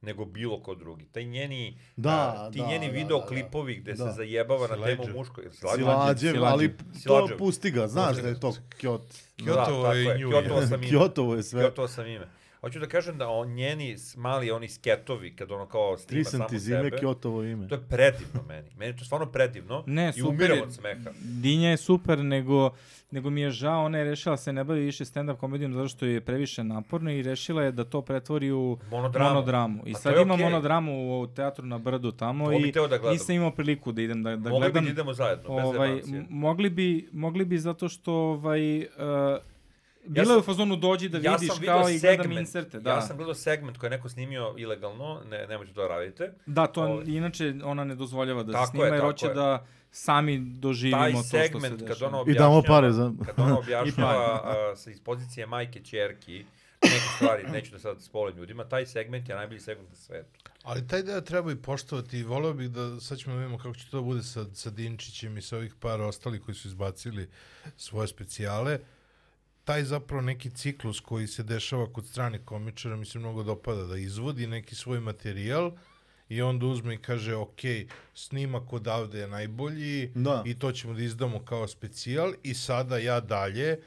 [SPEAKER 5] nego bilo ko drugi. Taj njeni,
[SPEAKER 1] Da,
[SPEAKER 5] a, ti
[SPEAKER 1] da,
[SPEAKER 5] njeni
[SPEAKER 1] da,
[SPEAKER 5] videoklipovi gde
[SPEAKER 1] Da.
[SPEAKER 5] se zajebava na
[SPEAKER 2] Silajdžev.
[SPEAKER 5] temu muško.
[SPEAKER 1] Silađev, ali to
[SPEAKER 5] Silađev.
[SPEAKER 1] pusti ga, znaš da je to Kjot.
[SPEAKER 2] Kjotovo je i nju je.
[SPEAKER 5] Kjotovo sam ime.
[SPEAKER 1] Kjotovo je sve.
[SPEAKER 5] Kjotovo sam ime. Hoću da kažem da on, njeni s- mali oni sketovi kad ono kao snima samo
[SPEAKER 1] Trisam ti
[SPEAKER 5] sebe.
[SPEAKER 1] zime, Kjotovo ime.
[SPEAKER 5] To je predivno meni. Meni je to stvarno predivno.
[SPEAKER 3] Ne,
[SPEAKER 5] I
[SPEAKER 3] super
[SPEAKER 5] umirem
[SPEAKER 3] je.
[SPEAKER 5] od smeha.
[SPEAKER 3] Dinja je super, nego, nego mi je žao, ona je rešila da se ne bavi više stand-up komedijom zato što je previše naporno i rešila je da to pretvori u
[SPEAKER 5] Monodramu.
[SPEAKER 3] monodramu. I
[SPEAKER 5] Pa to
[SPEAKER 3] sad
[SPEAKER 5] je
[SPEAKER 3] imam
[SPEAKER 5] okej.
[SPEAKER 3] monodramu u teatru na Brdu tamo
[SPEAKER 5] To bih
[SPEAKER 3] i
[SPEAKER 5] teo da gledam.
[SPEAKER 3] nisam imao priliku da idem da, da
[SPEAKER 5] Mogli
[SPEAKER 3] gledam.
[SPEAKER 5] bi da idemo zajedno,
[SPEAKER 3] ovaj,
[SPEAKER 5] bez jebancije.
[SPEAKER 3] m- mogli, bi, mogli bi zato što ovaj, uh, bila
[SPEAKER 5] sam-
[SPEAKER 3] je u fazonu dođi da
[SPEAKER 5] ja
[SPEAKER 3] vidiš
[SPEAKER 5] sam
[SPEAKER 3] kao
[SPEAKER 5] vidio
[SPEAKER 3] i gledam
[SPEAKER 5] segment.
[SPEAKER 3] inserte. Da,
[SPEAKER 5] Ja sam gledao segment koji je neko snimio ilegalno, ne, nemojte to da radite.
[SPEAKER 3] da to
[SPEAKER 5] ovaj-
[SPEAKER 3] inače ona ne dozvoljava da
[SPEAKER 5] Tako je,
[SPEAKER 3] se snima jer
[SPEAKER 5] tako
[SPEAKER 3] hoće
[SPEAKER 5] je.
[SPEAKER 3] da sami doživimo
[SPEAKER 5] Taj
[SPEAKER 3] to što se dešava.
[SPEAKER 5] segment kad ono
[SPEAKER 1] I damo
[SPEAKER 5] objašnjava-
[SPEAKER 1] pare za-
[SPEAKER 5] kad ono
[SPEAKER 3] I pa. pare.
[SPEAKER 5] objašnjava a, sa iz pozicije majke čerki neke stvari, neću da sad spolim ljudima, taj segment je najbolji segment na svetu.
[SPEAKER 2] Ali taj deo treba i poštovati i voleo bih da, sad ćemo da vidimo kako će to da bude sa, sa Dinčićem i sa ovih par ostali koji su izbacili svoje specijale. Taj zapravo neki ciklus koji se dešava kod stranih komičara mi se mnogo dopada da izvodi neki svoj materijal i onda uzme i kaže ok, snimak odavde je najbolji
[SPEAKER 1] Da.
[SPEAKER 2] i to ćemo da izdamo kao specijal i sada ja dalje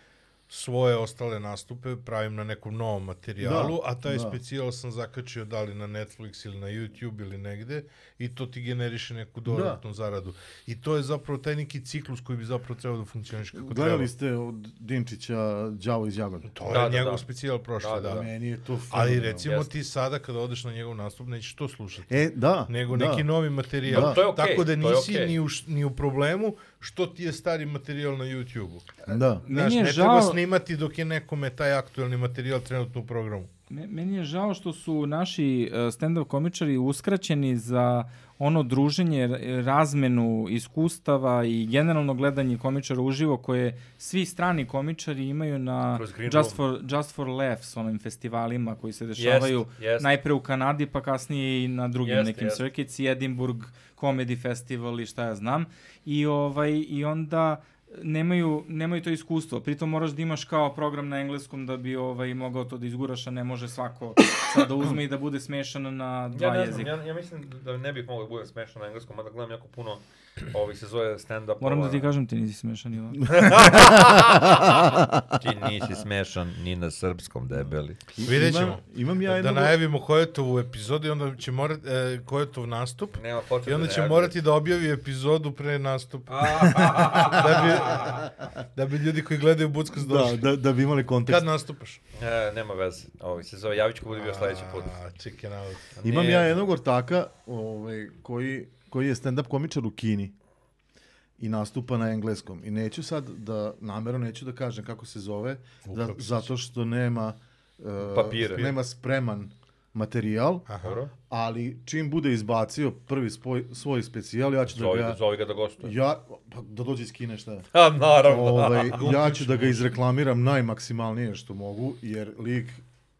[SPEAKER 2] svoje ostale nastupe pravim na nekom novom materijalu,
[SPEAKER 1] Da,
[SPEAKER 2] a taj
[SPEAKER 1] da.
[SPEAKER 2] specijal sam zakačio da li na Netflix ili na YouTube ili negde i to ti generiše neku dodatnu zaradu. I to je zapravo taj neki ciklus koji bi zapravo trebao da funkcioniš kako
[SPEAKER 1] Gledali ste od Dinčića Đavo iz Jagode?
[SPEAKER 2] treba. To
[SPEAKER 5] Da,
[SPEAKER 2] je
[SPEAKER 5] da,
[SPEAKER 2] njegov
[SPEAKER 5] da.
[SPEAKER 2] specijal prošli,
[SPEAKER 5] Da,
[SPEAKER 2] da.
[SPEAKER 5] da, da.
[SPEAKER 1] Meni je to
[SPEAKER 2] Ali
[SPEAKER 1] fenomenalno.
[SPEAKER 2] recimo
[SPEAKER 5] Jeste.
[SPEAKER 2] ti sada kada odeš na njegov nastup nećeš to slušati.
[SPEAKER 1] E, da.
[SPEAKER 2] nego
[SPEAKER 1] da.
[SPEAKER 2] neki novi materijal.
[SPEAKER 1] Da.
[SPEAKER 5] To je okej,
[SPEAKER 2] Tako da
[SPEAKER 5] to je
[SPEAKER 2] nisi
[SPEAKER 5] okej.
[SPEAKER 2] ni, u, š- ni u problemu što ti je stari materijal na YouTube-u.
[SPEAKER 1] Da.
[SPEAKER 2] Znaš,
[SPEAKER 3] je
[SPEAKER 2] ne
[SPEAKER 3] žao-
[SPEAKER 2] treba snimati dok je nekome taj aktuelni materijal trenutno u programu.
[SPEAKER 3] Me- Meni je žao što su naši e, stand-up komičari uskraćeni za ono druženje, r- razmenu iskustava i generalno gledanje komičara uživo koje svi strani komičari imaju na
[SPEAKER 5] Kroz Green
[SPEAKER 3] Just for, Just for Laughs, onim festivalima koji se dešavaju
[SPEAKER 5] jest.
[SPEAKER 3] najpre u Kanadi pa kasnije i na drugim
[SPEAKER 5] Jest,
[SPEAKER 3] nekim
[SPEAKER 5] jest.
[SPEAKER 3] circuits, i Edinburgh Comedy Festival i šta ja znam. I, ovaj, i onda nemaju, nemaju to iskustvo. Pritom moraš da imaš kao program na engleskom da bi ovaj, mogao to da izguraš, a ne može svako sad da uzme i da bude smešan na dva
[SPEAKER 5] Ja ne znam,
[SPEAKER 3] jezika.
[SPEAKER 5] ja, ja mislim da ne bih mogao da budem smešan na engleskom, mada gledam jako puno ovih se zove stand-up.
[SPEAKER 3] Moram da ti kažem, ti nisi smešan i ovako.
[SPEAKER 5] Ti nisi smešan ni na srpskom debeli.
[SPEAKER 2] Vidjet ćemo.
[SPEAKER 1] Imam, imam ja
[SPEAKER 2] Da, da
[SPEAKER 1] jednu...
[SPEAKER 2] najavimo Kojetovu epizodu i onda će morati, e, Kojetov nastup
[SPEAKER 5] Nema potrebe
[SPEAKER 2] i onda
[SPEAKER 5] da
[SPEAKER 2] će
[SPEAKER 5] reaguješ.
[SPEAKER 2] morati da objavi epizodu pre nastupa. da, bi, da bi ljudi koji gledaju Buckas
[SPEAKER 1] Da,
[SPEAKER 2] došli.
[SPEAKER 1] da, da bi imali kontekst.
[SPEAKER 2] Kad nastupaš?
[SPEAKER 5] E, nema veze. Ovi se zove Javić ko bude bio sledeći put.
[SPEAKER 2] A, chicken out.
[SPEAKER 1] Imam
[SPEAKER 5] Ne.
[SPEAKER 1] ja jednog ortaka ovaj, koji, koji je stand-up komičar u Kini i nastupa na engleskom. I neću sad da, namjerno neću da kažem kako se zove, da,
[SPEAKER 2] Uklopit ću
[SPEAKER 1] zato što nema, uh,
[SPEAKER 5] Papire.
[SPEAKER 1] nema spreman materijal,
[SPEAKER 2] Aha.
[SPEAKER 5] Dobro.
[SPEAKER 1] ali čim bude izbacio prvi spoj, svoj specijal, ja ću da
[SPEAKER 5] Zove, ga-
[SPEAKER 1] ga...
[SPEAKER 5] zove ga da gostuje.
[SPEAKER 1] Ja, pa da dođe iz Kine, šta je?
[SPEAKER 5] A, naravno.
[SPEAKER 1] Ovaj, ja ću da ga izreklamiram najmaksimalnije što mogu, jer lik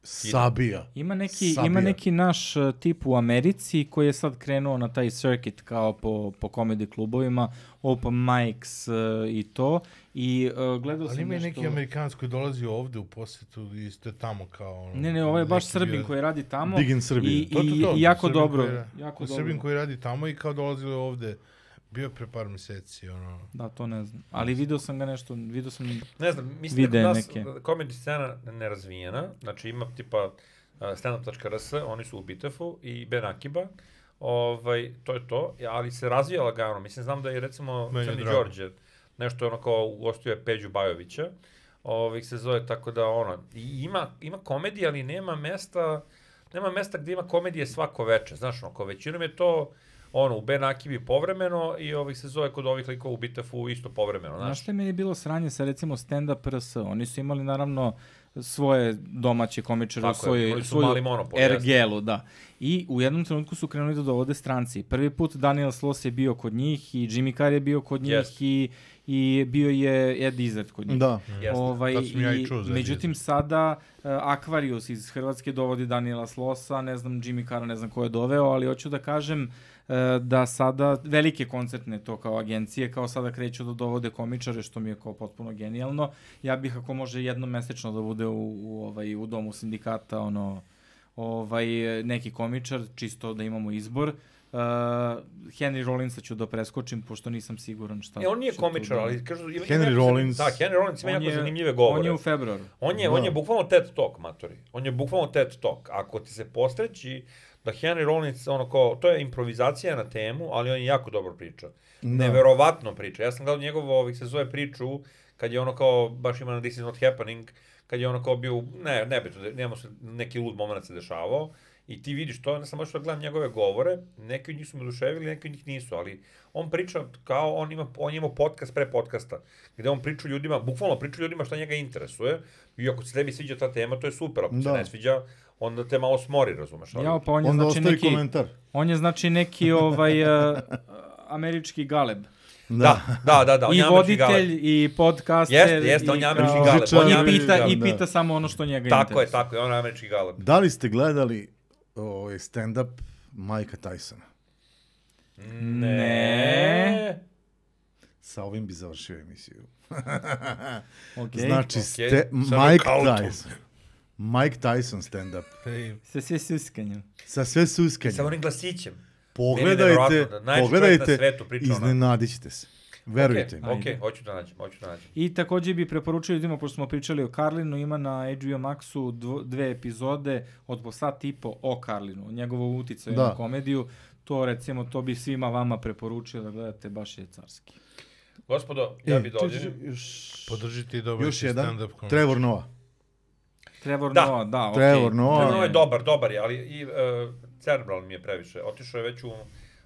[SPEAKER 1] sabija.
[SPEAKER 3] Ima neki,
[SPEAKER 1] Sabija.
[SPEAKER 3] ima neki naš e, tip u Americi koji je sad krenuo na taj circuit kao po, po komedi klubovima, open mics e, i to. I uh, gledao
[SPEAKER 2] Ali
[SPEAKER 3] sam
[SPEAKER 2] ima i
[SPEAKER 3] nešto...
[SPEAKER 2] neki Amerikanac koji dolazi ovdje u posjetu i isto je tamo kao... Ono,
[SPEAKER 3] Ne, ne, ovo je baš
[SPEAKER 2] neki
[SPEAKER 3] Srbin
[SPEAKER 2] bio-
[SPEAKER 3] koji radi tamo.
[SPEAKER 1] Digin Srbija.
[SPEAKER 3] I, i, i jako
[SPEAKER 2] Srbin
[SPEAKER 3] dobro.
[SPEAKER 2] Koji,
[SPEAKER 3] jako
[SPEAKER 2] Srbin
[SPEAKER 3] dobro.
[SPEAKER 2] koji radi tamo i kao dolazio je ovde. Bio je pre par meseci, ono...
[SPEAKER 3] Da, to ne znam. Ali video sam ga nešto, video sam...
[SPEAKER 5] Ne znam, mislim
[SPEAKER 3] Vide
[SPEAKER 5] da kod nas
[SPEAKER 3] neke.
[SPEAKER 5] komedi scena nerazvijena, znači ima tipa uh, standup.rs, oni su u Bitefu i Ben Akiba, ovaj, to je to, ali se razvija lagano, mislim, znam da je recimo
[SPEAKER 2] Meni je
[SPEAKER 5] Crni
[SPEAKER 2] drago.
[SPEAKER 5] Đorđe, nešto ono kao ugostio je Peđu Bajovića, ovaj, se zove tako da ono, i ima, ima komedije, ali nema mesta, nema mesta gdje ima komedije svako veče, znaš, ono, kao većinom je to, ono, u Ben Akibi povremeno i ovih se zove kod ovih likova u Bitefu isto povremeno,
[SPEAKER 3] Znaš
[SPEAKER 5] Pa znaš.
[SPEAKER 3] šta je meni bilo sranje sa recimo stand-up RS? Oni su imali naravno svoje domaće komičare u
[SPEAKER 5] Tako je,
[SPEAKER 3] svojoj,
[SPEAKER 5] imali su
[SPEAKER 3] svoju
[SPEAKER 5] mali monopol,
[SPEAKER 3] ergelu, da. I u jednom trenutku su krenuli da dovode stranci. Prvi put Daniel Sloss je bio kod njih i Jimmy Carr je bio kod njih
[SPEAKER 5] Jeste.
[SPEAKER 3] i, i bio je Ed Izzard kod njih.
[SPEAKER 1] Da.
[SPEAKER 5] Jeste.
[SPEAKER 3] Ovaj,
[SPEAKER 2] Tad sam ja i
[SPEAKER 3] i,
[SPEAKER 2] čuo za
[SPEAKER 3] međutim, sada uh, Aquarius iz Hrvatske dovodi Daniela Slosa, ne znam Jimmy Cara, ne znam ko je doveo, ali hoću da kažem uh, da sada velike koncertne to kao agencije, kao sada kreću da dovode komičare, što mi je kao potpuno genijalno. Ja bih ako može jednom mesečno da bude u, u, ovaj, u domu sindikata ono, ovaj, eh, neki komičar, čisto da imamo izbor. Uh, Henry Rollinsa ću da preskočim, pošto nisam siguran šta.
[SPEAKER 5] E, on nije
[SPEAKER 3] će tu
[SPEAKER 5] komičar,
[SPEAKER 3] Pa, da-
[SPEAKER 5] ali kažu... Ima,
[SPEAKER 1] Henry
[SPEAKER 5] ima-
[SPEAKER 1] Rollins.
[SPEAKER 5] Da, Henry Rollins ima
[SPEAKER 3] On
[SPEAKER 5] jako
[SPEAKER 3] je-
[SPEAKER 5] zanimljive govore.
[SPEAKER 3] On je u februaru.
[SPEAKER 5] On je, on
[SPEAKER 1] Da.
[SPEAKER 5] je bukvalno TED Talk, matori. On je bukvalno TED Talk. Ako ti se postreći da Henry Rollins, ono kao, to je improvizacija na temu, ali on je jako dobro priča. Neverovatno priča. Ja sam gledao njegovu, ovih se zove priču, kad je ono kao, baš ima na This is not happening, kad je ono kao bio, u- ne, ne bi to, nemamo se, neki lud moment se dešavao, i ti vidiš to, ne sam baš da gledam njegove govore, neki od njih su me oduševili, neki od njih nisu, ali on priča kao, on ima, on je imao podcast pre podcasta, gde on priča ljudima, bukvalno priča ljudima šta njega interesuje, i ako se tebi sviđa ta tema, to je super, ako se
[SPEAKER 1] Da.
[SPEAKER 5] ne sviđa, onda te malo smori, razumeš, ali...
[SPEAKER 3] Jao, pa on je
[SPEAKER 1] Onda
[SPEAKER 3] znači
[SPEAKER 1] ostavi
[SPEAKER 3] neki...
[SPEAKER 1] komentar.
[SPEAKER 3] On je znači neki ovaj uh, američki galeb.
[SPEAKER 5] Da, da, da, da, on
[SPEAKER 3] I
[SPEAKER 5] je američki galeb.
[SPEAKER 3] voditelj i podcaster
[SPEAKER 5] Jeste, jeste,
[SPEAKER 3] i
[SPEAKER 5] on je američki
[SPEAKER 3] kao-
[SPEAKER 1] galeb.
[SPEAKER 3] On je
[SPEAKER 1] Muzičar i-
[SPEAKER 3] pita i
[SPEAKER 1] da.
[SPEAKER 3] pita samo ono što njega
[SPEAKER 5] Tako je,
[SPEAKER 3] interesuje.
[SPEAKER 5] tako je, on je američki galeb.
[SPEAKER 1] Da li ste gledali ovaj stand-up Majka Tysona?
[SPEAKER 5] Ne.
[SPEAKER 1] Sa ovim bi završio emisiju.
[SPEAKER 3] Okay.
[SPEAKER 1] Znači,
[SPEAKER 5] okej.
[SPEAKER 1] ste,
[SPEAKER 2] Sa
[SPEAKER 1] Mike
[SPEAKER 2] nokautom.
[SPEAKER 1] Tyson. Mike Tyson stand-up.
[SPEAKER 2] Ej,
[SPEAKER 3] se sve suskanjem.
[SPEAKER 1] Sa sve
[SPEAKER 5] Sa
[SPEAKER 1] suskanjem.
[SPEAKER 5] onim glasićem. Meni je
[SPEAKER 1] Pogledajte,
[SPEAKER 5] nevjerovatno da najveći čovjek na
[SPEAKER 1] pogledajte,
[SPEAKER 5] svetu priča o nama.
[SPEAKER 1] iznenadit ćete se. Verujte mi.
[SPEAKER 5] mi. Okej, hoću da nađem, hoću da nađem.
[SPEAKER 3] I također bi preporučio ljudima, pošto smo pričali o Karlinu, ima na HBO Maxu dvo, dve epizode od po sat i po o Karlinu, o njegovu uticaju
[SPEAKER 1] Da.
[SPEAKER 3] na komediju. To recimo, to bi svima vama preporučio da gledate, baš je carski.
[SPEAKER 5] Gospodo,
[SPEAKER 1] Е,
[SPEAKER 5] ja bih
[SPEAKER 1] E, čekaj,
[SPEAKER 5] dođem.
[SPEAKER 1] još-
[SPEAKER 2] Podržite i domaći
[SPEAKER 1] Još jedan,
[SPEAKER 2] stand-up komik.
[SPEAKER 1] Trevor Noah.
[SPEAKER 3] Trevor
[SPEAKER 5] Da.
[SPEAKER 3] Noah, da, okej.
[SPEAKER 1] Trevor Noah.
[SPEAKER 5] Ovo Ono je dobar, dobar je, ali i uh, cerebral mi je previše. Otišao je već u...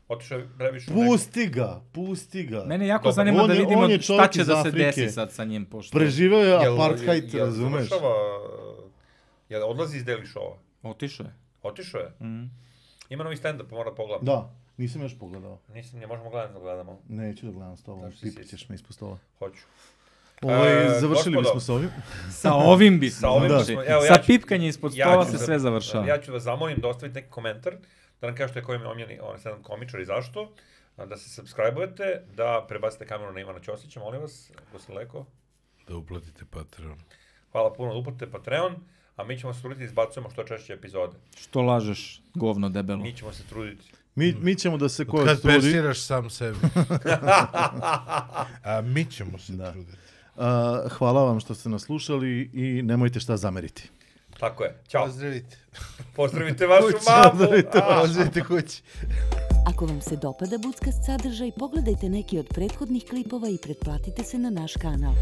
[SPEAKER 5] Otišao je previše u neku-
[SPEAKER 1] Pusti ga, pusti ga.
[SPEAKER 3] Mene jako
[SPEAKER 5] Dobar.
[SPEAKER 3] zanima
[SPEAKER 1] On
[SPEAKER 3] da
[SPEAKER 1] je-
[SPEAKER 3] vidimo
[SPEAKER 1] on je
[SPEAKER 3] šta
[SPEAKER 1] čovjek
[SPEAKER 3] će
[SPEAKER 1] iz
[SPEAKER 3] da se
[SPEAKER 1] Afrike.
[SPEAKER 3] desi sad sa njim, pošto
[SPEAKER 1] Preživeo je
[SPEAKER 5] Jel-
[SPEAKER 1] apartheid,
[SPEAKER 5] jel- jel
[SPEAKER 1] razumeš?
[SPEAKER 5] završava, e, Jel odlazi iz Daily Showa?
[SPEAKER 3] otišao je.
[SPEAKER 5] Otišao je?
[SPEAKER 3] Mm.
[SPEAKER 5] Ima novi stand-up, mora pogledam.
[SPEAKER 1] Da, nisam još pogledao.
[SPEAKER 5] Nisam, ne možemo gledati da gledamo.
[SPEAKER 1] Neću da gledam s tobom,
[SPEAKER 5] Znaš što si
[SPEAKER 1] pipit ćeš
[SPEAKER 5] isti.
[SPEAKER 1] me ispod stola.
[SPEAKER 5] Hoću.
[SPEAKER 1] Ovaj,
[SPEAKER 5] E,
[SPEAKER 1] završili
[SPEAKER 5] gospodo.
[SPEAKER 1] bismo s ovim.
[SPEAKER 3] Sa ovim bi
[SPEAKER 5] Sa ovim
[SPEAKER 1] Da.
[SPEAKER 5] bismo- evo,
[SPEAKER 3] sa
[SPEAKER 5] ću-
[SPEAKER 3] pipkanje ispod
[SPEAKER 5] ja
[SPEAKER 3] stola
[SPEAKER 5] ću
[SPEAKER 3] se
[SPEAKER 5] da-
[SPEAKER 3] sve završava.
[SPEAKER 5] Ja ću vas zamolim da ostavite neki komentar, da nam kažete koji mi je omljeni on sedam komičar i zašto, a, da se subscribe-ujete, da prebacite kameru na Ivana Ćosića, molim vas, gospodin Leko.
[SPEAKER 2] Da uplatite Patreon.
[SPEAKER 5] Hvala puno da uplatite Patreon, a mi ćemo se truditi da izbacujemo što češće epizode.
[SPEAKER 3] Što lažeš, govno debelo.
[SPEAKER 5] Mi ćemo se truditi.
[SPEAKER 1] Mi, mi ćemo da se ko
[SPEAKER 2] Kad
[SPEAKER 1] trudi.
[SPEAKER 2] persiraš sam sebi. A mi ćemo se
[SPEAKER 1] Da.
[SPEAKER 2] truditi.
[SPEAKER 1] A, hvala vam što ste nas slušali i nemojte šta zameriti.
[SPEAKER 5] Tako je. Ćao.
[SPEAKER 2] Pozdravite.
[SPEAKER 5] Pozdravite vašu
[SPEAKER 1] Kuća,
[SPEAKER 5] mamu.
[SPEAKER 1] pozdravite
[SPEAKER 5] A.
[SPEAKER 2] Pozdravite kući.
[SPEAKER 4] Ako vam se dopada Budskast sadržaj, pogledajte neki od prethodnih klipova i pretplatite se na naš kanal.